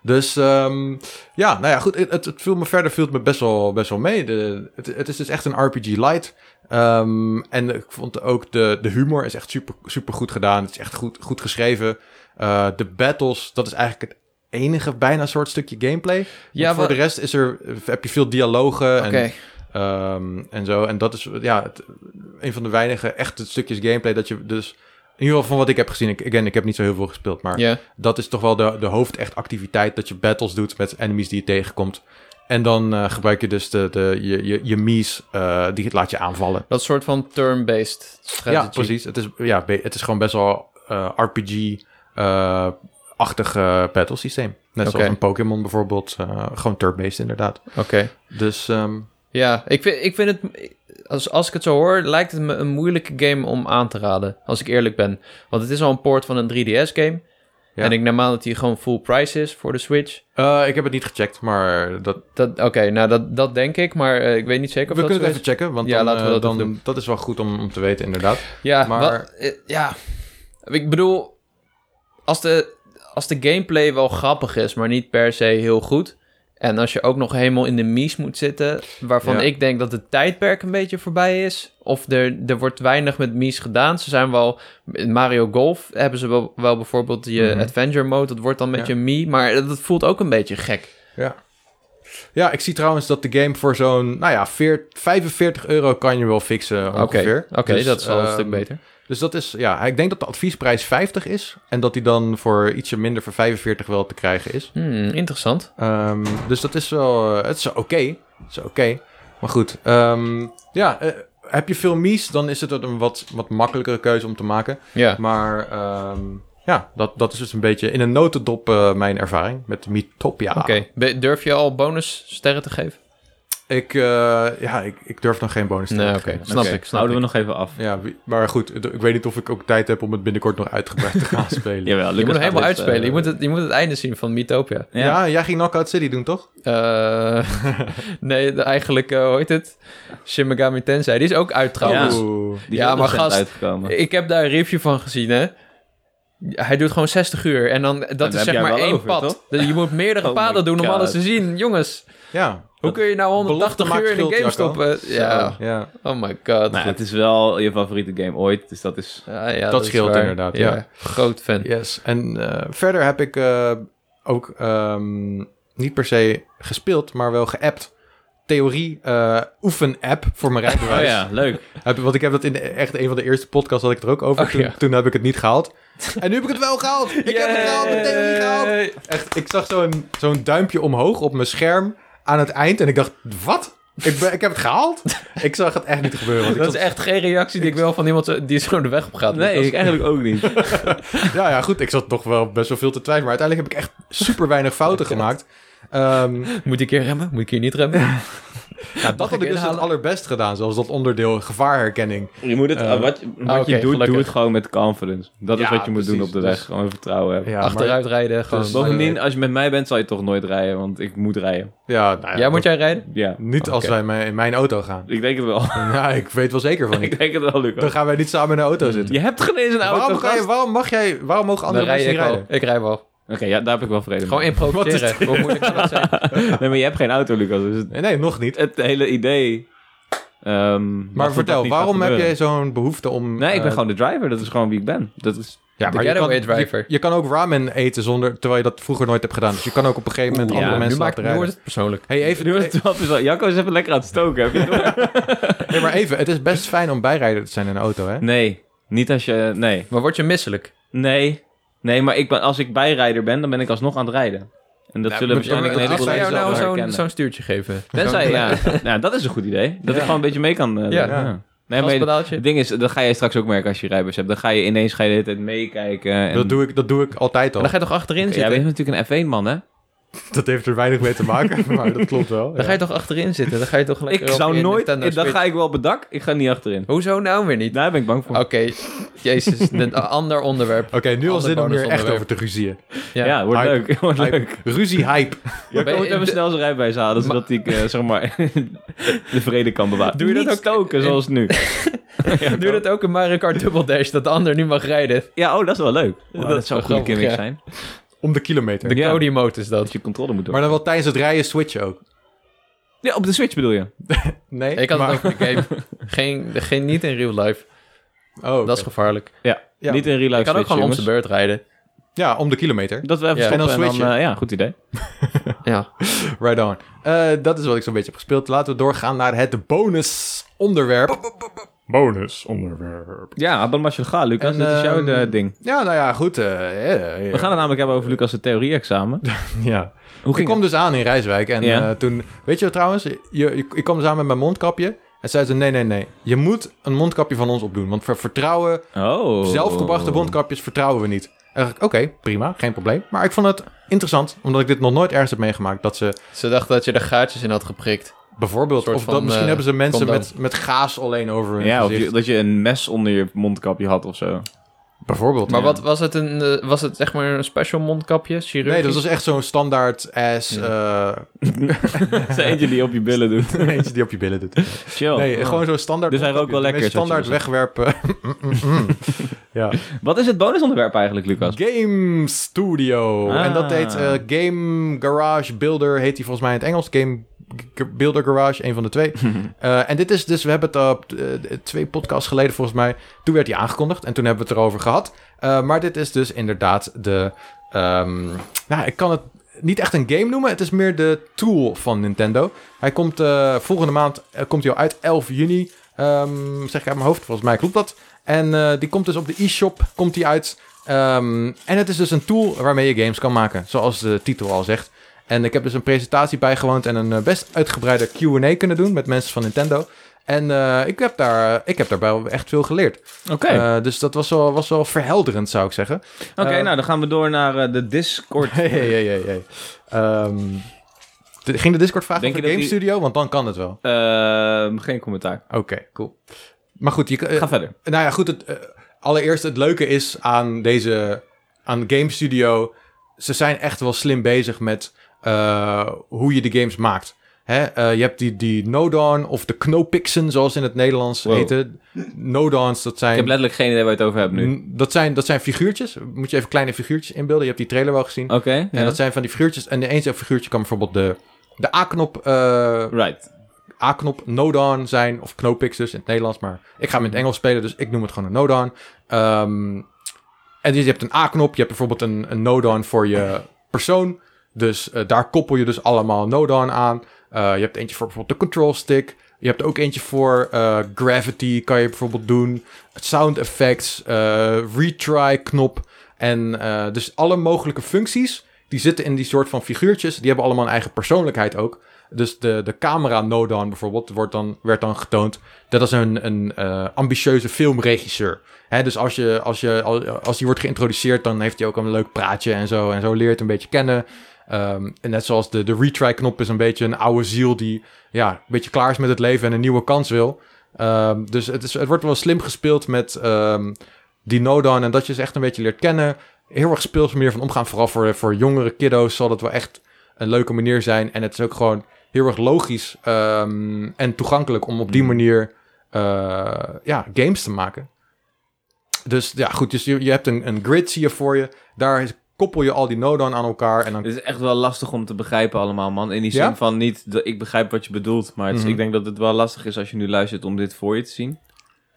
Speaker 1: Dus ehm, ja, nou ja, goed, het, het- het viel me verder viel het me best wel, best wel mee. De, het, het is dus echt een RPG light. Ehm, en ik vond ook de, de humor is echt super, super goed gedaan. Het is echt goed, goed geschreven. Eh, de battles, dat is eigenlijk het enige bijna soort stukje gameplay.
Speaker 2: Ja,
Speaker 1: Ja, voor
Speaker 2: wa-
Speaker 1: de rest is er, heb je veel dialogen
Speaker 2: Oké.
Speaker 1: en, ehm, en zo. En dat is ja, het- een van de weinige echte stukjes gameplay dat je dus... In ieder geval van wat ik heb gezien. Ik, again, ik heb niet zo heel veel gespeeld, maar
Speaker 2: Ja.
Speaker 1: dat is toch wel de, de hoofd echt activiteit. Dat je battles doet met enemies die je tegenkomt. En dan eh, gebruik je dus de, de, je, je, je mies, eh, die het laat je aanvallen.
Speaker 2: Dat soort van turn-based strategy.
Speaker 1: Ja, precies. Het is, ja, be- het is gewoon best wel eh, RPG-achtig battle eh, systeem. Net
Speaker 2: Oké.
Speaker 1: zoals een Pokémon bijvoorbeeld. eh, gewoon turn-based inderdaad.
Speaker 2: Oké.
Speaker 1: Dus ehm,
Speaker 2: Ja, ik vind, ik vind het... Als, als ik het zo hoor, lijkt het me een moeilijke game om aan te raden. Als ik eerlijk ben. Want het is al een port van een 3DS-game.
Speaker 1: Ja.
Speaker 2: En ik neem aan dat die gewoon full price is voor de Switch.
Speaker 1: eh, ik heb het niet gecheckt, maar dat,
Speaker 2: Dat, Oké, nou dat, dat denk ik, maar eh, ik weet niet zeker
Speaker 1: we
Speaker 2: of dat
Speaker 1: kunnen
Speaker 2: zo
Speaker 1: het
Speaker 2: is.
Speaker 1: even checken. Want
Speaker 2: Ja,
Speaker 1: dan,
Speaker 2: laten we
Speaker 1: eh,
Speaker 2: dat
Speaker 1: dan,
Speaker 2: even doen.
Speaker 1: dat is wel goed om, om te weten inderdaad.
Speaker 2: Ja,
Speaker 1: Maar-
Speaker 2: wat- eh, ja. Ik bedoel, als de, als de gameplay wel grappig is, maar niet per se heel goed. En als je ook nog helemaal in de mies moet zitten, waarvan
Speaker 1: Ja.
Speaker 2: ik denk dat het tijdperk een beetje voorbij is. Of er, er wordt weinig met mies gedaan. Ze zijn wel, in Mario Golf hebben ze wel, wel bijvoorbeeld je
Speaker 1: Mhm.
Speaker 2: adventure mode. Dat wordt dan met
Speaker 1: Ja.
Speaker 2: je mie, maar dat, dat voelt ook een beetje gek.
Speaker 1: Ja. Ja, ik zie trouwens dat de game voor zo'n, nou ja, veer- 45 euro kan je wel fixen
Speaker 2: Oké,
Speaker 1: ongeveer.
Speaker 2: oké,
Speaker 1: Dus,
Speaker 2: dat is al een
Speaker 1: ehm,
Speaker 2: stuk beter.
Speaker 1: Dus dat is, ja, ik denk dat de adviesprijs 50 is. En dat die dan voor ietsje minder voor 45 wel te krijgen is.
Speaker 2: Hmm, interessant.
Speaker 1: Ehm, dus dat is wel, eh, het is oké. Het is oké. Maar goed, ehm, ja, eh, heb je veel mies, dan is het een wat, wat makkelijkere keuze om te maken.
Speaker 2: Ja.
Speaker 1: Maar ehm, ja, dat, dat is dus een beetje in een notendop eh, mijn ervaring met Miitopia.
Speaker 2: Oké, Be- durf je al bonus sterren te geven?
Speaker 1: Ik, eh, ja, ik, ik durf nog geen bonus te
Speaker 2: Nee, oké.
Speaker 1: geven.
Speaker 2: Snap
Speaker 3: Oké,
Speaker 2: ik, snap
Speaker 3: houden
Speaker 2: ik.
Speaker 3: we nog even af.
Speaker 1: Ja, wie- maar goed, d- ik weet niet of ik ook tijd heb om het binnenkort nog uitgebreid te gaan spelen.
Speaker 3: Jawel,
Speaker 2: Je
Speaker 3: Lucas
Speaker 2: moet hem
Speaker 3: gaat
Speaker 2: helemaal
Speaker 3: dit,
Speaker 2: uitspelen.
Speaker 3: eh,
Speaker 2: je, moet het, je moet het einde zien van Mythopia.
Speaker 1: Ja.
Speaker 3: Ja.
Speaker 1: jij ging Knockout City doen, toch?
Speaker 2: Eh, nee, de- eigenlijk, eh, hoe heet het? Shin Megami Tensei. Die is ook uit trouwens.
Speaker 1: Oeh.
Speaker 3: Die
Speaker 2: Ja,
Speaker 3: is ook
Speaker 2: maar
Speaker 3: recent
Speaker 2: gast,
Speaker 3: Uitgekomen.
Speaker 2: Ik heb daar een review van gezien, hè. Hij doet gewoon 60 uur. En dan, dat
Speaker 3: daar
Speaker 2: is
Speaker 3: heb
Speaker 2: zeg
Speaker 3: jij
Speaker 2: maar
Speaker 3: wel
Speaker 2: één
Speaker 3: over,
Speaker 2: pad.
Speaker 3: toch?
Speaker 2: Dus je moet meerdere
Speaker 3: Oh my
Speaker 2: paden doen om
Speaker 3: God.
Speaker 2: alles te zien. Jongens,
Speaker 1: Ja.
Speaker 2: hoe kun je nou 180
Speaker 1: maakt
Speaker 2: uur in een
Speaker 1: geld,
Speaker 2: game
Speaker 1: Jacco.
Speaker 2: stoppen? Ja,
Speaker 1: Ja.
Speaker 2: oh my god. Ah,
Speaker 3: Nou, het is wel je favoriete game ooit, dus dat is...
Speaker 2: Ja, ja, is
Speaker 1: scheelt
Speaker 2: waar.
Speaker 1: inderdaad, ja.
Speaker 2: Groot fan.
Speaker 1: Yes. En eh, verder heb ik eh, ook ehm, niet per se gespeeld, maar wel geappt. Theorie eh, oefen-app voor mijn
Speaker 3: Oh
Speaker 1: rijbewijs.
Speaker 3: ja, leuk.
Speaker 1: Heb- want ik heb dat in de- echt een van de eerste podcasts had ik het er ook over.
Speaker 2: Oh,
Speaker 1: toen,
Speaker 2: ja.
Speaker 1: toen heb ik het niet gehaald. En nu heb ik het wel gehaald. Ik heb het gehaald, mijn theorie gehaald.
Speaker 2: Yay.
Speaker 1: Echt, ik zag zo'n zo'n duimpje omhoog op mijn scherm aan het eind. En ik dacht, wat? Ik, ben, ik heb het gehaald? ik zag het echt niet gebeuren. want ik
Speaker 2: Dat is
Speaker 1: zat-
Speaker 2: echt geen reactie die ik wil van iemand die zo de weg op gaat.
Speaker 3: Nee, ik eigenlijk ook niet.
Speaker 1: Ja, ja, goed. Ik zat toch wel best wel veel te twijfelen. Maar uiteindelijk heb ik echt super weinig fouten gemaakt. Ehm,
Speaker 2: Moet ik hier remmen? Moet ik hier niet remmen?
Speaker 1: ja, dat had
Speaker 2: Mag ik
Speaker 1: ik dus het
Speaker 2: inhalen?
Speaker 1: allerbest gedaan. Zoals dat onderdeel gevaarherkenning.
Speaker 3: Je moet het,
Speaker 1: Eh,
Speaker 3: wat wat
Speaker 2: ah, oké,
Speaker 3: je doet,
Speaker 2: gelukkig.
Speaker 3: doe het gewoon met confidence. Dat is
Speaker 1: Ja,
Speaker 3: wat je moet doen
Speaker 1: precies,
Speaker 3: op de
Speaker 1: dus-
Speaker 3: weg. Gewoon vertrouwen hebben.
Speaker 1: Ja,
Speaker 2: Achteruit rijden, gewoon.
Speaker 1: Dus-
Speaker 3: Bovendien, als je met mij bent, zal je toch nooit rijden, want ik moet rijden.
Speaker 1: Maar, ja, nou ja,
Speaker 2: Jij moet jij rijden?
Speaker 3: Ja,
Speaker 1: Niet als
Speaker 2: Oké.
Speaker 1: wij mijn- in mijn auto gaan.
Speaker 3: ik denk het wel.
Speaker 1: Ja, ik weet wel zeker van niet.
Speaker 3: ik denk het wel,
Speaker 1: Dan
Speaker 3: Lucas.
Speaker 1: gaan wij niet samen in de auto zitten.
Speaker 3: Je hebt geen eens een auto,
Speaker 1: Waarom, ga je,
Speaker 3: gast.
Speaker 1: waarom, mag jij, waarom mogen
Speaker 2: Hmm. Dan
Speaker 1: andere mensen
Speaker 2: rij ik
Speaker 1: niet
Speaker 2: wel.
Speaker 1: rijden?
Speaker 2: Ik rij wel.
Speaker 3: Oké, ja, daar heb ik wel vrede mee.
Speaker 2: Gewoon improviseren. Hoe moeilijk kan dat zijn?
Speaker 3: Nee, maar je hebt geen auto, Lucas. Dus het,
Speaker 1: Nee, nee, nog niet.
Speaker 3: het hele idee... ehm, was dat
Speaker 1: Maar
Speaker 3: dat
Speaker 1: vertel,
Speaker 3: niet gaat
Speaker 1: waarom heb
Speaker 3: gebeuren.
Speaker 1: jij zo'n behoefte om...
Speaker 3: Nee, ik ben
Speaker 1: eh,
Speaker 3: gewoon de driver. Dat is gewoon wie ik ben. Dat is...
Speaker 1: ja,
Speaker 2: de
Speaker 1: je kan,
Speaker 2: getaway
Speaker 1: je-
Speaker 2: driver.
Speaker 1: Je, kan ook ramen eten zonder, terwijl je dat vroeger nooit hebt gedaan. Dus je kan ook op een gegeven moment
Speaker 3: Oeh,
Speaker 1: andere
Speaker 3: ja,
Speaker 2: nu
Speaker 1: mensen
Speaker 2: maakt
Speaker 1: laten
Speaker 2: nu wordt
Speaker 1: rijden.
Speaker 2: het persoonlijk.
Speaker 1: Hey, even,
Speaker 3: Nu is het 12 uur. Jacco is even lekker aan het stoken. Heb je het door?
Speaker 1: nee, maar even, het is best fijn om bijrijder te zijn in een auto, hè?
Speaker 3: Nee, niet als je... Nee.
Speaker 2: Maar word je misselijk?
Speaker 3: Nee. Nee, maar ik ben, als ik bijrijder ben, dan ben ik alsnog aan het rijden. En dat
Speaker 2: Nou,
Speaker 3: zullen
Speaker 2: moet je-
Speaker 1: maar-
Speaker 3: waarschijnlijk een
Speaker 2: Ik
Speaker 3: heleboel
Speaker 2: zou
Speaker 1: maar-
Speaker 2: jou
Speaker 3: mensen
Speaker 2: nou
Speaker 3: wel
Speaker 2: zo'n
Speaker 3: herkennen.
Speaker 2: zo'n stuurtje geven.
Speaker 3: Tenzij, ja. ja, dat is een goed idee. Dat ik gewoon een beetje mee kan. eh,
Speaker 2: Ja.
Speaker 3: doen, ja. Nee, maar
Speaker 2: Gaspedaaltje.
Speaker 3: het ding is, dat ga je straks ook merken als je rijbewijs hebt. Dan ga je ineens ga je de hele tijd meekijken. En...
Speaker 1: Dat doe, ik, dat doe ik altijd al.
Speaker 2: Maar dan ga je toch achterin
Speaker 3: Jij
Speaker 2: zitten?
Speaker 3: bent natuurlijk een F1-man, hè?
Speaker 1: Dat heeft er weinig mee te maken, maar dat klopt wel.
Speaker 2: Dan ga je toch achterin zitten? Dan ga je toch lekker
Speaker 3: Ik
Speaker 2: op
Speaker 3: zou
Speaker 2: je
Speaker 3: nooit...
Speaker 2: Nintendo
Speaker 3: Dan
Speaker 2: Switch-
Speaker 3: ga ik wel op het dak. Ik ga niet achterin.
Speaker 2: Hoezo nou weer niet?
Speaker 3: Daar ben ik bang voor.
Speaker 2: Oké, jezus, een ander onderwerp.
Speaker 1: Oké, nu al
Speaker 2: Ander
Speaker 1: zin om hier echt
Speaker 2: bonusonderwerp.
Speaker 1: over te ruzieën.
Speaker 3: ja.
Speaker 2: Ja.
Speaker 3: wordt
Speaker 1: Hype.
Speaker 3: leuk. wordt
Speaker 1: Hype.
Speaker 3: leuk.
Speaker 1: Ruzie hype.
Speaker 3: Ja, ik
Speaker 2: ben je-
Speaker 3: moet even
Speaker 2: de-
Speaker 3: snel zijn rijbewijs halen, zodat ik, eh, zeg maar, de vrede kan bewaren.
Speaker 2: Doe je dat
Speaker 3: Niet
Speaker 2: ook-
Speaker 3: stoken, zoals nu.
Speaker 2: Doe dat ook in Mario Kart Double Dash, dat de ander nu mag rijden.
Speaker 3: Ja, oh, dat is wel leuk. dat,
Speaker 2: dat is
Speaker 3: zou een
Speaker 2: wel
Speaker 3: goede
Speaker 2: grappig,
Speaker 3: gimmick
Speaker 2: ja.
Speaker 3: zijn.
Speaker 1: Om de kilometer.
Speaker 2: De
Speaker 3: Ja.
Speaker 2: Cody mode is
Speaker 3: Dat
Speaker 2: dat.
Speaker 3: je controle moet doen.
Speaker 1: Maar dan wel tijdens het rijden switchen ook.
Speaker 3: Ja, op de Switch bedoel je?
Speaker 1: Nee?
Speaker 2: Ik had
Speaker 1: maar...
Speaker 2: het over de game. Geen, geen, niet in real life.
Speaker 1: Oh, oké.
Speaker 2: Dat is gevaarlijk.
Speaker 3: Ja.
Speaker 1: Ja.
Speaker 3: Niet in real life
Speaker 2: Ik kan ook
Speaker 3: Switch,
Speaker 2: gewoon om
Speaker 3: jongens.
Speaker 2: zijn beurt rijden.
Speaker 1: Ja, om de kilometer.
Speaker 3: Dat we even
Speaker 2: Ja.
Speaker 3: stoppen
Speaker 1: En dan switchen.
Speaker 3: eh, ja, goed idee.
Speaker 2: Ja.
Speaker 1: Right on. Eh, dat is wat ik zo'n beetje heb gespeeld. Laten we doorgaan naar het bonus onderwerp. Bonus onderwerp.
Speaker 3: Ja, Abelmasje ga, Lucas.
Speaker 1: En,
Speaker 3: dit is jouw
Speaker 1: ehm,
Speaker 3: eh, ding.
Speaker 1: Ja, nou ja, goed. eh, eh, eh.
Speaker 3: We gaan het namelijk hebben over Lucas' theorie-examen.
Speaker 1: Ja.
Speaker 3: Hoe
Speaker 1: ik
Speaker 3: ging
Speaker 1: kwam dus aan in Rijswijk en
Speaker 3: Ja.
Speaker 1: eh, toen... Weet je wat trouwens? Je, je- ik kwam dus aan met mijn mondkapje en zei ze... Nee, nee, nee. Je moet een mondkapje van ons opdoen. Want we vertrouwen...
Speaker 3: het? Oh.
Speaker 1: Zelfgebrachte mondkapjes vertrouwen we niet. En dacht ik, oké, prima. Geen probleem. Maar ik vond het interessant, omdat ik dit nog nooit ergens heb meegemaakt... dat ze
Speaker 2: Ze dachten dat je er gaatjes in had geprikt.
Speaker 1: bijvoorbeeld...
Speaker 2: Soort
Speaker 1: Of
Speaker 2: van,
Speaker 1: dat misschien
Speaker 2: eh,
Speaker 1: hebben ze mensen
Speaker 2: condoom.
Speaker 1: met, met gaas alleen over hun
Speaker 3: Ja, of
Speaker 1: gezicht.
Speaker 3: je- dat je een mes onder je mondkapje had of zo.
Speaker 1: Bijvoorbeeld.
Speaker 2: Maar
Speaker 3: Ja.
Speaker 2: wat was het, een, eh, was het zeg maar een special mondkapje? Chirurgisch?
Speaker 1: Nee, dat was echt zo'n standaard ass... eh,
Speaker 3: Dat is eentje die op je billen doet.
Speaker 1: eentje die op je billen doet.
Speaker 3: Chill.
Speaker 1: Nee,
Speaker 2: Oh,
Speaker 3: Ja.
Speaker 1: gewoon zo'n standaard...
Speaker 3: Dus hij rookt wel
Speaker 1: mondkapje.
Speaker 3: lekker,
Speaker 1: Een Standaard
Speaker 3: zou
Speaker 1: wegwerpen.
Speaker 2: dus.
Speaker 1: Mm, ja.
Speaker 3: Wat is het bonusonderwerp eigenlijk, Lucas?
Speaker 1: Game Studio.
Speaker 3: Ah.
Speaker 1: En dat heet eh, Game Garage Builder, heet die volgens mij in het Engels. Game G- G- Builder Garage, een van de twee. Eh, en dit is dus, we hebben het eh, op, eh, twee podcasts geleden volgens mij. Toen werd die aangekondigd en toen hebben we het erover gehad. Eh, maar dit is dus inderdaad de. ehm, nou, ik kan het niet echt een game noemen. Het is meer de tool van Nintendo. Hij komt eh, volgende maand eh, komt hij al uit, 11 juni. Ehm, zeg ik uit mijn hoofd, volgens mij klopt dat. En eh, die komt dus op de e-shop komt die uit. Ehm, en het is dus een tool waarmee je games kan maken, zoals de titel al zegt. En ik heb dus een presentatie bijgewoond en een eh, best uitgebreide Q&A kunnen doen met mensen van Nintendo. En eh, ik, heb daar, ik heb daarbij wel echt veel geleerd.
Speaker 3: Oké,
Speaker 1: Eh, dus dat was wel, was wel verhelderend, zou ik zeggen.
Speaker 3: Oké,
Speaker 1: eh,
Speaker 3: nou dan gaan we door naar eh, de Discord.
Speaker 1: Hey, hey, hey, hey, hey. Ehm, de- ging de Discord vragen
Speaker 3: Denk
Speaker 1: over
Speaker 3: je
Speaker 1: Game
Speaker 3: dat die-
Speaker 1: Studio? Want dan kan het wel.
Speaker 3: Ehm, geen commentaar.
Speaker 1: Oké, cool. Maar goed, je, eh,
Speaker 3: Ga verder.
Speaker 1: nou ja, goed. Het, eh, allereerst het leuke is aan deze, aan Game Studio. Ze zijn echt wel slim bezig met eh, hoe je de games maakt. Hè? eh, je hebt die, die Nodon of de Knopixen, zoals ze in het Nederlands
Speaker 3: Wow.
Speaker 1: heten. Nodons, dat zijn...
Speaker 3: Ik heb letterlijk geen idee waar je het over hebt nu.
Speaker 1: N- Dat zijn, dat zijn figuurtjes. Moet je even kleine figuurtjes inbeelden. Je hebt die trailer wel gezien.
Speaker 3: Oké, Oh, ja.
Speaker 1: En dat zijn van die figuurtjes. En de eens een figuurtje kan bijvoorbeeld de, de A-knop, eh,
Speaker 3: Right.
Speaker 1: A-knop Nodon zijn. Of Knopix dus in het Nederlands. Maar ik ga hem in het Engels spelen, dus ik noem het gewoon een Nodon. Ehm, en dus je hebt een A-knop. Je hebt bijvoorbeeld een, een Nodon voor je persoon. Dus eh, daar koppel je dus allemaal Nodon aan. Eh, je hebt eentje voor bijvoorbeeld de control stick. Je hebt ook eentje voor eh, gravity, kan je bijvoorbeeld doen. Sound effects, eh, retry knop. En eh, dus alle mogelijke functies, die zitten in die soort van figuurtjes. Die hebben allemaal een eigen persoonlijkheid ook. Dus de, de camera Nodon bijvoorbeeld wordt dan, werd dan getoond. Dat is een, een eh, ambitieuze filmregisseur. Hè, dus als, je, als, je, als die wordt geïntroduceerd, dan heeft hij ook een leuk praatje en zo. En zo leert een beetje kennen. Ehm, en net zoals de, de retry-knop is een beetje een oude ziel die ja, een beetje klaar is met het leven en een nieuwe kans wil. Ehm, dus het, is, het wordt wel slim gespeeld met ehm, die Nodon en dat je ze echt een beetje leert kennen. Heel erg speels manier van omgaan. Vooral voor, voor jongere kiddo's zal dat wel echt een leuke manier zijn. En het is ook gewoon heel erg logisch ehm, en toegankelijk om op die manier eh, ja, games te maken. Dus ja, goed. Dus je, je hebt een, een grid zie je voor je. Daar is- koppel je al die Nodon aan elkaar. En dan
Speaker 3: Het is echt wel lastig om te begrijpen allemaal, man. In die zin
Speaker 1: Ja?
Speaker 3: van niet, dat ik begrijp wat je bedoelt, maar het is-
Speaker 1: Mhm.
Speaker 3: ik denk dat het wel lastig is als je nu luistert om dit voor je te zien.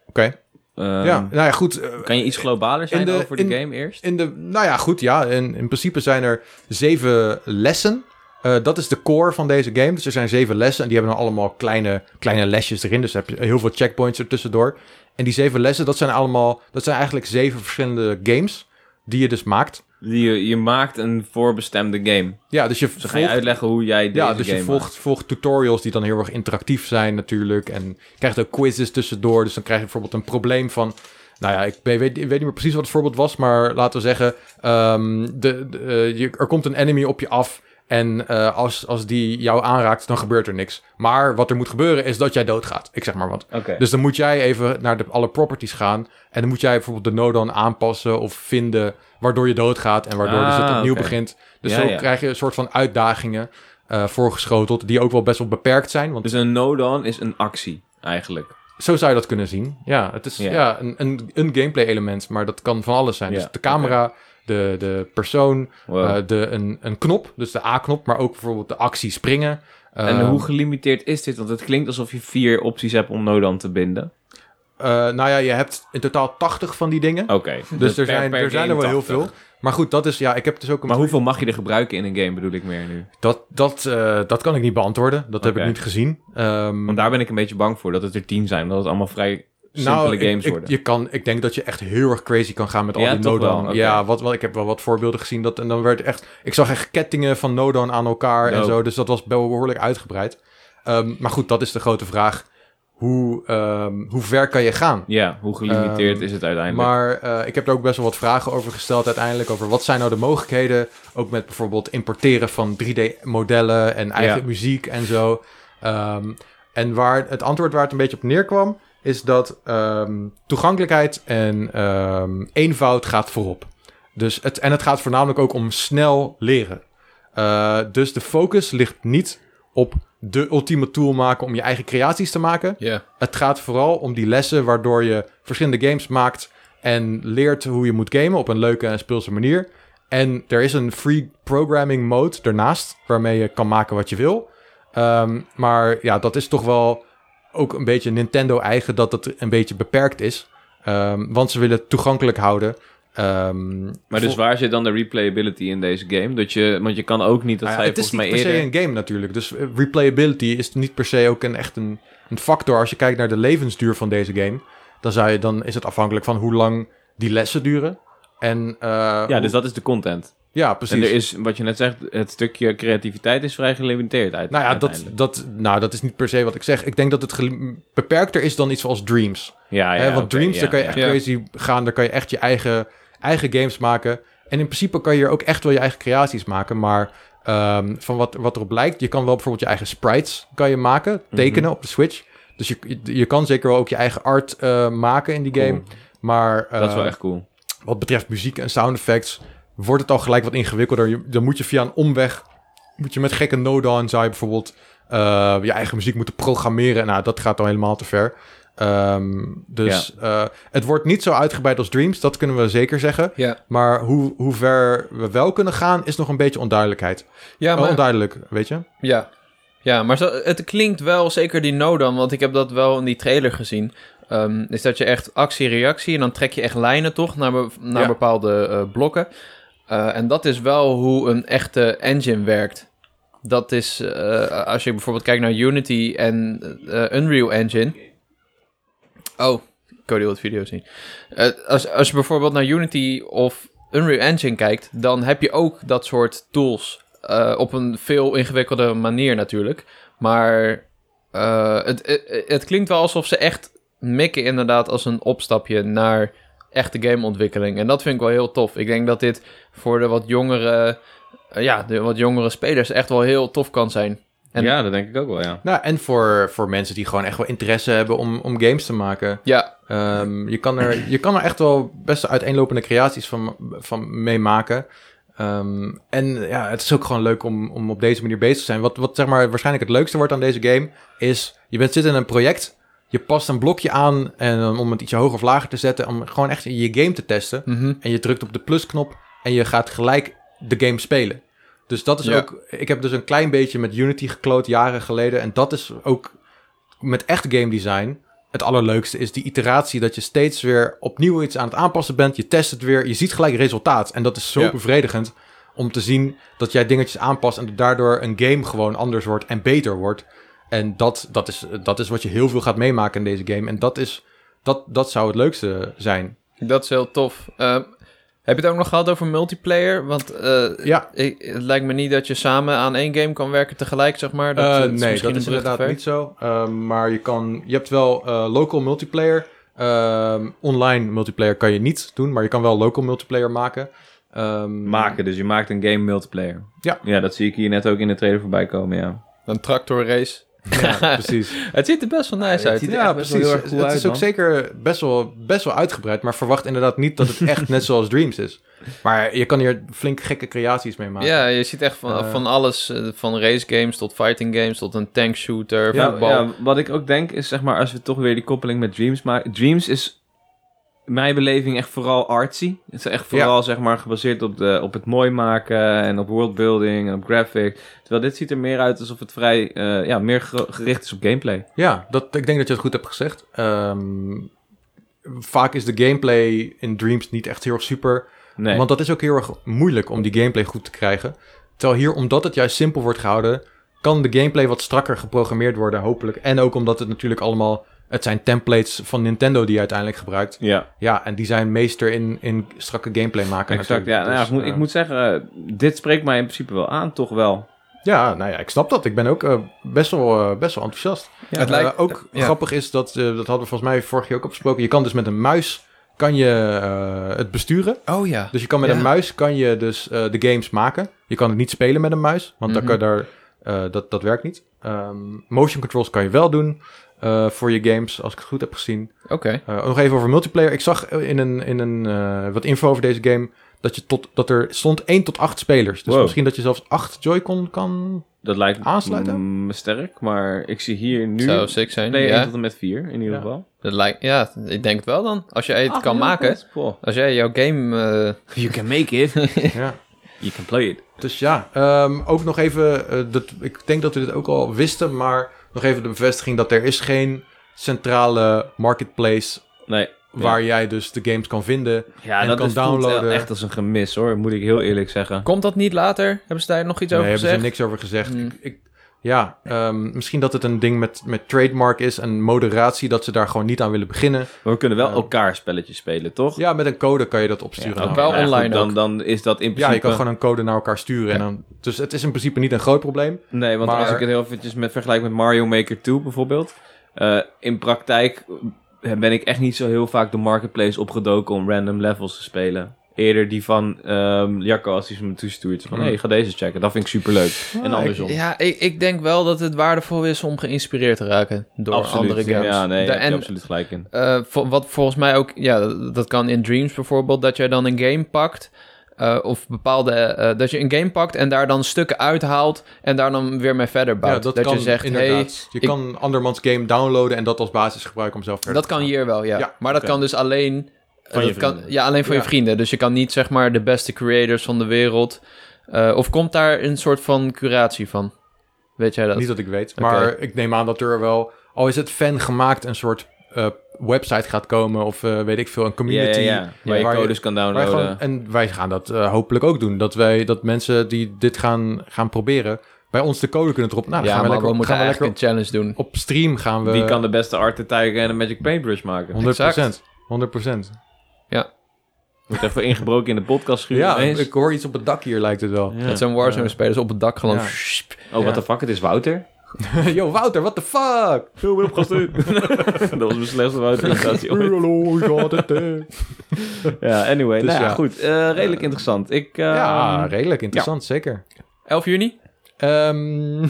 Speaker 1: Oké.
Speaker 3: Ehm,
Speaker 1: ja, nou ja, goed. eh,
Speaker 3: Kan je iets globaler zijn
Speaker 1: In de-
Speaker 3: over de
Speaker 1: in-
Speaker 3: game eerst?
Speaker 1: in de, nou ja, goed, ja. In, in principe zijn er zeven lessen. Eh, dat is de core van deze game. Dus er zijn zeven lessen. En die hebben dan allemaal kleine, kleine lesjes erin. Dus heb je heel veel checkpoints ertussendoor. En die zeven lessen, dat zijn allemaal... Dat zijn eigenlijk zeven verschillende games die je dus maakt.
Speaker 4: Je, je maakt een voorbestemde game.
Speaker 1: Ja, dus je
Speaker 4: Ze gaan je
Speaker 1: volgt-
Speaker 4: uitleggen hoe jij deze
Speaker 1: Ja, dus
Speaker 4: game
Speaker 1: je
Speaker 4: maakt.
Speaker 1: volgt, volgt tutorials die dan heel erg interactief zijn natuurlijk. En je krijgt ook quizzes tussendoor. Dus dan krijg je bijvoorbeeld een probleem van... Nou ja, ik ben- weet, ik weet niet meer precies wat het voorbeeld was, maar laten we zeggen... ehm, de, de, eh, je, er komt een enemy op je af en eh, als, als die jou aanraakt, dan gebeurt er niks. Maar wat er moet gebeuren is dat jij doodgaat. Ik zeg maar wat.
Speaker 4: Oké.
Speaker 1: Dus dan moet jij even naar de, alle properties gaan. En dan moet jij bijvoorbeeld de Nodon aanpassen of vinden. Waardoor je doodgaat en waardoor dus het
Speaker 4: Ah,
Speaker 1: opnieuw
Speaker 4: oké.
Speaker 1: begint. Dus
Speaker 4: Ja,
Speaker 1: zo
Speaker 4: ja.
Speaker 1: krijg je een soort van uitdagingen eh, voorgeschoteld. Die ook wel best wel beperkt zijn. Want
Speaker 4: Dus een no-down is een actie, eigenlijk.
Speaker 1: zo zou je dat kunnen zien. Ja, het is
Speaker 4: Ja.
Speaker 1: ja, een, een, een gameplay element. Maar dat kan van alles zijn.
Speaker 4: Ja,
Speaker 1: Dus de camera, de, de persoon,
Speaker 4: Wow.
Speaker 1: eh, de, een, een knop. Dus de A-knop. Maar ook bijvoorbeeld de actie springen.
Speaker 4: en
Speaker 1: Ehm,
Speaker 4: hoe gelimiteerd is dit? Want het klinkt alsof je vier opties hebt om no-down te binden.
Speaker 1: eh, nou ja, je hebt in totaal 80 van die dingen.
Speaker 4: Oké.
Speaker 1: Dus er
Speaker 4: per-
Speaker 1: zijn,
Speaker 4: per
Speaker 1: er zijn er
Speaker 4: game
Speaker 1: wel heel
Speaker 4: 80.
Speaker 1: veel. Maar goed, dat is ja. Ik heb dus ook een
Speaker 4: Maar hoeveel mag je er gebruiken in een game, bedoel ik meer nu?
Speaker 1: Dat, dat, eh, dat kan ik niet beantwoorden. Dat heb ik
Speaker 4: Oké.
Speaker 1: niet gezien. Ehm,
Speaker 4: Want daar ben ik een beetje bang voor, dat het er tien zijn. Dat het allemaal vrij simpele
Speaker 1: Nou, ik-
Speaker 4: games
Speaker 1: ik,
Speaker 4: worden.
Speaker 1: je kan, ik denk dat je echt heel erg crazy kan gaan met al
Speaker 4: Ja,
Speaker 1: die
Speaker 4: toch wel,
Speaker 1: no-down.
Speaker 4: oké.
Speaker 1: Ja, wat, wat, ik heb wel wat voorbeelden gezien. Dat, en dan werd echt, ik zag echt kettingen van no-down aan elkaar en
Speaker 4: Dope.
Speaker 1: zo. Dus dat was wel behoorlijk uitgebreid. Ehm, maar goed, dat is de grote vraag. Hoe, ehm, hoe ver kan je gaan?
Speaker 4: Ja, hoe gelimiteerd
Speaker 1: Ehm,
Speaker 4: is het uiteindelijk?
Speaker 1: Maar eh, ik heb er ook best wel wat vragen over gesteld uiteindelijk. Over wat zijn nou de mogelijkheden? Ook met bijvoorbeeld importeren van 3D-modellen en eigen
Speaker 4: Ja.
Speaker 1: muziek en zo. Ehm, en waar het antwoord waar het een beetje op neerkwam, is dat ehm, toegankelijkheid en ehm, eenvoud gaat voorop. Dus het, en het gaat voornamelijk ook om snel leren. Eh, dus de focus ligt niet op de ultieme tool maken om je eigen creaties te maken.
Speaker 2: Ja.
Speaker 1: Het gaat vooral om die lessen waardoor je verschillende games maakt en leert hoe je moet gamen op een leuke en speelse manier. En er is een free programming mode daarnaast, waarmee je kan maken wat je wil. Ehm, maar ja, dat is toch wel ook een beetje Nintendo eigen dat het een beetje beperkt is. Ehm, want ze willen het toegankelijk houden. Ehm,
Speaker 4: Maar dus
Speaker 1: voor-
Speaker 4: waar zit dan de replayability in deze game? Dat je, want je kan ook niet, dat
Speaker 1: Nou ja,
Speaker 4: zei je
Speaker 1: het is
Speaker 4: volgens
Speaker 1: niet
Speaker 4: mij
Speaker 1: per se
Speaker 4: eerder...
Speaker 1: een game natuurlijk. Dus eh, replayability is niet per se ook een, echt een, een factor. Als je kijkt naar de levensduur van deze game, dan, zou je, dan is het afhankelijk van hoe lang die lessen duren. En, eh,
Speaker 4: Ja,
Speaker 1: hoe-
Speaker 4: dus dat is de content.
Speaker 1: ja, precies.
Speaker 4: En er is, wat je net zegt, het stukje creativiteit is vrij gelimiteerd uit,
Speaker 1: nou ja, dat,
Speaker 4: uiteindelijk.
Speaker 1: dat, nou, dat is niet per se wat ik zeg. Ik denk dat het gelim- beperkter is dan iets zoals Dreams.
Speaker 4: Ja, ja,
Speaker 1: Hè, want
Speaker 4: oké,
Speaker 1: Dreams,
Speaker 4: ja,
Speaker 1: daar kan je
Speaker 4: ja.
Speaker 1: echt
Speaker 2: ja.
Speaker 1: crazy gaan. Daar kan je echt je eigen, eigen games maken. En in principe kan je er ook echt wel je eigen creaties maken. Maar ehm, van wat, wat erop lijkt, je kan wel bijvoorbeeld je eigen sprites kan je maken.
Speaker 4: Mhm.
Speaker 1: Tekenen op de Switch. Dus je, je, je kan zeker wel ook je eigen art eh, maken in die
Speaker 4: Cool.
Speaker 1: game. Maar
Speaker 4: Dat is wel
Speaker 1: eh,
Speaker 4: echt cool.
Speaker 1: wat betreft muziek en sound effects... wordt het al gelijk wat ingewikkelder. Je- dan moet je via een omweg... moet je met gekke no-down zou je bijvoorbeeld... eh, je eigen muziek moeten programmeren. Nou, dat gaat al helemaal te ver. Ehm, dus eh, het wordt niet zo uitgebreid als Dreams, dat kunnen we zeker zeggen.
Speaker 2: Ja.
Speaker 1: Maar hoe, hoe ver we wel kunnen gaan, is nog een beetje onduidelijkheid.
Speaker 2: Ja,
Speaker 1: Oh,
Speaker 2: maar...
Speaker 1: onduidelijk, weet je?
Speaker 2: Ja. Ja, maar zo- het klinkt wel, zeker die Nodan, want ik heb dat wel in die trailer gezien. ehm, is dat je echt actie-reactie en dan trek je echt lijnen toch naar, be- naar
Speaker 1: Ja.
Speaker 2: bepaalde eh, blokken. Eh, en dat is wel hoe een echte engine werkt. Dat is, eh, als je bijvoorbeeld kijkt naar Unity en eh, Unreal Engine. Oh, Cody wil het video zien. Eh, als, als je bijvoorbeeld naar Unity of Unreal Engine kijkt, dan heb je ook dat soort tools. eh, op een veel ingewikkeldere manier natuurlijk. Maar eh, het, het, het klinkt wel alsof ze echt mikken inderdaad als een opstapje naar echte gameontwikkeling. En dat vind ik wel heel tof. Ik denk dat dit voor de wat jongere, eh, ja, de wat jongere spelers echt wel heel tof kan zijn. en-
Speaker 4: ja, dat denk ik ook wel, ja.
Speaker 1: Nou, en voor, voor mensen die gewoon echt wel interesse hebben om, om games te maken.
Speaker 2: Ja,
Speaker 1: Ehm, je, kan er, je kan er echt wel best uiteenlopende creaties van, van mee maken. Ehm, en ja, het is ook gewoon leuk om, om op deze manier bezig te zijn. Wat, wat zeg maar waarschijnlijk het leukste wordt aan deze game is... je bent zit in een project, je past een blokje aan... en dan om het ietsje hoger of lager te zetten... om gewoon echt je game te testen.
Speaker 2: mhm.
Speaker 1: En je drukt op de plusknop en je gaat gelijk de game spelen. Dus dat is
Speaker 2: Ja.
Speaker 1: ook... Ik heb dus een klein beetje met Unity gekloot jaren geleden. En dat is ook met echt game design... Het allerleukste is die iteratie dat je steeds weer opnieuw iets aan het aanpassen bent. Je test het weer, je ziet gelijk resultaat. En dat is zo
Speaker 2: Ja.
Speaker 1: bevredigend om te zien dat jij dingetjes aanpast... en dat daardoor een game gewoon anders wordt en beter wordt. En dat, dat, is, dat is wat je heel veel gaat meemaken in deze game. En dat, is, dat, dat zou het leukste zijn.
Speaker 2: dat is heel tof. Eh, Heb je het ook nog gehad over multiplayer? Want eh,
Speaker 1: Ja.
Speaker 2: ik- het lijkt me niet dat je samen aan één game kan werken tegelijk, zeg maar. Dat,
Speaker 1: Eh,
Speaker 2: eh, het
Speaker 1: nee,
Speaker 2: misschien
Speaker 1: dat is
Speaker 2: een brug te
Speaker 1: inderdaad
Speaker 2: ver.
Speaker 1: niet zo. Ehm, maar je, kan, je hebt wel eh, local multiplayer. Ehm, online multiplayer kan je niet doen, maar je kan wel local multiplayer maken. Ehm,
Speaker 3: Maken, dus je maakt een game multiplayer.
Speaker 1: Ja.
Speaker 3: Ja, dat zie ik hier net ook in de trailer voorbij komen, ja.
Speaker 2: Een tractorrace.
Speaker 1: Ja, precies.
Speaker 2: Het ziet er best wel nice
Speaker 3: het
Speaker 2: uit.
Speaker 3: ziet er echt best wel heel erg cool
Speaker 1: het
Speaker 3: uit,
Speaker 1: is ook
Speaker 3: man.
Speaker 1: zeker best wel, best wel uitgebreid, maar verwacht inderdaad niet dat het echt net zoals Dreams is. Maar je kan hier flink gekke creaties mee maken.
Speaker 2: Ja, je ziet echt van,
Speaker 1: Eh.
Speaker 2: van alles. eh, Van race games tot fighting games tot een tank shooter,
Speaker 3: Ja,
Speaker 2: voetbal.
Speaker 3: ja, wat ik ook denk is, zeg maar, als we toch weer die koppeling met Dreams maken. Dreams is, in mijn beleving, echt vooral artsy. Het is echt vooral, zeg maar, gebaseerd op, de, op het mooi maken en op worldbuilding en op graphic. Terwijl dit ziet er meer uit alsof het vrij, eh, ja, meer ge- gericht is op gameplay.
Speaker 1: Ja, dat, ik denk dat je het goed hebt gezegd. Ehm, vaak is de gameplay in Dreams niet echt heel erg super.
Speaker 3: Nee.
Speaker 1: Want dat is ook heel erg moeilijk om die gameplay goed te krijgen. Terwijl hier, omdat het juist simpel wordt gehouden, kan de gameplay wat strakker geprogrammeerd worden, hopelijk. En ook omdat het natuurlijk allemaal. Het zijn templates van Nintendo die je uiteindelijk gebruikt.
Speaker 3: ja.
Speaker 1: Ja, en die zijn meester in, in strakke gameplay maken.
Speaker 3: Exact, ja.
Speaker 1: natuurlijk.
Speaker 3: Nou, ja,
Speaker 1: Dus,
Speaker 3: ik, moet,
Speaker 1: eh,
Speaker 3: ik moet zeggen, eh, dit spreekt mij in principe wel aan, toch wel.
Speaker 1: ja, nou ja, ik snap dat. Ik ben ook eh, best, wel, eh, best wel enthousiast.
Speaker 2: Het
Speaker 1: Eh,
Speaker 2: lijkt-
Speaker 1: ook
Speaker 2: ja.
Speaker 1: grappig is dat, eh, dat hadden we volgens mij vorig jaar ook opgesproken. Je kan dus met een muis kan je, eh, het besturen.
Speaker 2: Oh ja.
Speaker 1: Dus je kan met
Speaker 2: Ja.
Speaker 1: een muis kan je dus eh, de games maken. Je kan het niet spelen met een muis, want dan
Speaker 2: Mhm.
Speaker 1: kan daar, eh, dat, dat werkt niet. Ehm, motion controls kan je wel doen eh, voor je games, als ik het goed heb gezien.
Speaker 2: Oké.
Speaker 1: Eh, nog even over multiplayer. Ik zag eh, in een, in een eh, wat info over deze game dat, je tot, dat er stond 1 tot 8 spelers. Dus
Speaker 3: Wow.
Speaker 1: misschien dat je zelfs 8 Joy-Con kan.
Speaker 3: Dat lijkt me
Speaker 1: Aansluiten?
Speaker 3: mm, sterk, maar ik zie hier nu
Speaker 2: Zou sick zijn.
Speaker 3: play 1
Speaker 2: Ja,
Speaker 3: tot en met 4 in ieder
Speaker 1: Ja.
Speaker 3: geval.
Speaker 2: dat lijkt, ja, ik denk het wel dan. Als jij het
Speaker 3: Ah,
Speaker 2: kan
Speaker 3: ja,
Speaker 2: maken.
Speaker 3: dat is cool.
Speaker 2: Als jij jouw game... eh,
Speaker 3: You can make it.
Speaker 1: ja.
Speaker 3: you can play it.
Speaker 1: Dus ja, ehm, ook nog even, eh, dat, ik denk dat we dit ook al wisten, maar nog even de bevestiging dat er is geen centrale marketplace
Speaker 3: Nee.
Speaker 1: waar jij dus de games kan vinden.
Speaker 3: Ja,
Speaker 1: En
Speaker 3: dat
Speaker 1: kan
Speaker 3: is voelt wel
Speaker 1: downloaden.
Speaker 3: echt als een gemis hoor, moet ik heel eerlijk zeggen.
Speaker 2: komt dat niet later? Hebben ze daar nog iets
Speaker 1: Daar
Speaker 2: over
Speaker 1: hebben ze
Speaker 2: gezegd?
Speaker 1: niks over gezegd.
Speaker 2: Hmm.
Speaker 1: Ik, ik- ja, ehm, misschien dat het een ding met, met trademark is en moderatie, dat ze daar gewoon niet aan willen beginnen.
Speaker 3: Maar we kunnen wel
Speaker 1: Ja.
Speaker 3: elkaar spelletjes spelen, toch?
Speaker 1: Ja, met een code kan je dat opsturen.
Speaker 3: oké.
Speaker 1: naar
Speaker 2: wel
Speaker 3: Nou ja, goed,
Speaker 2: online
Speaker 3: dan, dan is dat in principe...
Speaker 1: Ja, je kan gewoon een code naar elkaar sturen. En dan, dus het is in principe niet een groot probleem.
Speaker 3: Nee, want
Speaker 1: Maar-
Speaker 3: als ik het heel eventjes met, vergelijk met Mario Maker 2 bijvoorbeeld. eh, in praktijk eh, ben ik echt niet zo heel vaak de marketplace opgedoken om random levels te spelen. Eerder die van ehm Jacco als hij ze me toestuurt. Van,
Speaker 1: Mm.
Speaker 3: hé, hey, ga deze checken. Dat vind ik superleuk.
Speaker 1: Ah,
Speaker 3: en andersom.
Speaker 2: Ja, ik, ik denk wel dat het waardevol is om geïnspireerd te raken door
Speaker 3: absoluut.
Speaker 2: andere games.
Speaker 3: Ja, nee,
Speaker 2: Da-
Speaker 3: daar heb je
Speaker 2: en
Speaker 3: absoluut gelijk in.
Speaker 2: Eh, vo- wat volgens mij ook, ja, dat kan in Dreams bijvoorbeeld, dat jij dan een game pakt. eh, of bepaalde, eh, dat je een game pakt en daar dan stukken uithaalt en daar dan weer mee verder bouwt.
Speaker 1: Ja, dat, kan
Speaker 2: je zegt, hey,
Speaker 1: inderdaad. je
Speaker 2: ik-
Speaker 1: kan andermans game downloaden en dat als basis gebruiken om zelf verder
Speaker 2: dat
Speaker 1: te
Speaker 2: kan
Speaker 1: gaan.
Speaker 2: hier wel, ja.
Speaker 1: Ja,
Speaker 2: maar dat
Speaker 3: oké.
Speaker 2: kan dus alleen eh,
Speaker 3: Van
Speaker 2: dat
Speaker 3: je
Speaker 2: kan,
Speaker 3: vrienden.
Speaker 2: ja, alleen van je
Speaker 1: Ja.
Speaker 2: vrienden. Dus je kan niet, zeg maar, de beste creators van de wereld. eh, of komt daar een soort van curatie van? Weet jij dat?
Speaker 1: Niet dat ik weet.
Speaker 2: Oké.
Speaker 1: Maar ik neem aan dat er wel, al is het fan gemaakt, een soort eh, website gaat komen. Of eh, weet ik veel, een
Speaker 3: Ja, ja,
Speaker 1: community.
Speaker 3: ja. Waar je
Speaker 1: waar je-
Speaker 3: codes kan
Speaker 1: Wij
Speaker 3: downloaden.
Speaker 1: gewoon- en wij gaan dat eh, hopelijk ook doen. Dat, wij, dat mensen die dit gaan, gaan proberen, bij ons de code kunnen droppen. Nou, dan
Speaker 2: ja,
Speaker 1: gaan we
Speaker 2: maar
Speaker 1: lekker,
Speaker 2: we moeten
Speaker 1: gaan we
Speaker 2: eigenlijk
Speaker 1: lekker
Speaker 2: een challenge doen.
Speaker 1: op stream gaan we...
Speaker 3: Wie kan de beste art attacken en een magic paintbrush maken?
Speaker 1: 100%.
Speaker 2: Exact.
Speaker 1: 100%.
Speaker 3: Wordt even ingebroken in de podcast schuur.
Speaker 1: Ja, ik hoor iets op het dak hier lijkt het wel.
Speaker 2: Dat zijn Warzone-spelers op het dak geland.
Speaker 1: Ja.
Speaker 3: Oh,
Speaker 1: Ja.
Speaker 3: wat de fuck, het is Wouter.
Speaker 1: Yo, Wouter, what the fuck?
Speaker 3: Heel wil gasten. Dat was mijn slechtste Wouter-imitatie ooit.
Speaker 1: eh.
Speaker 3: Ja, anyway.
Speaker 1: Dus
Speaker 3: nou ja,
Speaker 1: ja.
Speaker 3: goed. eh, redelijk interessant. Ik, eh
Speaker 2: Ehm,
Speaker 1: Ja, redelijk interessant, zeker.
Speaker 2: 11 juni?
Speaker 1: Ehm,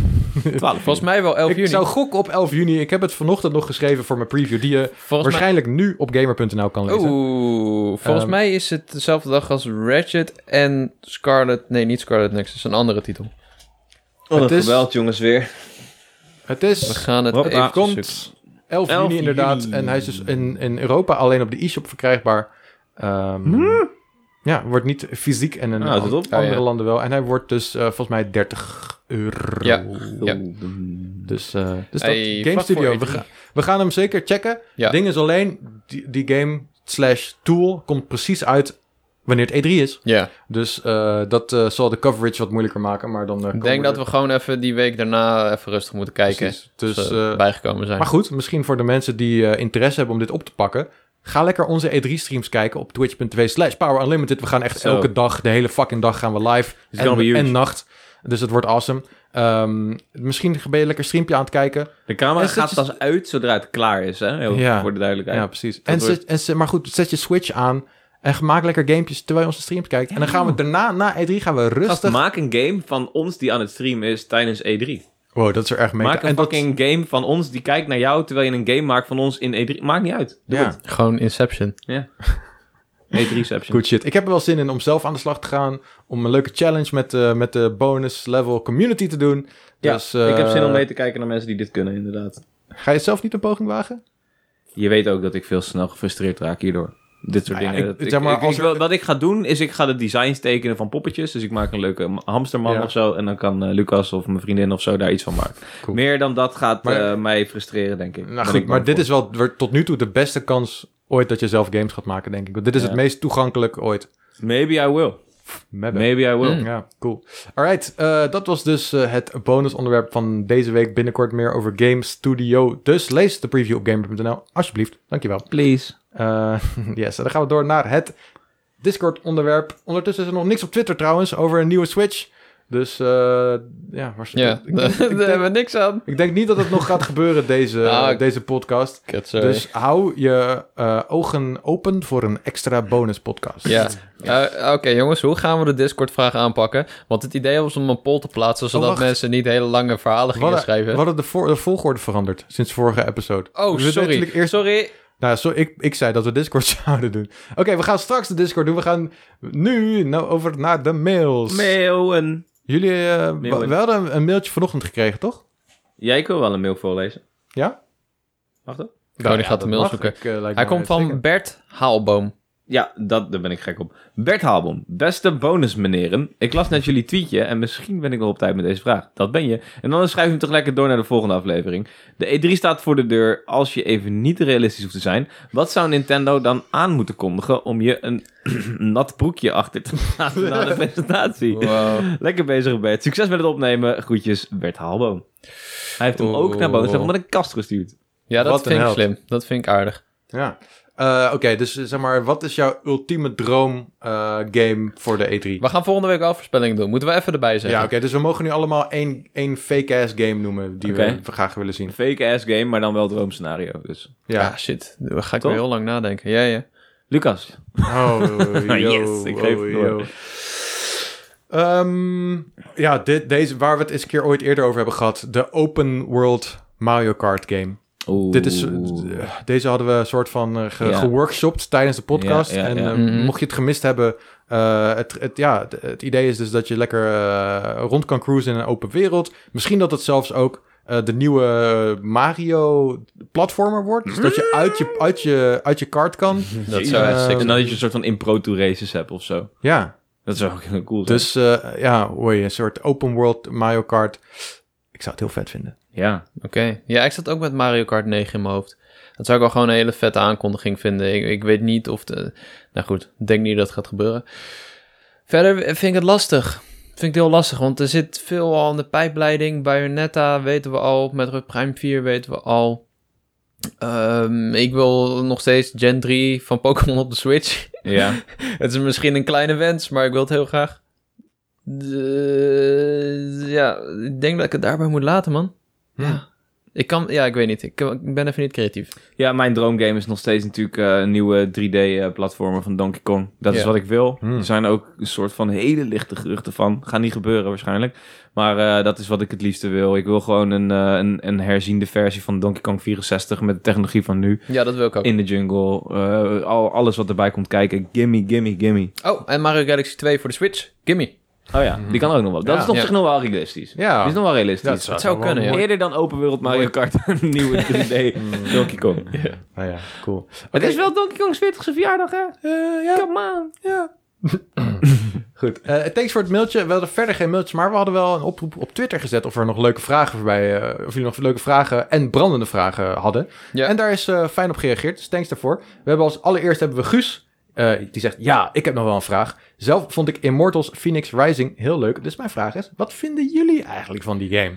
Speaker 3: 12
Speaker 2: Volgens mij wel 11
Speaker 1: ik
Speaker 2: juni.
Speaker 1: zou gokken op 11 juni. Ik heb het vanochtend nog geschreven voor mijn preview, die je
Speaker 2: Volgens mij...
Speaker 1: waarschijnlijk nu op gamer.nl kan lezen.
Speaker 2: Oeh, volgens
Speaker 1: Ehm.
Speaker 2: mij is het dezelfde dag als Ratchet en Scarlet... Nee, niet Scarlet Nexus, een andere titel.
Speaker 1: Oh, het is-
Speaker 3: geweld, jongens, weer.
Speaker 1: Het
Speaker 2: We
Speaker 1: is
Speaker 2: gaan het
Speaker 3: Hoppa.
Speaker 2: even...
Speaker 1: komt
Speaker 3: shit.
Speaker 1: 11 juni
Speaker 3: 11
Speaker 1: inderdaad.
Speaker 3: juni.
Speaker 1: En hij is dus in, in Europa alleen op de e-shop verkrijgbaar. Ehm, Ja, wordt niet fysiek en in
Speaker 3: Ah, dat is
Speaker 1: an-
Speaker 3: op.
Speaker 1: andere
Speaker 2: Hm? Ah, ja.
Speaker 1: landen wel. En hij wordt dus eh, volgens mij 30 euro.
Speaker 2: Ja. Ja.
Speaker 1: Dus, eh, dus dat
Speaker 2: Hey,
Speaker 1: Game
Speaker 2: fuck
Speaker 1: Studio,
Speaker 2: voor
Speaker 1: we,
Speaker 2: E3.
Speaker 1: gaan- we gaan hem zeker checken.
Speaker 2: Ja.
Speaker 1: Ding is alleen, die, die game slash tool komt precies uit wanneer het E3 is.
Speaker 2: Ja,
Speaker 1: Dus eh, dat eh, zal de coverage wat moeilijker maken, maar dan... eh,
Speaker 2: ik
Speaker 1: komen
Speaker 2: denk
Speaker 1: we
Speaker 2: dat
Speaker 1: er-
Speaker 2: we gewoon even die week daarna even rustig moeten kijken.
Speaker 1: Precies. Dus,
Speaker 2: Als we
Speaker 1: eh,
Speaker 2: bijgekomen zijn.
Speaker 1: maar goed, misschien voor de mensen die eh, interesse hebben om dit op te pakken. Ga lekker onze E3-streams kijken op twitch.tv slash Power Unlimited. We gaan echt
Speaker 3: Zo.
Speaker 1: elke dag, de hele fucking dag gaan we live.
Speaker 3: gonna be
Speaker 1: En,
Speaker 3: huge.
Speaker 1: en nacht. Dus het wordt awesome. Ehm, misschien ben je lekker streampje aan het kijken.
Speaker 3: De camera
Speaker 1: En zet
Speaker 3: gaat
Speaker 1: je-
Speaker 3: pas uit zodra het klaar is, hè? Heel
Speaker 1: Ja.
Speaker 3: voor de duidelijkheid.
Speaker 1: Ja, precies. En
Speaker 3: wordt-
Speaker 1: zet, en zet- maar goed, zet je Switch aan en maak lekker gamepjes terwijl je onze streams kijkt. En dan gaan we daarna, na E3, gaan we
Speaker 3: Gast,
Speaker 1: rustig...
Speaker 3: maak een game van ons die aan het streamen is tijdens E3.
Speaker 1: Wow, dat is er echt mee.
Speaker 3: Maak een
Speaker 1: en dat-
Speaker 3: fucking game van ons die kijkt naar jou terwijl je een game maakt van ons in E3. Maakt niet uit. Doe
Speaker 1: Ja,
Speaker 3: het.
Speaker 2: Gewoon Inception.
Speaker 3: E3-ception.
Speaker 1: good shit. Ik heb er wel zin in om zelf aan de slag te gaan. Om een leuke challenge met, eh, met de bonus level community te doen.
Speaker 3: Ja,
Speaker 1: Dus, eh,
Speaker 3: ik heb zin om mee te kijken naar mensen die dit kunnen, inderdaad.
Speaker 1: Ga je zelf niet een poging wagen?
Speaker 3: Nou, Je weet ook dat ik veel snel gefrustreerd raak hierdoor. Dit soort
Speaker 1: Nou ja,
Speaker 3: dingen.
Speaker 1: ik-
Speaker 3: Dat ik-
Speaker 1: zeg maar,
Speaker 3: ik- ik
Speaker 1: als er-
Speaker 3: wil- wat ik ga doen, is ik ga de designs tekenen van poppetjes. Dus ik maak een leuke ma- hamsterman
Speaker 1: Ja.
Speaker 3: of zo. En dan kan eh, Lucas of mijn vriendin of zo daar iets van maken.
Speaker 1: Cool.
Speaker 3: Meer dan dat gaat
Speaker 1: Maar-
Speaker 3: eh, mij frustreren, denk ik. Ben
Speaker 1: Nou
Speaker 3: ik
Speaker 1: goed, maar
Speaker 3: bang
Speaker 1: dit
Speaker 3: voor.
Speaker 1: is wel wordt tot nu toe de beste kans ooit dat je zelf games gaat maken, denk ik. Want dit is
Speaker 3: Ja.
Speaker 1: het meest toegankelijk ooit.
Speaker 3: Maybe I will.
Speaker 1: Mebbe.
Speaker 3: Maybe I will.
Speaker 2: Mm.
Speaker 1: Ja, cool. Alright, eh, dat was dus eh, het bonusonderwerp van deze week. Binnenkort meer over Game Studio. Dus lees de preview op gamer.nl, alsjeblieft. Dankjewel.
Speaker 3: Please.
Speaker 1: Eh yes, en dan gaan we door naar het Discord-onderwerp. Ondertussen is er nog niks op Twitter trouwens over een nieuwe Switch. Dus eh, ja,
Speaker 2: Ja,
Speaker 1: waarschijnlijk. ik,
Speaker 2: daar
Speaker 1: denk- ik,
Speaker 2: hebben
Speaker 1: denk,
Speaker 2: we niks aan.
Speaker 1: ik denk niet dat het nog gaat gebeuren, deze,
Speaker 2: Ah, ik-
Speaker 1: deze podcast.
Speaker 2: Dus,
Speaker 1: Dus hou je eh, ogen open voor een extra bonuspodcast.
Speaker 2: ja. Eh, Oké jongens, hoe gaan we de Discord-vraag aanpakken? Want het idee was om een poll te plaatsen, zodat
Speaker 1: wacht.
Speaker 2: mensen niet hele lange verhalen
Speaker 1: We
Speaker 2: gingen
Speaker 1: hadden, we
Speaker 2: schrijven.
Speaker 1: hadden de, voor- de volgorde veranderd sinds vorige episode.
Speaker 2: Oh,
Speaker 1: Dus we deden
Speaker 2: sorry.
Speaker 1: natuurlijk Eerst,
Speaker 2: Sorry.
Speaker 1: Nou, zo, ik, ik zei dat we Discord zouden doen. Oké, we gaan straks de Discord doen. We gaan nu nou over naar de mails.
Speaker 3: Mailen.
Speaker 1: Jullie, eh,
Speaker 3: Mail
Speaker 1: we
Speaker 3: in.
Speaker 1: we hadden een, een mailtje vanochtend gekregen, toch?
Speaker 3: Jij kan wel een mail voorlezen.
Speaker 1: Ja?
Speaker 3: Mag dat?
Speaker 2: die gaat de mail
Speaker 1: dat mag.
Speaker 2: zoeken.
Speaker 1: Ik, eh, lijkt
Speaker 2: Hij
Speaker 1: me
Speaker 2: komt van
Speaker 1: uitstekend.
Speaker 2: Bert Haalboom.
Speaker 3: Ja, dat, daar ben ik gek op. Bert Haalbom, beste bonusmeneren. Ik las net jullie tweetje en misschien ben ik nog op tijd met deze vraag. Dat ben je. En dan schrijf je hem toch lekker door naar de volgende aflevering. De E3 staat voor de deur als je even niet realistisch hoeft te zijn. Wat zou Nintendo dan aan moeten kondigen om je een nat broekje achter te laten na de presentatie?
Speaker 1: Oh.
Speaker 3: Lekker bezig Bert. Succes met het opnemen. Groetjes Bert Haalboom. Hij heeft hem
Speaker 1: Oh.
Speaker 2: Oeh.
Speaker 3: ook naar boven met een kast gestuurd.
Speaker 2: Ja, dat
Speaker 1: Wat een
Speaker 2: vind ik
Speaker 1: held.
Speaker 2: slim. Dat vind ik aardig.
Speaker 1: Ja. Eh, Oké, dus eh, zeg maar, wat is jouw ultieme droom eh, game voor de E3?
Speaker 2: We gaan volgende week wel voorspellingen doen. Moeten we even erbij
Speaker 1: ja,
Speaker 2: zeggen.
Speaker 1: oké, dus we mogen nu allemaal één, één fake-ass game noemen die
Speaker 3: Oké.
Speaker 1: we graag willen zien.
Speaker 3: Een fake ass game, maar dan wel droomscenario. Dus.
Speaker 1: Ja.
Speaker 2: Ah, shit. Daar ga ik
Speaker 3: Toch?
Speaker 2: weer heel lang nadenken. Ja, ja.
Speaker 3: Lucas,
Speaker 1: Oh, yo,
Speaker 3: Yes, ik geef
Speaker 1: oh,
Speaker 3: het door.
Speaker 1: yo. Ehm, ja, dit, deze, waar we het eens een keer ooit eerder over hebben gehad. De open world Mario Kart game. Dit is, eh, deze hadden we een soort van eh, ge-
Speaker 3: Ja.
Speaker 1: geworkshopt tijdens de podcast.
Speaker 3: Ja, ja,
Speaker 1: en
Speaker 3: ja.
Speaker 1: eh,
Speaker 2: Mhm.
Speaker 1: mocht je het gemist hebben, eh, het, het, ja, het, het idee is dus dat je lekker eh, rond kan cruisen in een open wereld. Misschien dat het zelfs ook eh, de nieuwe Mario platformer wordt. Dus dat je uit je, uit je, uit je kart kan.
Speaker 2: Dat zou
Speaker 1: Eh,
Speaker 2: hartstikke
Speaker 3: En dan dat je een soort van in Pro Tour races hebt of zo.
Speaker 1: Ja,
Speaker 3: Dat zou ook heel cool zijn.
Speaker 1: Dus eh, ja, hoor je, een soort open world Mario Kart. Ik zou het heel vet vinden.
Speaker 3: ja.
Speaker 2: Oké. Ja, ik zat ook met Mario Kart 9 in mijn hoofd. Dat zou ik wel gewoon een hele vette aankondiging vinden. Ik, ik weet niet of... De... Nou goed, ik denk niet dat het gaat gebeuren. Verder vind ik het lastig. Vind ik het heel lastig, want er zit veel al in de pijpleiding. Bayonetta weten we al. Metroid Prime 4 weten we al. Ehm, ik wil nog steeds Gen 3 van Pokémon op de Switch.
Speaker 3: Ja.
Speaker 2: Het is misschien een kleine wens, maar ik wil het heel graag. De- ja, ik denk dat ik het daarbij moet laten, man.
Speaker 1: Hm.
Speaker 2: Ja. Ik kan, ja, ik weet niet. Ik, ik ben even niet creatief.
Speaker 3: ja, mijn droomgame is nog steeds natuurlijk eh, een nieuwe 3D-platformer van Donkey Kong. Dat is
Speaker 2: Ja.
Speaker 3: wat ik wil.
Speaker 1: Hmm.
Speaker 3: Er zijn ook een soort van hele lichte geruchten van. Gaat niet gebeuren waarschijnlijk. Maar eh, dat is wat ik het liefste wil. Ik wil gewoon een, eh, een, een herziende versie van Donkey Kong 64 met de technologie van nu.
Speaker 2: Ja, dat wil ik ook.
Speaker 3: In de jungle. eh, al, alles wat erbij komt kijken. Gimme, gimme, gimme.
Speaker 2: Oh, en Mario Galaxy 2 voor de Switch. Gimme.
Speaker 3: Oh ja, die kan ook nog wel. Dat
Speaker 1: Ja.
Speaker 3: is op
Speaker 2: Ja.
Speaker 3: zich nog wel realistisch.
Speaker 1: Ja.
Speaker 3: Die is nog Ah. wel realistisch.
Speaker 2: Het zou
Speaker 1: wel
Speaker 2: kunnen,
Speaker 1: mooi-
Speaker 2: ja.
Speaker 3: Eerder dan open wereld Mario Kart een nieuwe 3D Donkey Kong.
Speaker 1: Nou ja, cool.
Speaker 3: Het is wel Donkey Kong's 40ste verjaardag, hè?
Speaker 1: Eh, ja,
Speaker 3: Come on.
Speaker 1: ja. Goed. Eh, thanks voor het mailtje. We hadden verder geen mailtjes, maar we hadden wel een oproep op Twitter gezet of er nog leuke vragen voorbij, eh, of jullie nog leuke vragen en brandende vragen hadden.
Speaker 2: Ja.
Speaker 1: En daar is eh, fijn op gereageerd, dus thanks daarvoor. We hebben als allereerst hebben we Guus, eh, die zegt, ja, ik heb nog wel een vraag. Zelf vond ik Immortals Phoenix Rising heel leuk, dus mijn vraag is, wat vinden jullie eigenlijk van die game?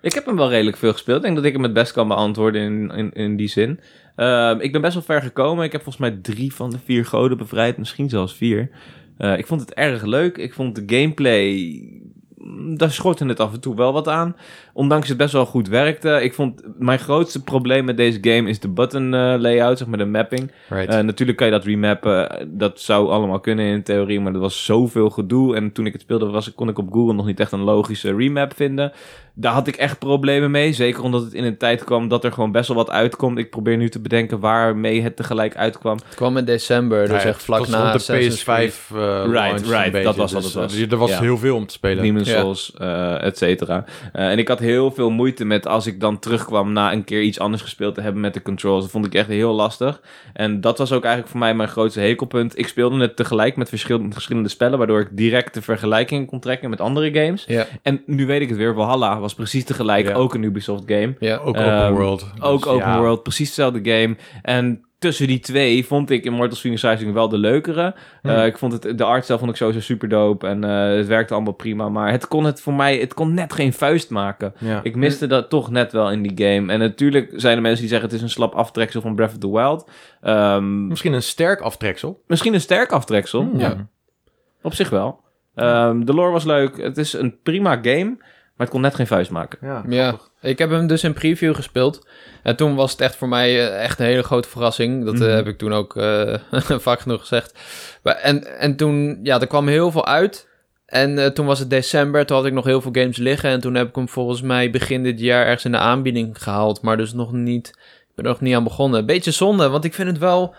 Speaker 3: Ik heb hem wel redelijk veel gespeeld. Ik denk dat ik hem het best kan beantwoorden in, in, in die zin. Ehm, ik ben best wel ver gekomen. Ik heb volgens mij drie van de vier goden bevrijd. Misschien zelfs vier. Eh, ik vond het erg leuk. Ik vond de gameplay... mm, Daar schortte het af en toe wel wat aan. Ondanks het best wel goed werkte. Ik vond mijn grootste probleem met deze game is de button eh, layout, zeg maar de mapping.
Speaker 1: Right.
Speaker 3: Eh, natuurlijk kan je dat remappen. Dat zou allemaal kunnen in theorie, maar dat was zoveel gedoe. En toen ik het speelde, was, kon ik op Google nog niet echt een logische remap vinden. Daar had ik echt problemen mee. Zeker omdat het in een tijd kwam dat er gewoon best wel wat uitkomt. Ik probeer nu te bedenken waarmee het tegelijk uitkwam.
Speaker 2: Het kwam in december, dus
Speaker 1: Nou Ja,
Speaker 2: echt vlak
Speaker 1: het was
Speaker 2: na
Speaker 1: rond de
Speaker 2: Assassin's
Speaker 1: PS5
Speaker 2: Creed.
Speaker 1: eh, launch
Speaker 3: right, dat
Speaker 1: een beetje,
Speaker 3: was wat
Speaker 1: dus,
Speaker 3: het was.
Speaker 1: eh, Er was
Speaker 3: Ja.
Speaker 1: heel veel om te spelen.
Speaker 3: Demon's
Speaker 2: Ja.
Speaker 3: Souls, eh, et cetera. Eh, en ik had heel veel moeite met als ik dan terugkwam na een keer iets anders gespeeld te hebben met de controls. Dat vond ik echt heel lastig. En dat was ook eigenlijk voor mij mijn grootste hekelpunt. Ik speelde het tegelijk met verschil- verschillende spellen, waardoor ik direct de vergelijking kon trekken met andere games.
Speaker 2: Ja,
Speaker 3: En nu weet ik het weer, Valhalla was precies tegelijk
Speaker 1: Ja.
Speaker 3: ook een Ubisoft game.
Speaker 2: ja.
Speaker 1: Ook
Speaker 3: Ehm,
Speaker 1: open world.
Speaker 3: Ook
Speaker 1: Dus
Speaker 3: open
Speaker 1: ja.
Speaker 3: world, precies dezelfde game. En tussen die twee vond ik Immortals Phoenix Rising wel de leukere. Eh,
Speaker 1: Hmm.
Speaker 3: ik vond het, de artstijl vond ik sowieso super dope. En eh, het werkte allemaal prima. Maar het kon het voor mij, het kon net geen vuist maken.
Speaker 1: Ja.
Speaker 3: Ik miste dat toch net wel in die game. En natuurlijk zijn er mensen die zeggen het is een slap aftreksel van Breath of the Wild. Ehm,
Speaker 1: Misschien een sterk aftreksel.
Speaker 3: misschien een sterk aftreksel.
Speaker 1: Hmm.
Speaker 3: Ja, op zich wel. Ehm, de lore was leuk. Het is een prima game. Maar het kon net geen vuist maken.
Speaker 1: Ja.
Speaker 2: Ja, ik heb hem dus in preview gespeeld. En toen was het echt voor mij eh, echt een hele grote verrassing. Dat eh,
Speaker 3: Mhm.
Speaker 2: heb ik toen ook eh, vaak genoeg gezegd. Maar, en, en toen, ja, er kwam heel veel uit. En eh, toen was het december, toen had ik nog heel veel games liggen. En toen heb ik hem volgens mij begin dit jaar ergens in de aanbieding gehaald. Maar dus nog niet, ik ben er nog niet aan begonnen. Beetje zonde, want ik vind het wel...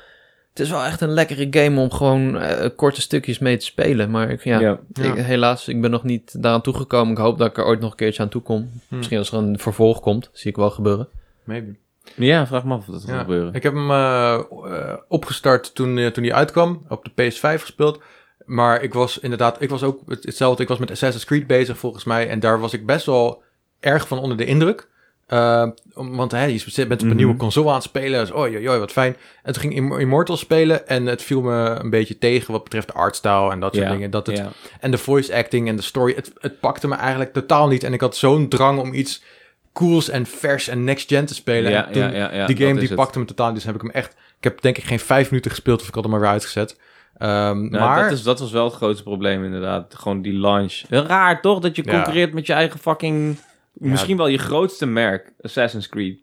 Speaker 2: Het is wel echt een lekkere game om gewoon eh, korte stukjes mee te spelen. Maar ik, ja,
Speaker 1: Ja.
Speaker 2: ik- helaas, ik ben nog niet daaraan toegekomen. Ik hoop dat ik er ooit nog een keertje aan toe kom.
Speaker 1: Hmm.
Speaker 2: Misschien als er een vervolg komt, zie ik wel gebeuren.
Speaker 1: Maybe.
Speaker 3: Ja, vraag me af of dat gaat
Speaker 1: Ja.
Speaker 3: gebeuren.
Speaker 1: Ik heb hem eh, eh, opgestart toen, eh, toen hij uitkwam, op de PS5 gespeeld. Maar ik was inderdaad, ik was ook het- hetzelfde. Ik was met Assassin's Creed bezig volgens mij. En daar was ik best wel erg van onder de indruk. Eh, om- want hè, je zit- bent op een
Speaker 3: Mhm.
Speaker 1: nieuwe console aan het spelen. Dus, oh, joh, wat fijn. En toen ging Imm- Immortals spelen. En het viel me een beetje tegen wat betreft de artstyle en dat soort
Speaker 3: Ja,
Speaker 1: dingen. Dat het
Speaker 3: ja.
Speaker 1: En de voice acting en de story, het, het pakte me eigenlijk totaal niet. En ik had zo'n drang om iets cools en vers en next-gen te spelen.
Speaker 3: Ja,
Speaker 1: en toen,
Speaker 3: ja, ja, ja,
Speaker 1: die
Speaker 3: dat
Speaker 1: game die
Speaker 3: is het.
Speaker 1: pakte me totaal niet. Dus heb ik hem echt... Ik heb denk ik geen vijf minuten gespeeld of ik had hem maar weer uitgezet. Ehm,
Speaker 3: Nou,
Speaker 1: maar...
Speaker 3: dat, is, dat was wel het grootste probleem, inderdaad. Gewoon die launch. Raar toch dat je
Speaker 1: Ja.
Speaker 3: concurreert met je eigen fucking.
Speaker 1: Ja.
Speaker 3: Misschien wel je grootste merk, Assassin's Creed.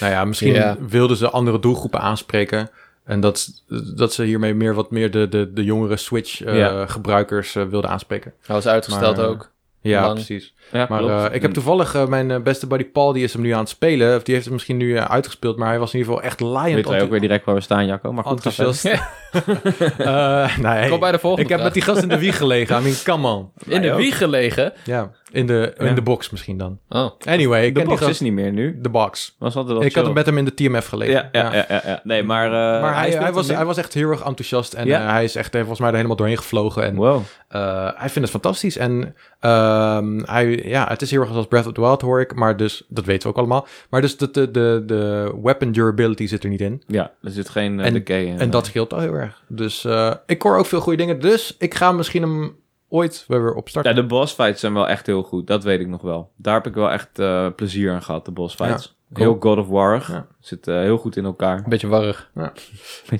Speaker 1: Nou ja, misschien
Speaker 2: Ja.
Speaker 1: wilden ze andere doelgroepen aanspreken. En dat, dat ze hiermee meer wat meer de, de, de jongere
Speaker 3: Ja.
Speaker 1: Switch-gebruikers eh, wilden aanspreken.
Speaker 2: Hij was uitgesteld
Speaker 1: Maar, eh,
Speaker 2: ook.
Speaker 1: Ja,
Speaker 2: Lang.
Speaker 1: precies.
Speaker 3: Ja,
Speaker 1: Maar
Speaker 3: klopt. Mm.
Speaker 1: eh, ik heb toevallig eh, mijn eh, beste buddy Paul, die is hem nu aan het spelen. Of die heeft hem misschien nu eh, uitgespeeld, maar hij was in ieder geval echt laaiend
Speaker 3: Weet wij ook weer direct waar we staan, Jacco. Maar goed,
Speaker 1: enthousiast.
Speaker 3: ga verder.
Speaker 1: Eh, nee,
Speaker 2: Kom bij de volgende
Speaker 1: ik heb met die gast in de wieg gelegen. I mean, come on.
Speaker 2: In de
Speaker 3: Wij ook.
Speaker 2: wieg gelegen.
Speaker 1: Ja, in de, in
Speaker 3: Ja.
Speaker 1: de box misschien dan.
Speaker 2: Oh,
Speaker 1: Anyway, ik
Speaker 3: De
Speaker 1: ken
Speaker 3: box
Speaker 1: die
Speaker 3: is
Speaker 1: gast...
Speaker 3: niet meer nu.
Speaker 1: De box.
Speaker 3: Was altijd wel
Speaker 1: ik had
Speaker 3: chill.
Speaker 1: hem met hem in de TMF gelegen.
Speaker 3: Ja, ja, ja, ja, ja. Nee, maar. eh,
Speaker 1: Maar hij,
Speaker 3: speelt
Speaker 1: hij, was,
Speaker 3: hem
Speaker 1: hij
Speaker 3: nu.
Speaker 1: was echt heel erg enthousiast. En
Speaker 3: Ja.
Speaker 1: eh, hij is echt eh, volgens mij er helemaal doorheen gevlogen. En
Speaker 3: Wow.
Speaker 1: eh, hij vindt het fantastisch. En ehm, hij, ja, het is heel erg als Breath of the Wild, hoor ik. Maar dus, dat weten we ook allemaal. Maar dus de, de, de, de weapon durability zit er niet in.
Speaker 3: Ja, er zit geen eh,
Speaker 1: En-
Speaker 3: decay in.
Speaker 1: En dat scheelt al heel erg. Dus eh, ik hoor ook veel goede dingen. Dus ik ga misschien hem ooit weer opstarten.
Speaker 3: Ja, de boss fights zijn wel echt heel goed. Dat weet ik nog wel. Daar heb ik wel echt eh, plezier aan gehad, de boss fights.
Speaker 1: cool.
Speaker 3: Heel God of War.
Speaker 1: Ja.
Speaker 3: Zit eh, heel goed in elkaar.
Speaker 2: een beetje warrig.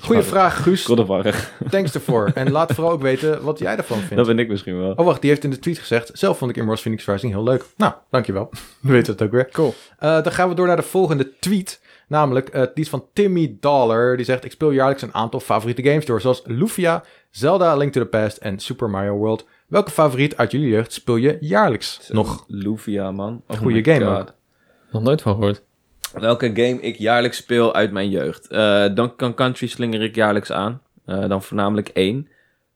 Speaker 1: Goeie vraag, Guus.
Speaker 3: God of War.
Speaker 1: Thanks ervoor. En laat vooral ook weten wat jij ervan vindt.
Speaker 3: Dat ben ik misschien wel.
Speaker 1: Oh, wacht, die heeft in de tweet gezegd... zelf vond ik Immortals Phoenix Rising heel leuk. Nou, dankjewel. Dan weten we het ook weer.
Speaker 2: Cool.
Speaker 1: Eh, dan gaan we door naar de volgende tweet. Namelijk, eh, die is van Timmy Dollar. Die zegt, ik speel jaarlijks een aantal favoriete games door... zoals Lufia, Zelda, A Link to the Past en Super Mario World. Welke favoriet uit jullie jeugd speel je jaarlijks nog?
Speaker 3: Lufia, man. Oh
Speaker 1: Goeie
Speaker 3: my
Speaker 1: game
Speaker 3: God.
Speaker 1: ook.
Speaker 2: Nog nooit van gehoord.
Speaker 3: Welke game ik jaarlijks speel uit mijn jeugd? Eh Duncan Country slinger ik jaarlijks aan. Eh, dan voornamelijk één.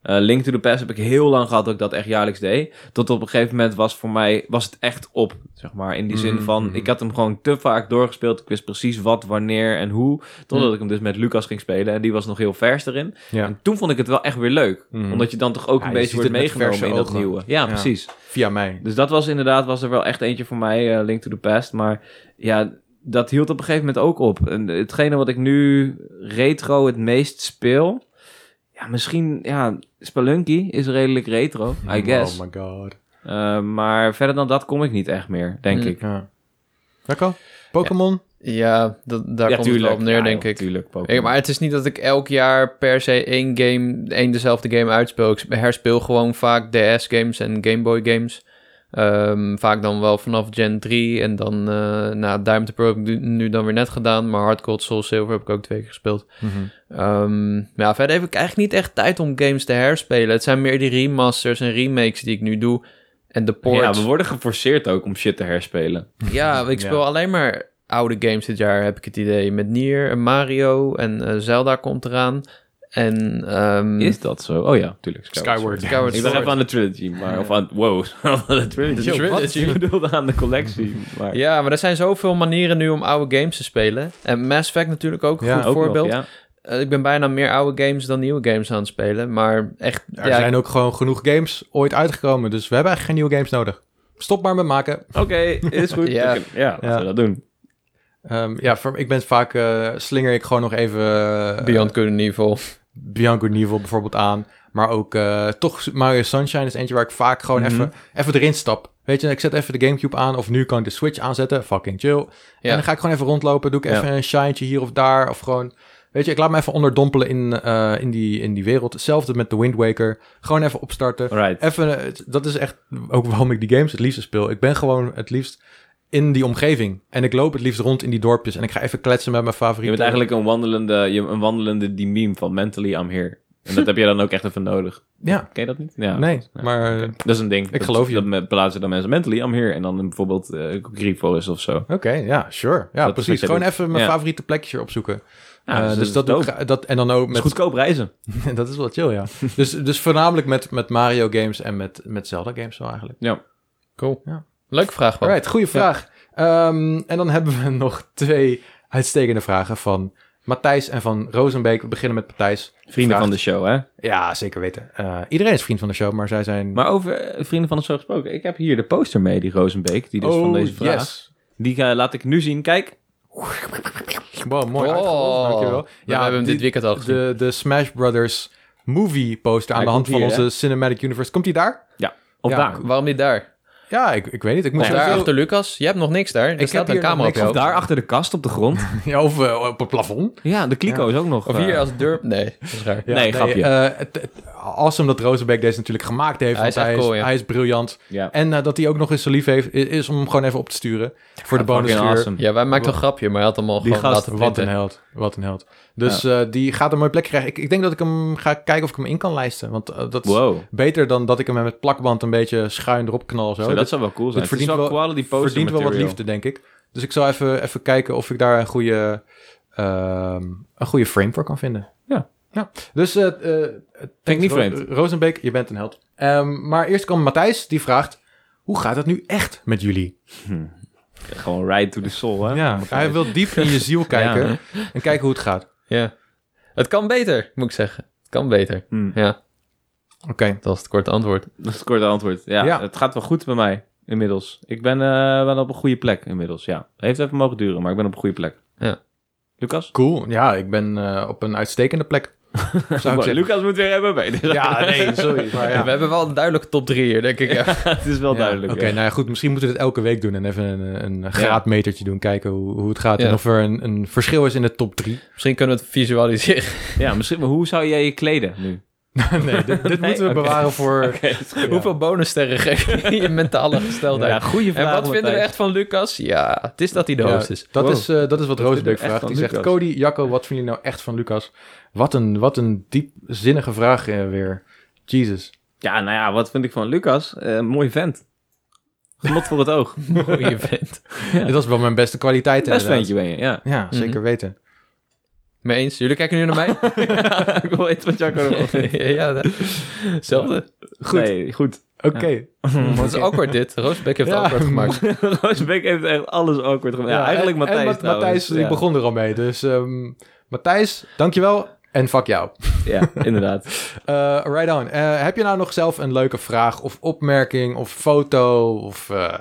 Speaker 3: Eh, Link to the Past heb ik heel lang gehad dat ik dat echt jaarlijks deed. Tot op een gegeven moment was voor mij was het echt op, zeg maar. In die zin
Speaker 1: Mhm,
Speaker 3: van,
Speaker 1: mhm.
Speaker 3: ik had hem gewoon te vaak doorgespeeld. Ik wist precies wat, wanneer en hoe. Totdat ik hem dus met Lucas ging spelen. En die was nog heel vers erin.
Speaker 1: Mm. Ja,
Speaker 3: En toen vond ik het wel echt weer leuk.
Speaker 1: Mhm.
Speaker 3: Omdat je dan toch ook
Speaker 1: Ja,
Speaker 3: een
Speaker 1: je
Speaker 3: beetje
Speaker 1: ziet
Speaker 3: wordt
Speaker 1: het met
Speaker 3: meegenomen
Speaker 1: verse
Speaker 3: in dat
Speaker 1: ogen.
Speaker 3: nieuwe.
Speaker 1: Ja.
Speaker 3: ja. precies.
Speaker 1: via mij.
Speaker 3: Dus dat was inderdaad, was er wel echt eentje voor mij, eh, Link to the Past. Maar ja, dat hield op een gegeven moment ook op. En hetgene wat ik nu retro het meest speel... Ja, misschien, ja, Spelunky is redelijk retro, I guess.
Speaker 1: Oh my god.
Speaker 3: Eh, maar verder dan dat kom ik niet echt meer, denk
Speaker 2: Hmm.
Speaker 3: ik.
Speaker 1: Ja. Jacco? Pokémon?
Speaker 2: Ja, dat, daar komt het wel op neer, denk ik.
Speaker 3: Tuurlijk,
Speaker 2: Hey, maar het is niet dat ik elk jaar per se één game, één dezelfde game uitspeel. Ik herspeel gewoon vaak DS-games en Game Boy games. Ehm, vaak dan wel vanaf Gen 3 en dan, eh nou, Diamond and Pearl heb ik nu- nu dan weer net gedaan. Maar Hard Gold, Soul Silver heb ik ook twee keer gespeeld.
Speaker 1: Mhm.
Speaker 2: Ehm, maar ja, verder heb ik eigenlijk niet echt tijd om games te herspelen. Het zijn meer die remasters en remakes die ik nu doe. En de
Speaker 3: Ja,
Speaker 2: ports.
Speaker 3: we worden geforceerd ook om shit te herspelen.
Speaker 2: Ja, ik speel alleen maar oude games dit jaar, heb ik het idee. Met Nier en Mario en eh, Zelda komt eraan. En ehm,
Speaker 3: Is dat zo? Oh ja, tuurlijk. Skyward.
Speaker 5: Skyward.
Speaker 2: Skyward
Speaker 3: Ik dacht
Speaker 2: Sword.
Speaker 3: even aan de trilogy, maar... Of aan... Wow, aan de trilogy.
Speaker 2: Yo,
Speaker 3: Wat?
Speaker 2: trilogy.
Speaker 3: Ik bedoelde aan de collectie. Maar,
Speaker 2: Ja, maar er zijn zoveel manieren nu om oude games te spelen. En Mass Effect natuurlijk ook een
Speaker 1: Ja,
Speaker 2: goed
Speaker 3: ook nog,
Speaker 2: voorbeeld.
Speaker 3: ja.
Speaker 2: Eh, ik ben bijna meer oude games dan nieuwe games aan het spelen. Maar echt,
Speaker 1: Er
Speaker 2: ja,
Speaker 1: zijn ook gewoon genoeg games ooit uitgekomen, dus we hebben eigenlijk geen nieuwe games nodig. Stop maar met maken.
Speaker 3: Oké, is goed.
Speaker 2: Ja.
Speaker 3: Ja, laten we dat doen.
Speaker 1: Ehm, ja, voor, ik ben vaak, eh, slinger ik gewoon nog even eh,
Speaker 2: Beyond Good and Evil.
Speaker 1: Bianco Nivel bijvoorbeeld aan. Maar ook eh, toch Mario Sunshine is eentje waar ik vaak gewoon
Speaker 3: Mhm.
Speaker 1: even, even erin stap. Weet je, ik zet even de Gamecube aan of nu kan ik de Switch aanzetten. Fucking chill. En dan ga ik gewoon even rondlopen. Doe ik
Speaker 3: Ja.
Speaker 1: even een shintje hier of daar. Of gewoon, weet je, ik laat me even onderdompelen in, eh, in, die, in die wereld. Hetzelfde met de Wind Waker. Gewoon even opstarten.
Speaker 3: Right.
Speaker 1: Even, eh, het- dat is echt ook waarom ik die games het liefst speel. Ik ben gewoon het liefst in die omgeving. En ik loop het liefst rond in die dorpjes. En ik ga even kletsen met mijn
Speaker 3: Je
Speaker 1: favoriete...
Speaker 3: bent eigenlijk een wandelende, je, een wandelende die meme van mentally I'm here. En dat heb je dan ook echt even nodig.
Speaker 1: Ja,
Speaker 3: Ken je dat niet? Ja.
Speaker 1: nee.
Speaker 3: Ja.
Speaker 1: Maar eh,
Speaker 3: Oké.
Speaker 1: oké,
Speaker 3: Dat is een ding. Ik
Speaker 1: geloof je.
Speaker 3: Dat me- plaatsen dan mensen mentally I'm here. En dan bijvoorbeeld eh Grifo is of zo.
Speaker 1: ja, sure. Ja,
Speaker 3: wat
Speaker 1: precies.
Speaker 3: jij
Speaker 1: Gewoon
Speaker 3: doet.
Speaker 1: even mijn
Speaker 3: Ja.
Speaker 1: favoriete plekje opzoeken.
Speaker 3: Ja,
Speaker 1: Eh,
Speaker 3: dus
Speaker 1: dus
Speaker 3: dat is
Speaker 1: dat, doe ik
Speaker 3: dope.
Speaker 1: ga- dat en dan ook
Speaker 3: Met
Speaker 1: met
Speaker 3: goedkoop reizen.
Speaker 1: dat is wel chill ja. dus, dus voornamelijk met, met Mario games en met, met Zelda games wel eigenlijk.
Speaker 2: Cool.
Speaker 1: Ja.
Speaker 2: Leuke vraag wel.
Speaker 1: Alright, goede vraag. Ehm, en dan hebben we nog twee uitstekende vragen van Matthijs en van Rozenbeek. We beginnen met Matthijs.
Speaker 3: Vrienden
Speaker 1: Vraagt-
Speaker 3: van de show, hè?
Speaker 1: Ja, zeker weten. Eh, iedereen is vriend van de show, maar zij zijn.
Speaker 3: Maar over eh, vrienden van de show gesproken. Ik heb hier de poster mee, die Rozenbeek. Die dus van deze vraag.
Speaker 1: Oh, yes.
Speaker 3: Die eh, laat ik nu zien. Kijk.
Speaker 1: Wow, mooi
Speaker 2: Oh.
Speaker 1: uitgerold, dankjewel.
Speaker 2: Ja, we hebben hem dit
Speaker 1: die-
Speaker 2: weekend al gezien.
Speaker 1: de, de Smash Brothers movie poster aan
Speaker 3: Hij
Speaker 1: de hand
Speaker 3: komt
Speaker 1: van
Speaker 3: hier,
Speaker 1: onze Cinematic Universe. Komt die daar?
Speaker 3: Of
Speaker 1: Ja,
Speaker 3: daar.
Speaker 2: Waarom niet daar?
Speaker 1: Ja, ik, ik weet niet. Ik moet
Speaker 2: Of daar
Speaker 1: sowieso-
Speaker 2: achter Lucas? Je hebt nog niks daar. Er
Speaker 1: heb
Speaker 2: staat een
Speaker 1: hier nog
Speaker 2: camera op
Speaker 1: niks.
Speaker 2: jou.
Speaker 3: Of daar achter de kast op de grond.
Speaker 1: Ja, of eh, op het plafond.
Speaker 3: ja, de kliko is ook nog.
Speaker 2: Of
Speaker 3: eh,
Speaker 2: hier als deur... Ah. Nee, dat is raar.
Speaker 1: Ja,
Speaker 3: Nee, grapje.
Speaker 1: eh, het- het- awesome dat Rozenbeek deze natuurlijk gemaakt heeft.
Speaker 2: Hij
Speaker 1: want
Speaker 2: is echt
Speaker 1: hij,
Speaker 2: cool,
Speaker 1: is,
Speaker 2: ja.
Speaker 1: hij is briljant.
Speaker 3: Ja.
Speaker 1: En eh, dat hij ook nog eens zo lief heeft, i- is, om hem gewoon even op te sturen. voor de bonus.
Speaker 3: Fucking awesome.
Speaker 2: Ja, wij maakten een grapje, maar hij had hem al
Speaker 3: Die
Speaker 2: gewoon
Speaker 3: gast,
Speaker 2: laten
Speaker 1: Wat een
Speaker 2: printen.
Speaker 1: held. Wat een held. Dus eh, die gaat een mooie plek krijgen. Ik, ik denk dat ik hem ga kijken of ik hem in kan lijsten. Want eh, dat is
Speaker 3: Wow.
Speaker 1: beter dan dat ik hem met plakband een beetje schuin erop knal. Zo.
Speaker 3: Zo, dat
Speaker 1: Dit
Speaker 3: zou wel cool zijn. Het
Speaker 1: verdient
Speaker 3: is wel
Speaker 1: wel-
Speaker 3: quality poster
Speaker 1: verdient wel wat
Speaker 3: material.
Speaker 1: liefde, denk ik. Dus ik zal even, even kijken of ik daar een goede, ehm, een goede frame voor kan vinden.
Speaker 3: Ja.
Speaker 1: ja. Dus eh eh,
Speaker 3: Vind ik niet vreemd.
Speaker 1: Ro- Rozenbeek, je bent een held. Ehm, maar eerst kwam Matthijs, die vraagt... Hoe gaat het nu echt met jullie?
Speaker 3: Gewoon ride to the soul, hè?
Speaker 1: Ja, hij wil diep in je ziel kijken en kijken hoe het gaat.
Speaker 2: Ja. Het kan beter, moet ik zeggen. Het kan beter.
Speaker 3: Hmm.
Speaker 2: Ja,
Speaker 1: Oké.
Speaker 2: dat was het korte antwoord.
Speaker 3: Dat is het korte antwoord. Ja,
Speaker 1: Ja.
Speaker 3: het gaat wel goed bij mij inmiddels. Ik ben eh, wel op een goede plek inmiddels, ja. Heeft even mogen duren, maar ik ben op een goede plek.
Speaker 2: Ja.
Speaker 3: Lucas?
Speaker 1: Cool. Ja, ik ben eh, op een uitstekende plek. Zou ik
Speaker 3: Wow,
Speaker 1: zeggen.
Speaker 3: Lucas moet weer MMB. Dus
Speaker 1: Ja, nee, sorry. Maar ja.
Speaker 2: We hebben wel een duidelijke top 3 hier, denk ik. Ja.
Speaker 3: het is wel
Speaker 1: Ja,
Speaker 3: duidelijk.
Speaker 1: Oké,
Speaker 3: ja.
Speaker 1: nou ja, goed. Misschien moeten we dit elke week doen en even een, een graadmetertje doen. Kijken hoe, hoe het gaat
Speaker 2: Ja.
Speaker 1: en of er een, een verschil is in de top 3.
Speaker 2: Misschien kunnen we het visualiseren.
Speaker 3: Ja, misschien, maar hoe zou jij je kleden nu?
Speaker 1: nee, dit, dit moeten we bewaren voor...
Speaker 2: Hoeveel bonussterren geef je in je mentale gesteldheid?
Speaker 3: Ja, goede vraag.
Speaker 2: en wat vinden we
Speaker 3: Matthijs.
Speaker 2: echt van Lucas? Ja, het is dat hij de
Speaker 1: Ja,
Speaker 2: hoofd is.
Speaker 1: dat,
Speaker 3: Wow.
Speaker 1: is, eh, dat is wat
Speaker 3: Wat vind ik
Speaker 1: Rozenbeek
Speaker 3: echt
Speaker 1: vraagt.
Speaker 3: van
Speaker 1: Die zegt,
Speaker 3: Lucas?
Speaker 1: Cody, Jacco, wat vinden jullie nou echt van Lucas? Wat een, wat een diepzinnige vraag eh, weer. Jesus.
Speaker 3: Ja, nou ja, wat vind ik van Lucas? Eh, mooi vent. Genot voor het oog.
Speaker 2: Goeie vent.
Speaker 1: Dat is wel mijn beste kwaliteit.
Speaker 3: Best
Speaker 1: inderdaad.
Speaker 3: ventje ben je, ja.
Speaker 1: Ja, zeker
Speaker 2: Mhm.
Speaker 1: weten.
Speaker 2: Mee eens? Jullie kijken nu naar mij?
Speaker 3: ik wil weten wat Jacco ervan vindt.
Speaker 2: ja, dat- hetzelfde.
Speaker 1: Goed.
Speaker 3: Nee, goed.
Speaker 1: Oké.
Speaker 2: Dat is awkward dit. Roosbeck heeft
Speaker 1: Ja.
Speaker 2: het awkward gemaakt.
Speaker 3: Roosbeek heeft echt alles awkward gemaakt. Ja, eigenlijk
Speaker 1: en-
Speaker 3: Matthijs
Speaker 1: En Mat-
Speaker 3: trouwens.
Speaker 1: Matthijs,
Speaker 3: ja.
Speaker 1: ik begon er al mee. Dus ehm Matthijs, dankjewel. En fuck jou.
Speaker 3: Ja, inderdaad.
Speaker 1: Eh, right on. Eh, heb je nou nog zelf een leuke vraag of opmerking of foto of eh,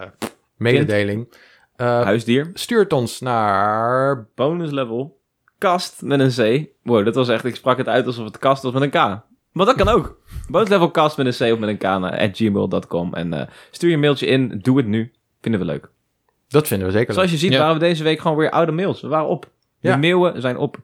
Speaker 1: mededeling? Eh,
Speaker 3: Huisdier.
Speaker 1: stuur het ons naar...
Speaker 3: bonus level. Kast met een C. Wow, dat was echt, ik sprak het uit alsof het kast was met een K. Maar dat kan ook. Bonus level kast met een C of met een K naar at gmail.com. En eh, stuur je mailtje in. Doe het nu. Vinden we leuk.
Speaker 1: Dat vinden we zeker leuk.
Speaker 3: Zoals je ziet
Speaker 2: Ja.
Speaker 3: waren we deze week gewoon weer oude mails. We waren op. De
Speaker 1: Ja.
Speaker 3: meeuwen zijn op.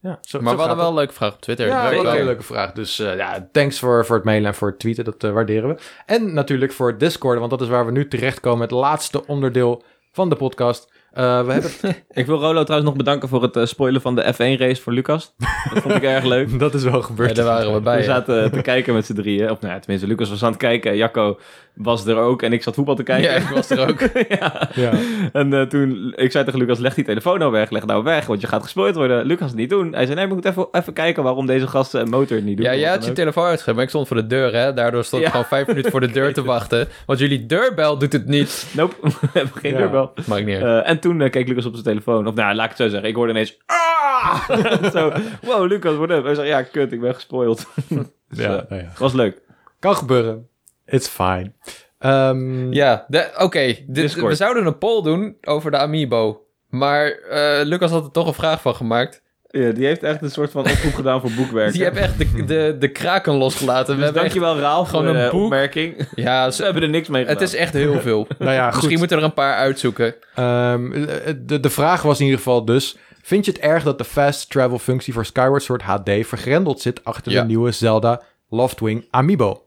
Speaker 1: Ja, zo- zo
Speaker 2: Maar we hadden
Speaker 1: gaat
Speaker 2: wel een leuke vraag op Twitter.
Speaker 1: Ja,
Speaker 2: Dat
Speaker 1: dat is
Speaker 2: weet ik
Speaker 1: wel
Speaker 2: wel.
Speaker 1: een leuke vraag. Dus eh, ja, thanks voor, voor het mailen en voor het tweeten. Dat eh, waarderen we. En natuurlijk voor het Discord, want dat is waar we nu terechtkomen. Het laatste onderdeel van de podcast. Eh, we hebben...
Speaker 3: Ik wil Rolo trouwens nog bedanken voor het eh, spoilen van de F1 race voor Lucas. Dat vond ik erg leuk.
Speaker 1: dat is wel gebeurd.
Speaker 2: Ja, daar waren we bij.
Speaker 3: We
Speaker 2: Oh, ja.
Speaker 3: zaten eh, te kijken met z'n drieën. Of nou ja, tenminste, Lucas was aan het kijken. Jacco was er ook. En ik zat voetbal te kijken.
Speaker 2: Ja, ik was er ook.
Speaker 3: ja.
Speaker 1: Ja.
Speaker 3: En eh, toen, ik zei tegen Lucas, leg die telefoon nou weg, leg nou weg, want je gaat gespoild worden. Lucas niet doen. Hij zei, nee, we moeten even, even kijken waarom deze gasten een motor het niet doen.
Speaker 2: Ja,
Speaker 3: Of
Speaker 2: jij
Speaker 3: wat
Speaker 2: had
Speaker 3: dan
Speaker 2: je
Speaker 3: ook.
Speaker 2: telefoon uitgezet, maar ik stond voor de deur, hè. Daardoor stond ik
Speaker 3: Ja.
Speaker 2: gewoon vijf minuten voor de deur te wachten. Want jullie deurbel doet het niet.
Speaker 3: Nope, we hebben geen
Speaker 1: Ja.
Speaker 3: deurbel.
Speaker 2: Maakt niet uit.
Speaker 3: Eh, en toen eh, keek Lucas op zijn telefoon. Of nou, laat ik het zo zeggen. Ik hoorde ineens... Ah! zo, wow, Lucas, what up? Hij zei, ja, kut, ik ben gespoild. Dus,
Speaker 1: Ja,
Speaker 3: eh,
Speaker 1: nou ja.
Speaker 3: was leuk.
Speaker 1: Kan gebeuren. It's fine. Ehm,
Speaker 2: Ja, de- oké. Dit-
Speaker 3: Eh, Discord.
Speaker 2: We zouden een poll doen over de Amiibo. Maar eh, Lucas had er toch een vraag van gemaakt.
Speaker 3: Ja, die heeft echt een soort van oproep gedaan voor boekwerken.
Speaker 2: Die hebben echt de, de, de kraken losgelaten. We
Speaker 3: dus
Speaker 2: hebben echt,
Speaker 3: dankjewel, Raal,
Speaker 2: gewoon
Speaker 3: voor
Speaker 2: een
Speaker 3: de
Speaker 2: boek.
Speaker 3: opmerking.
Speaker 2: ja, ze-
Speaker 3: Ze hebben er niks mee gedaan.
Speaker 2: het is echt heel veel.
Speaker 1: Nou ja, goed.
Speaker 2: Misschien moeten we er een paar uitzoeken.
Speaker 1: Ehm, eh, de, de vraag was in ieder geval dus... Vind je het erg dat de fast travel functie voor Skyward Sword HD... vergrendeld zit achter
Speaker 2: Ja.
Speaker 1: de nieuwe Zelda Loftwing Amiibo?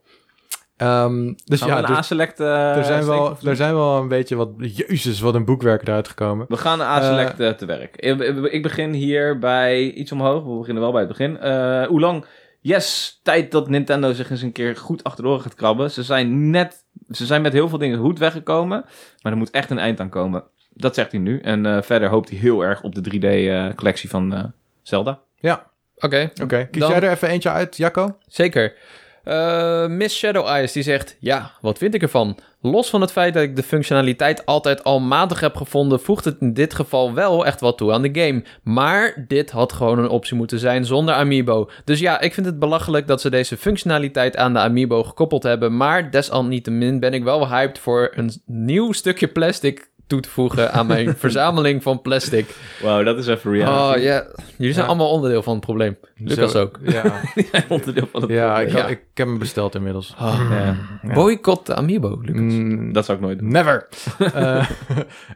Speaker 1: Ehm, dus
Speaker 3: Gaan we
Speaker 1: ja,
Speaker 3: een
Speaker 1: dus-
Speaker 3: A-select... eh,
Speaker 1: Er zijn, wel,
Speaker 3: steek-
Speaker 1: er zijn wel een beetje wat... Jezus, wat een boekwerk eruit gekomen.
Speaker 3: We gaan A-select eh, te werk. Ik, ik- ik begin hier bij iets omhoog. We beginnen wel bij het begin. Eh Hoe lang? Yes, tijd dat Nintendo zich eens een keer goed achterdoor gaat krabben. Ze zijn net, ze zijn met heel veel dingen goed weggekomen. Maar er moet echt een eind aan komen. Dat zegt hij nu. En eh, verder hoopt hij heel erg op de 3D-collectie van eh, Zelda.
Speaker 2: Oké,
Speaker 1: Oké, kies
Speaker 2: Dan-
Speaker 1: jij er even eentje uit, Jacco?
Speaker 2: zeker. Eh, Miss Shadow Eyes die zegt: Ja, wat vind ik ervan? Los van het feit dat ik de functionaliteit altijd al matig heb gevonden, voegt het in dit geval wel echt wat toe aan de game. Maar dit had gewoon een optie moeten zijn zonder Amiibo. Dus ja, ik vind het belachelijk dat ze deze functionaliteit aan de Amiibo gekoppeld hebben. Maar desalniettemin ben ik wel hyped voor een nieuw stukje plastic toe te voegen aan mijn verzameling van plastic.
Speaker 3: Wow, dat is even
Speaker 2: oh ja, jullie zijn
Speaker 1: Ja.
Speaker 2: allemaal onderdeel van het probleem. Lucas
Speaker 1: Zo-
Speaker 2: ook.
Speaker 1: Ja,
Speaker 3: onderdeel van het
Speaker 1: ja, ik,
Speaker 2: Ja.
Speaker 1: ik heb hem besteld inmiddels.
Speaker 3: Ja,
Speaker 2: Boycott de Amiibo, Lucas.
Speaker 1: Mm,
Speaker 3: dat zou ik nooit doen.
Speaker 1: Never. Eh,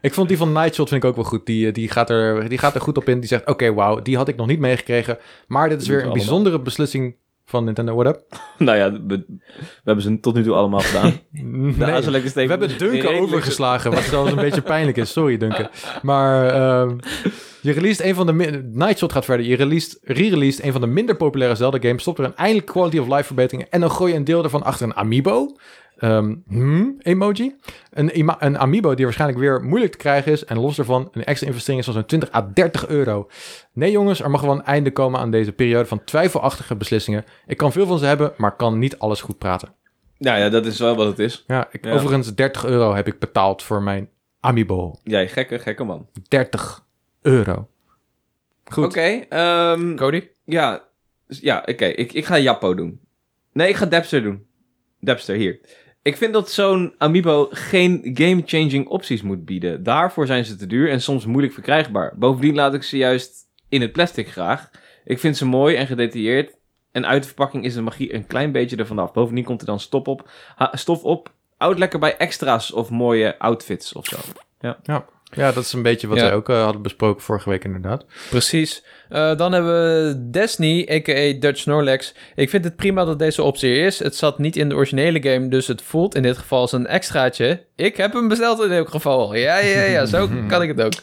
Speaker 1: ik vond die van Nightshot vind ik ook wel goed. Die, eh, die, gaat, er, die gaat er goed op in. Die zegt, oké, wauw, die had ik nog niet meegekregen. Maar dit is
Speaker 3: Die
Speaker 1: weer een
Speaker 3: moeten we
Speaker 1: bijzondere beslissing van Nintendo. What up?
Speaker 3: nou ja, we, we hebben ze tot nu toe allemaal gedaan.
Speaker 1: Nee.
Speaker 3: De A-select is
Speaker 1: We
Speaker 3: even-
Speaker 1: hebben Duncan
Speaker 3: redelijk-
Speaker 1: overgeslagen, wat zelfs een beetje pijnlijk is. Sorry, Duncan. Maar ehm, je released een van de... min- Nightshot gaat verder. Je released, re-released een van de minder populaire Zelda-games. Stopt er een eindelijk quality of life verbetering. En dan gooi je een deel ervan achter een amiibo. Ehm, hmm, emoji. Een, ima- een amiibo die waarschijnlijk weer moeilijk te krijgen is. En los daarvan een extra investering is van zo'n 20 à 30 euro. Nee jongens, er mag wel een einde komen aan deze periode van twijfelachtige beslissingen. Ik kan veel van ze hebben, maar kan niet alles goed praten.
Speaker 3: Nou ja, dat is wel wat het is.
Speaker 1: Ja, ik,
Speaker 3: Ja.
Speaker 1: overigens 30 euro heb ik betaald voor mijn Amiibo.
Speaker 3: Jij gekke, gekke man.
Speaker 1: 30 euro. Goed.
Speaker 3: Oké, ehm,
Speaker 2: Cody?
Speaker 3: ja, s- ja oké. Ik, ik ga Jappo doen. Nee, ik ga Depster doen. Depster, hier. Ik vind dat zo'n Amiibo geen game-changing opties moet bieden. Daarvoor zijn ze te duur en soms moeilijk verkrijgbaar. Bovendien laat ik ze juist in het plastic graag. Ik vind ze mooi en gedetailleerd. En uit de verpakking is de magie een klein beetje ervan af. Bovendien komt er dan stop op, ha- stof op. Houd lekker bij extra's of mooie outfits of zo.
Speaker 1: Ja, dat is een beetje wat
Speaker 2: Ja.
Speaker 1: wij ook eh, hadden besproken vorige week inderdaad.
Speaker 2: Precies. Eh, dan hebben we Destiny, a.k.a. Dutch Snorlax. Ik vind het prima dat deze optie er is. Het zat niet in de originele game, dus het voelt in dit geval als een extraatje. Ik heb hem besteld in elk geval. Ja, ja, ja, zo kan ik het ook.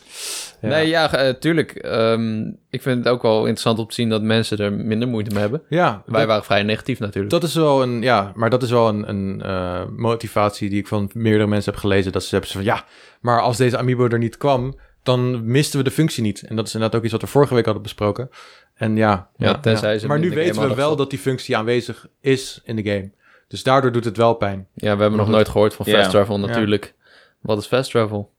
Speaker 1: Ja.
Speaker 2: Nee, ja, eh, tuurlijk. Ehm, ik vind het ook wel interessant om te zien dat mensen er minder moeite mee hebben.
Speaker 1: Ja,
Speaker 2: Wij
Speaker 1: dat,
Speaker 2: waren vrij negatief natuurlijk.
Speaker 1: dat is wel een, ja, maar dat is wel een, een eh, motivatie die ik van meerdere mensen heb gelezen. Dat ze hebben ze van, ja, maar als deze Amiibo er niet kwam, dan misten we de functie niet. En dat is inderdaad ook iets wat we vorige week hadden besproken. En ja,
Speaker 2: Ja, tenzij ze
Speaker 1: maar
Speaker 2: hem
Speaker 1: nu
Speaker 2: in de
Speaker 1: weten
Speaker 2: game
Speaker 1: we wel
Speaker 2: hadden gestopt.
Speaker 1: dat die functie aanwezig is in de game. Dus daardoor doet het wel pijn.
Speaker 2: Ja, we hebben nog nooit gehoord van
Speaker 3: Ja.
Speaker 2: fast travel
Speaker 1: Ja.
Speaker 2: natuurlijk. Wat is fast travel?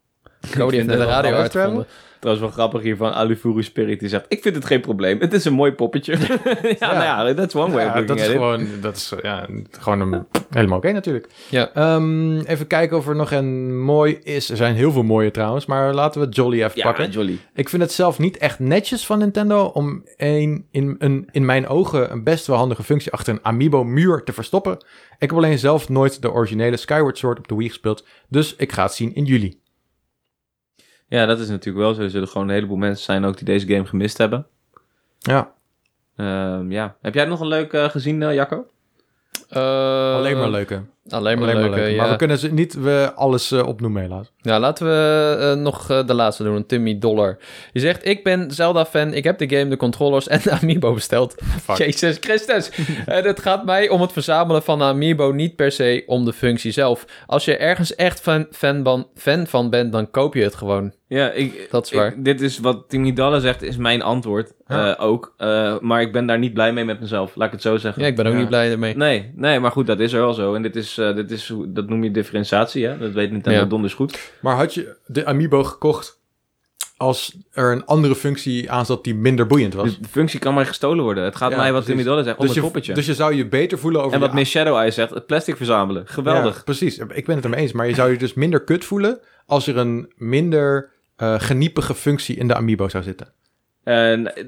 Speaker 2: Cody heeft net de
Speaker 1: wel
Speaker 2: radio
Speaker 1: fast
Speaker 2: uitgevonden.
Speaker 3: Trouwens wel grappig hier van Alufuru Spirit. Die zegt, ik vind het geen probleem. Het is een mooi poppetje. ja, nou ja, that's one way of
Speaker 1: Ja,
Speaker 3: looking
Speaker 1: dat is
Speaker 3: at it.
Speaker 1: gewoon, dat is, eh, ja, gewoon een, helemaal oké natuurlijk.
Speaker 2: Ja.
Speaker 1: Ehm, even kijken of er nog een mooi is. Er zijn heel veel mooie trouwens, maar laten we Jolly even
Speaker 3: Ja,
Speaker 1: pakken.
Speaker 3: jolly.
Speaker 1: Ik vind het zelf niet echt netjes van Nintendo om een, in, een, in mijn ogen een best wel handige functie achter een Amiibo-muur te verstoppen. Ik heb alleen zelf nooit de originele Skyward Sword op de Wii gespeeld, dus ik ga het zien in juli.
Speaker 3: Ja, dat is natuurlijk wel zo. Er zullen gewoon een heleboel mensen zijn ook die deze game gemist hebben.
Speaker 1: Ja.
Speaker 3: Ehm, ja. Heb jij nog een leuk eh, gezien, eh, Jacco?
Speaker 1: alleen maar leuke.
Speaker 2: Eh, Alleen maar,
Speaker 1: Alleen maar
Speaker 2: leuke,
Speaker 1: leuke.
Speaker 2: ja.
Speaker 1: Maar we kunnen ze niet we, alles eh, opnoemen helaas.
Speaker 2: Ja, laten we eh, nog eh, de laatste doen. Timmy Dollar. Je zegt, ik ben Zelda-fan. Ik heb de game, de controllers en de Amiibo besteld. Jezus Christus. en het gaat mij om het verzamelen van de Amiibo, niet per se om de functie zelf. Als je ergens echt fan, fan, van, fan van bent, dan koop je het gewoon.
Speaker 3: Ja, ik,
Speaker 2: Dat is waar.
Speaker 3: ik- dit is wat Timmy Dalle zegt, is mijn antwoord
Speaker 1: Ja.
Speaker 3: eh, ook. Eh, maar ik ben daar niet blij mee met mezelf, laat ik het zo zeggen.
Speaker 2: Ja, ik ben ook
Speaker 1: Ja.
Speaker 2: niet blij ermee.
Speaker 3: Nee, nee, maar goed, dat is er wel zo. En dit is, eh, dit is hoe- dat noem je differentiatie, hè? Dat weet Nintendo
Speaker 2: Ja.
Speaker 3: donders goed.
Speaker 1: Maar had je de Amiibo gekocht als er een andere functie aan zat die minder boeiend was?
Speaker 3: De, de functie kan maar gestolen worden. Het gaat
Speaker 1: Ja,
Speaker 3: mij wat
Speaker 1: precies.
Speaker 3: Timmy Dalle zegt, om
Speaker 1: dus,
Speaker 3: het
Speaker 1: je,
Speaker 3: poppetje.
Speaker 1: dus je zou je beter voelen over
Speaker 3: en
Speaker 1: je
Speaker 3: wat Miss Shadow Eye zegt, het plastic verzamelen. Geweldig.
Speaker 1: Ja, precies, ik ben het ermee eens. Maar je zou je dus minder kut voelen als er een minder eh, geniepige functie in de Amiibo zou zitten.
Speaker 3: En eh,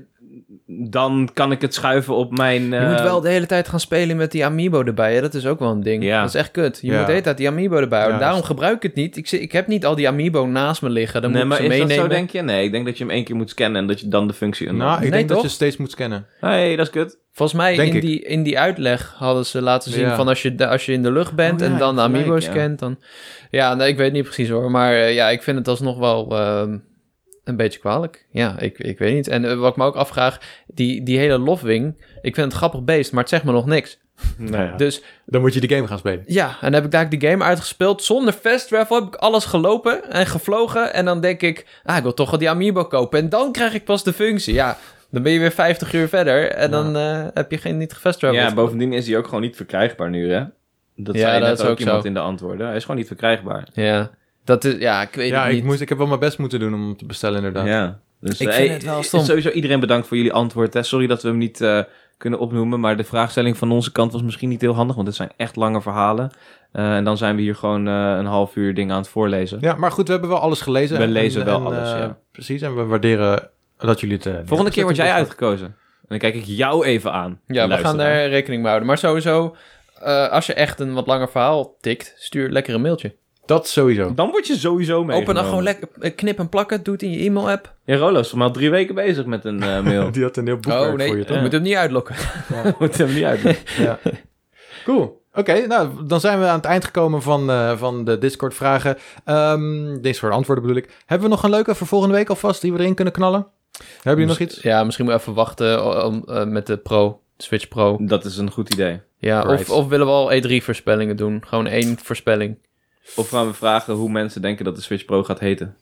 Speaker 3: dan kan ik het schuiven op mijn...
Speaker 2: Je moet
Speaker 3: eh,
Speaker 2: wel de hele tijd gaan spelen met die Amiibo erbij. Hè? Dat is ook wel een ding.
Speaker 3: Ja.
Speaker 2: Dat is echt kut. Je
Speaker 1: Ja.
Speaker 2: moet de hele tijd die Amiibo erbij houden.
Speaker 1: Ja,
Speaker 2: Daarom
Speaker 1: dat
Speaker 2: gebruik ik het niet. Ik, zi- ik heb niet al die Amiibo naast me liggen. Dan
Speaker 3: nee,
Speaker 2: moet
Speaker 3: maar
Speaker 2: ik
Speaker 3: is
Speaker 2: ze meenemen.
Speaker 3: dat zo, denk je? Nee, ik denk dat je hem één keer moet scannen en dat je dan de functie...
Speaker 1: nou, ik
Speaker 2: nee,
Speaker 1: denk
Speaker 2: toch?
Speaker 1: dat je steeds moet scannen.
Speaker 3: hey, dat is kut.
Speaker 2: Volgens mij
Speaker 1: Denk
Speaker 2: in
Speaker 1: ik.
Speaker 2: die, in die uitleg hadden ze laten zien
Speaker 1: Ja.
Speaker 2: van als je, da- als je in de lucht bent
Speaker 3: Oh ja,
Speaker 2: en dan de
Speaker 3: gelijk,
Speaker 2: Amiibo's
Speaker 3: ja.
Speaker 2: kent, dan... Ja, nee, ik weet niet precies hoor, maar eh, ja, ik vind het alsnog wel ehm, een beetje kwalijk. Ja, ik, ik weet niet. En eh, wat ik me ook afvraag, die, die hele Lofwing, ik vind het een grappig beest, maar het zegt me nog niks. Dus
Speaker 1: Dan moet je die game gaan spelen.
Speaker 2: ja, en dan heb ik daar de game uitgespeeld. Zonder fast travel heb ik alles gelopen en gevlogen. En dan denk ik, ah, ik wil toch wel die Amiibo kopen. En dan krijg ik pas de functie. Ja, dan ben je weer 50 uur verder. En dan eh, heb je geen, niet gefast travel.
Speaker 3: Ja, bovendien is hij ook gewoon niet verkrijgbaar nu, hè? Dat
Speaker 2: Ja,
Speaker 3: zei
Speaker 2: dat
Speaker 3: net
Speaker 2: is
Speaker 3: ook,
Speaker 2: ook
Speaker 3: iemand
Speaker 2: zo.
Speaker 3: in de antwoorden. Hij is gewoon niet verkrijgbaar.
Speaker 2: Ja, dat is, ja, ik weet
Speaker 1: Ja,
Speaker 2: het niet.
Speaker 1: ik, moest, ik heb wel mijn best moeten doen om hem te bestellen inderdaad.
Speaker 3: Ja. Dus,
Speaker 2: Ik
Speaker 3: eh,
Speaker 2: vind het wel stom.
Speaker 3: Sowieso iedereen bedankt voor jullie antwoord. Hè. Sorry dat we hem niet eh, kunnen opnoemen, maar de vraagstelling van onze kant was misschien niet heel handig, want het zijn echt lange verhalen. Eh, en dan zijn we hier gewoon eh, een half uur dingen aan het voorlezen.
Speaker 1: Ja, maar goed, we hebben wel alles gelezen.
Speaker 3: We lezen wel alles,
Speaker 1: eh,
Speaker 3: ja.
Speaker 1: Precies, en we waarderen dat jullie het... eh,
Speaker 3: Volgende keer word jij
Speaker 1: neerzetten.
Speaker 3: uitgekozen. En dan kijk ik jou even aan.
Speaker 2: Ja, we gaan
Speaker 3: luisteraar.
Speaker 2: daar rekening mee houden. Maar sowieso, eh, als je echt een wat langer verhaal tikt, stuur lekker een mailtje.
Speaker 1: Dat sowieso.
Speaker 3: Dan word je sowieso mee.
Speaker 2: Open dan gewoon lekker, eh, knip en plakken, doe het in je e-mail-app.
Speaker 3: Ja, Rolo is al drie weken bezig met een eh, mail.
Speaker 1: Die had een heel boekwerk
Speaker 2: Oh nee,
Speaker 1: voor je,
Speaker 2: ik
Speaker 1: toch?
Speaker 2: moet hem niet uitlokken.
Speaker 3: Moet hem niet uit.
Speaker 1: Ja. Cool. Oké, nou, dan zijn we aan het eind gekomen van, eh, van de Discord-vragen. Ehm Discord-antwoorden bedoel ik. Hebben we nog een leuke voor volgende week alvast die we erin kunnen knallen? Hebben jullie nog iets?
Speaker 2: Ja, misschien moet even wachten om, eh, met de Pro, Switch Pro.
Speaker 3: Dat is een goed idee.
Speaker 2: Ja,
Speaker 1: Right.
Speaker 2: of, of willen we al E3-voorspellingen doen? Gewoon één voorspelling.
Speaker 3: Of gaan we vragen hoe mensen denken dat de Switch Pro gaat heten?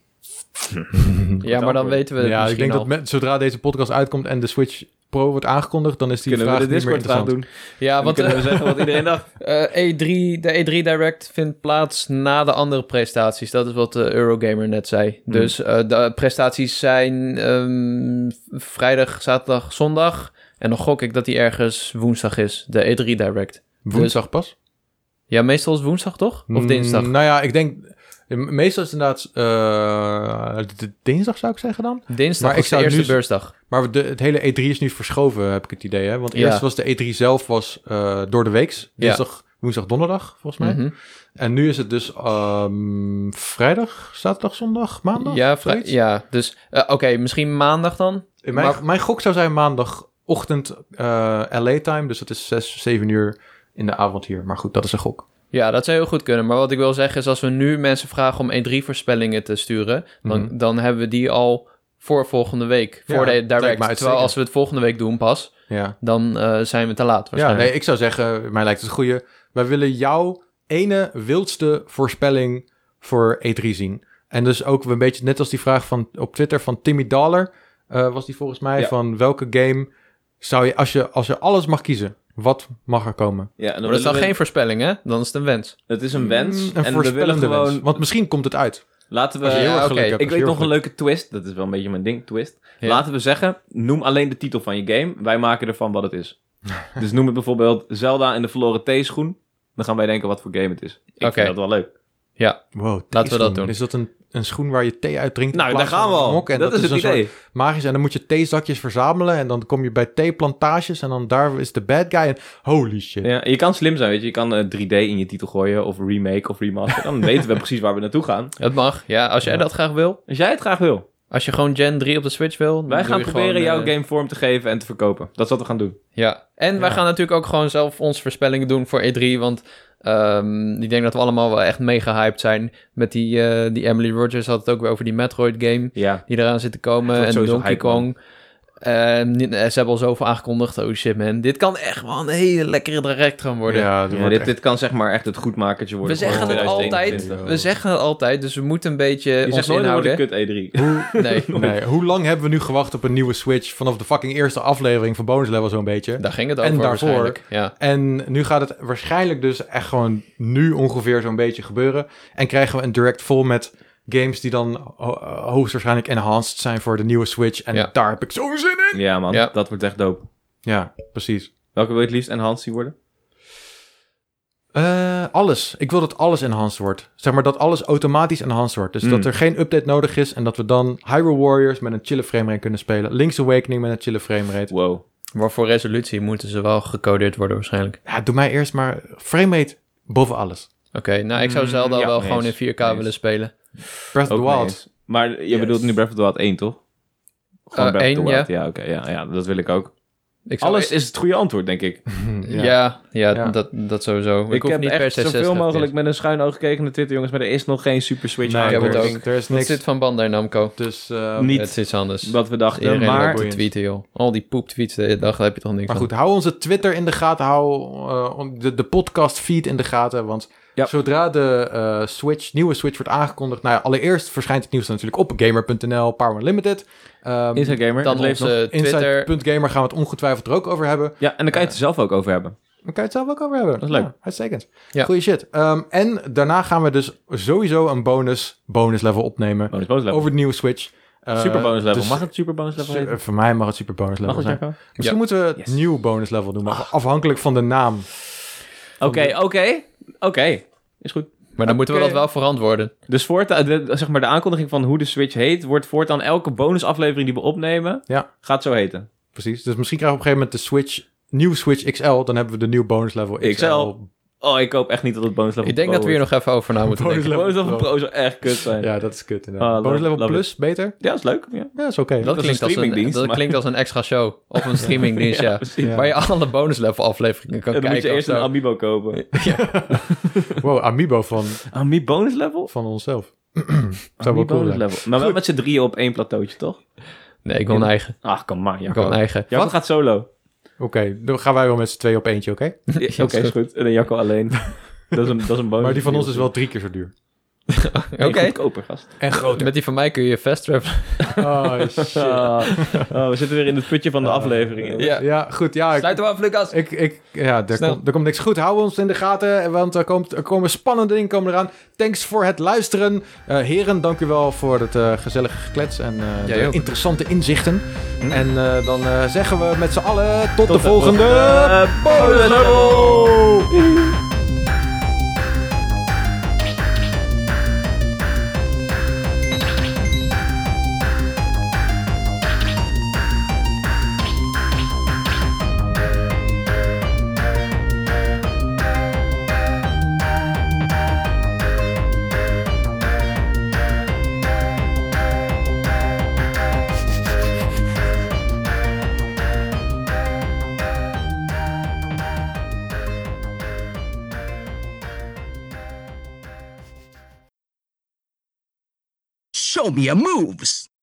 Speaker 2: ja, maar dan
Speaker 3: antwoord.
Speaker 2: weten we het
Speaker 1: Hm. ja, ik denk dat
Speaker 2: al.
Speaker 1: met- zodra deze podcast uitkomt en de Switch Pro wordt aangekondigd, dan is die
Speaker 3: Kunnen we
Speaker 1: vraag
Speaker 3: de
Speaker 1: niet meer
Speaker 3: Discord-vraag
Speaker 1: interessant.
Speaker 3: doen?
Speaker 2: Ja,
Speaker 3: Dan
Speaker 2: want
Speaker 3: kunnen we zeggen wat iedereen dacht.
Speaker 2: eh, eh, E3, de E3 Direct vindt plaats na de andere prestaties. Dat is wat de Eurogamer net zei.
Speaker 1: Hmm.
Speaker 2: Dus eh, de prestaties zijn ehm, v- vrijdag, zaterdag, zondag. En dan gok ik dat die ergens woensdag is, de E3 Direct.
Speaker 1: Woensdag pas?
Speaker 2: Ja, meestal is woensdag toch? Dus- Of dinsdag?
Speaker 1: Mm, nou ja, ik denk... Meestal is het inderdaad eh, d- d- dinsdag, zou ik zeggen dan.
Speaker 2: Dinsdag
Speaker 1: Hmm. Maar
Speaker 2: maar
Speaker 1: ik
Speaker 2: ik de
Speaker 1: zou
Speaker 2: eerste
Speaker 1: nu z-
Speaker 2: beursdag.
Speaker 1: Maar de, het hele E3 is nu verschoven, heb ik het idee. Hè? Want
Speaker 2: Ja.
Speaker 1: eerst was de E3 zelf was, eh, door de weeks.
Speaker 2: Ja.
Speaker 1: Dinsdag, woensdag, donderdag, volgens mij.
Speaker 2: Mhm.
Speaker 1: En nu is het dus ehm, vrijdag, zaterdag, zondag, maandag?
Speaker 2: Ja, vrij-
Speaker 1: zoiets?
Speaker 2: ja, dus eh, oké, misschien maandag dan.
Speaker 1: Mijn,
Speaker 2: maar-
Speaker 1: mijn gok zou zijn maandagochtend eh, LA time. Dus dat is 6, 7 uur in de avond hier. Maar goed, dat is een gok.
Speaker 2: Ja, dat zou heel goed kunnen. Maar wat ik wil zeggen is, als we nu mensen vragen om E3-voorspellingen te sturen, dan,
Speaker 1: Mhm.
Speaker 2: dan hebben we die al voor volgende week,
Speaker 1: Ja,
Speaker 2: voor
Speaker 1: lijkt
Speaker 2: de
Speaker 1: me
Speaker 2: direct. Terwijl
Speaker 1: uitstekend.
Speaker 2: als we het volgende week doen pas,
Speaker 1: Ja,
Speaker 2: dan eh, zijn we te laat
Speaker 1: ja
Speaker 2: waarschijnlijk.
Speaker 1: nee, ik zou zeggen, mij lijkt het een goede. Wij willen jouw ene wildste voorspelling voor E3 zien. En dus ook een beetje net als die vraag van, op Twitter van Timmy Dollar. eh, was die volgens mij
Speaker 3: Ja.
Speaker 1: van welke game zou je als, je, als je alles mag kiezen, wat mag er komen?
Speaker 3: Ja, en dan
Speaker 2: maar dat is dan
Speaker 3: willen we-
Speaker 2: geen voorspelling, hè? Dan is het een wens.
Speaker 3: Het is een wens.
Speaker 1: Mm, Een
Speaker 3: en we willen
Speaker 1: voorspellende
Speaker 3: gewoon...
Speaker 1: wens. Want misschien komt het uit.
Speaker 3: Laten we...
Speaker 1: Als je heel
Speaker 2: ja,
Speaker 1: erg
Speaker 2: oké.
Speaker 1: geluk hebt.
Speaker 3: ik
Speaker 1: als je
Speaker 3: weet nog
Speaker 1: heel
Speaker 3: een
Speaker 1: erg
Speaker 3: leuke twist. Dat is wel een beetje mijn ding, twist.
Speaker 2: Ja.
Speaker 3: Laten we zeggen, noem alleen de titel van je game. Wij maken ervan wat het is. dus noem het bijvoorbeeld Zelda en de verloren theeschoen. Dan gaan wij denken wat voor game het is. Ik
Speaker 2: Oké.
Speaker 3: vind dat wel leuk.
Speaker 1: geluk hebt. Wow,
Speaker 2: Laten we dat
Speaker 1: Teeschoen.
Speaker 2: doen.
Speaker 1: Is dat een een schoen waar je thee uit drinkt. in
Speaker 3: Nou, daar
Speaker 1: plaats
Speaker 3: gaan we
Speaker 1: van een
Speaker 3: al.
Speaker 1: mok. En
Speaker 3: Dat, is
Speaker 1: een
Speaker 3: het idee.
Speaker 1: soort magisch. En dan moet je theezakjes verzamelen. En dan kom je bij theeplantages. En dan daar is de bad guy. En holy shit.
Speaker 3: Ja, je kan slim zijn, weet je. Je kan eh, 3D in je titel gooien of remake of remaster. Dan weten we precies waar we naartoe gaan.
Speaker 2: Dat mag, ja. Als jij dat graag wil.
Speaker 3: Als jij het graag wil.
Speaker 2: Als je gewoon Gen 3 op de Switch wil. dan
Speaker 3: Wij
Speaker 2: doe
Speaker 3: gaan
Speaker 2: je
Speaker 3: proberen
Speaker 2: gewoon,
Speaker 3: jouw
Speaker 2: eh,
Speaker 3: game vorm te geven en te verkopen. Dat is wat we gaan doen.
Speaker 2: Ja, en wij
Speaker 1: Ja.
Speaker 2: gaan natuurlijk ook gewoon zelf onze voorspellingen doen voor E3. Want ehm, ik denk dat we allemaal wel echt mega hyped zijn. Met die, eh, die Emily Rogers had het ook weer over die Metroid game
Speaker 3: Ja.
Speaker 2: die eraan zit te
Speaker 3: Het
Speaker 2: komen.
Speaker 3: wordt
Speaker 2: En
Speaker 3: sowieso
Speaker 2: Donkey
Speaker 3: hype,
Speaker 2: Kong. Ehm, ni- eh, ze hebben al zoveel aangekondigd. Oh shit man, dit kan echt wel een hele lekkere direct gaan worden.
Speaker 1: Ja,
Speaker 3: Ja, dit, dit kan zeg maar echt het goedmakertje
Speaker 2: We
Speaker 3: worden. voor
Speaker 2: zeggen het
Speaker 3: 2021.
Speaker 2: altijd, we zeggen het altijd, dus we moeten een beetje
Speaker 3: Je
Speaker 2: ons
Speaker 3: zegt nooit dat
Speaker 2: inhouden.
Speaker 3: wordt een kut E E3.
Speaker 2: Nee,
Speaker 1: Nee, hoe lang hebben we nu gewacht op een nieuwe Switch? Vanaf de fucking eerste aflevering van Bonus Level zo'n beetje.
Speaker 2: daar ging het
Speaker 1: En
Speaker 2: over
Speaker 1: daarvoor-
Speaker 2: waarschijnlijk. Ja.
Speaker 1: En nu gaat het waarschijnlijk dus echt gewoon nu ongeveer zo'n beetje gebeuren. En krijgen we een direct vol met games die dan ho- eh, hoogstwaarschijnlijk enhanced zijn voor de nieuwe Switch. En
Speaker 2: Ja.
Speaker 1: daar heb ik zo'n zin in.
Speaker 3: Ja man,
Speaker 2: Ja.
Speaker 3: dat wordt echt dope.
Speaker 1: Ja, precies.
Speaker 3: Welke wil je het liefst enhanced zien worden?
Speaker 1: Eh, alles. Ik wil dat alles enhanced wordt. Zeg maar dat alles automatisch enhanced wordt. Dus
Speaker 2: Hmm.
Speaker 3: Mm.
Speaker 1: dat er geen update nodig is. En dat we dan Hyrule Warriors met een chille framerate kunnen spelen. Link's Awakening met een chille framerate.
Speaker 3: Wow.
Speaker 2: Maar voor resolutie moeten ze wel gecodeerd worden waarschijnlijk.
Speaker 1: Ja, doe mij eerst maar framerate boven alles.
Speaker 2: Oké, nou ik zou
Speaker 3: Mm,
Speaker 2: Zelda
Speaker 3: ja,
Speaker 2: wel
Speaker 3: mee
Speaker 2: gewoon in
Speaker 3: eens,
Speaker 2: 4K
Speaker 3: mee eens.
Speaker 2: willen spelen.
Speaker 1: Breath of
Speaker 3: Ook
Speaker 1: the
Speaker 3: mee
Speaker 1: Wild.
Speaker 3: eens. Maar je bedoelt nu Breath of the Wild 1, toch?
Speaker 2: Eh,
Speaker 3: Breath of the
Speaker 2: één,
Speaker 3: Wild. Ja, oké. ja, ja, dat wil ik ook.
Speaker 2: Ik zou-
Speaker 3: Alles is het goede antwoord, denk ik.
Speaker 2: Ja, ja,
Speaker 1: Hmm, Ja.
Speaker 2: Dat, dat sowieso. Ik,
Speaker 3: Ik
Speaker 2: hoef
Speaker 3: heb
Speaker 2: niet per
Speaker 3: echt
Speaker 2: se 60
Speaker 3: zoveel mogelijk
Speaker 2: te-
Speaker 3: met een schuin oog gekeken naar Twitter, jongens. Maar er is nog geen Super Switch
Speaker 1: Nee,
Speaker 2: ik heb het
Speaker 1: er
Speaker 3: hardware.
Speaker 1: is- Er is
Speaker 2: Het
Speaker 1: niks.
Speaker 2: zit van Bandai Namco.
Speaker 1: Dus eh,
Speaker 3: Niet
Speaker 2: Het is iets anders.
Speaker 3: wat we dachten,
Speaker 2: Iedereen
Speaker 3: maar...
Speaker 2: loopt te tweeten, joh. Al die poeptweets, eh, daar heb je toch niks
Speaker 1: Maar
Speaker 2: aan.
Speaker 1: goed, hou onze Twitter in de gaten. Hou eh, on- de, de podcast feed in de gaten. Want
Speaker 3: Ja.
Speaker 1: zodra de eh, Switch, nieuwe Switch wordt aangekondigd. Nou ja, allereerst verschijnt het nieuws dan natuurlijk op gamer.nl, Power Unlimited. Ehm,
Speaker 3: Instagamer,
Speaker 2: Dan
Speaker 3: het leeft nog.
Speaker 2: onze Twitter.
Speaker 1: Inside.gamer gaan we het ongetwijfeld er ook over hebben.
Speaker 3: Ja, en dan kan je het er zelf ook over hebben.
Speaker 1: Dan kan je het zelf ook over hebben. Dat
Speaker 3: is leuk.
Speaker 1: Ja, uitstekend.
Speaker 2: Ja.
Speaker 1: Goeie shit. Ehm, en daarna gaan we dus sowieso een bonus, bonus level opnemen.
Speaker 3: Bonus, bonus level.
Speaker 1: Over de nieuwe Switch. Eh,
Speaker 3: super bonus level.
Speaker 1: dus-
Speaker 3: Mag het super bonus level
Speaker 1: Su-
Speaker 3: heten?
Speaker 1: voor mij mag het super bonus level
Speaker 3: Mag het,
Speaker 1: zijn.
Speaker 3: Jacco?
Speaker 1: Misschien moeten we het
Speaker 3: Yes.
Speaker 1: nieuw bonus level doen, maar afhankelijk van de naam.
Speaker 3: Oké, oké. Oké. Is goed.
Speaker 2: Maar dan moeten we
Speaker 1: Oké.
Speaker 2: dat wel verantwoorden.
Speaker 3: Dus voortaan, de, zeg maar, de aankondiging van hoe de Switch heet... wordt voortaan elke bonusaflevering die we opnemen...
Speaker 1: Ja.
Speaker 3: gaat zo heten.
Speaker 1: Precies. Dus misschien krijgen we op een gegeven moment de Switch, nieuw Switch XL. Dan hebben we de nieuw bonus level XL.
Speaker 3: XL. Oh, ik hoop echt niet dat het bonus level
Speaker 2: Ik denk dat we hier nog even over na moeten
Speaker 1: Bonus
Speaker 2: denken.
Speaker 1: level
Speaker 3: Bonus level
Speaker 1: Pro.
Speaker 3: pro zou echt kut zijn. Ja,
Speaker 1: Ja, dat is kut. inderdaad.
Speaker 3: Ah,
Speaker 1: bonus
Speaker 3: love-
Speaker 1: level
Speaker 3: love
Speaker 1: plus, beter?
Speaker 3: dat is leuk. Ja,
Speaker 1: Ja, is oké.
Speaker 2: Dat, klinkt
Speaker 3: is een
Speaker 2: als een,
Speaker 3: streamingdienst,
Speaker 2: dat
Speaker 3: maar-
Speaker 2: klinkt als een extra show. Of een streamingdienst, ja.
Speaker 3: precies.
Speaker 1: Ja.
Speaker 2: Waar je alle bonus level afleveringen kan
Speaker 3: En dan moet je
Speaker 2: kijken.
Speaker 3: eerst
Speaker 2: of
Speaker 3: een
Speaker 2: zo.
Speaker 3: Amiibo kopen.
Speaker 1: Wow, Amiibo van,
Speaker 3: Amiibo bonus level?
Speaker 1: van onszelf. Zou wel
Speaker 3: Amiibo
Speaker 1: cool
Speaker 3: bonus
Speaker 1: zijn.
Speaker 3: level. Maar wel met z'n drieën op één plateautje, toch?
Speaker 2: Nee, ik wil een eigen.
Speaker 3: Ach, kom maar,
Speaker 2: Ik wil
Speaker 3: Jacco.
Speaker 2: een eigen.
Speaker 3: Jacco gaat solo.
Speaker 1: Oké, dan gaan wij wel met z'n tweeën op eentje, oké?
Speaker 3: Ja, Oké, is goed. En dan Jacco alleen. dat, is een, dat is een bonus.
Speaker 1: Maar die van ons is wel drie keer zo duur.
Speaker 2: Oké.
Speaker 3: Oké. Goedkoper, gast.
Speaker 1: En groter.
Speaker 2: Met die van mij kun je fast travel.
Speaker 1: Oh, shit.
Speaker 3: Ah, ah, we zitten weer in het putje van de afleveringen.
Speaker 2: Ja.
Speaker 1: Ja, goed. Ja, ik,
Speaker 2: Sluit hem af, Lucas.
Speaker 1: ik, ik, ja er,
Speaker 2: Snel.
Speaker 1: komt- er komt niks goed. Hou ons in de gaten, want er, komt, er komen spannende dingen komen eraan. Thanks voor het luisteren. Eh, heren, dank u wel voor het eh, gezellige geklets en eh,
Speaker 2: Jij
Speaker 1: de
Speaker 2: ook.
Speaker 1: interessante inzichten. En eh, dan eh, zeggen we met z'n allen tot, de
Speaker 3: de
Speaker 1: volgende...
Speaker 3: Eh, bonus
Speaker 1: Level!
Speaker 6: Show me your moves.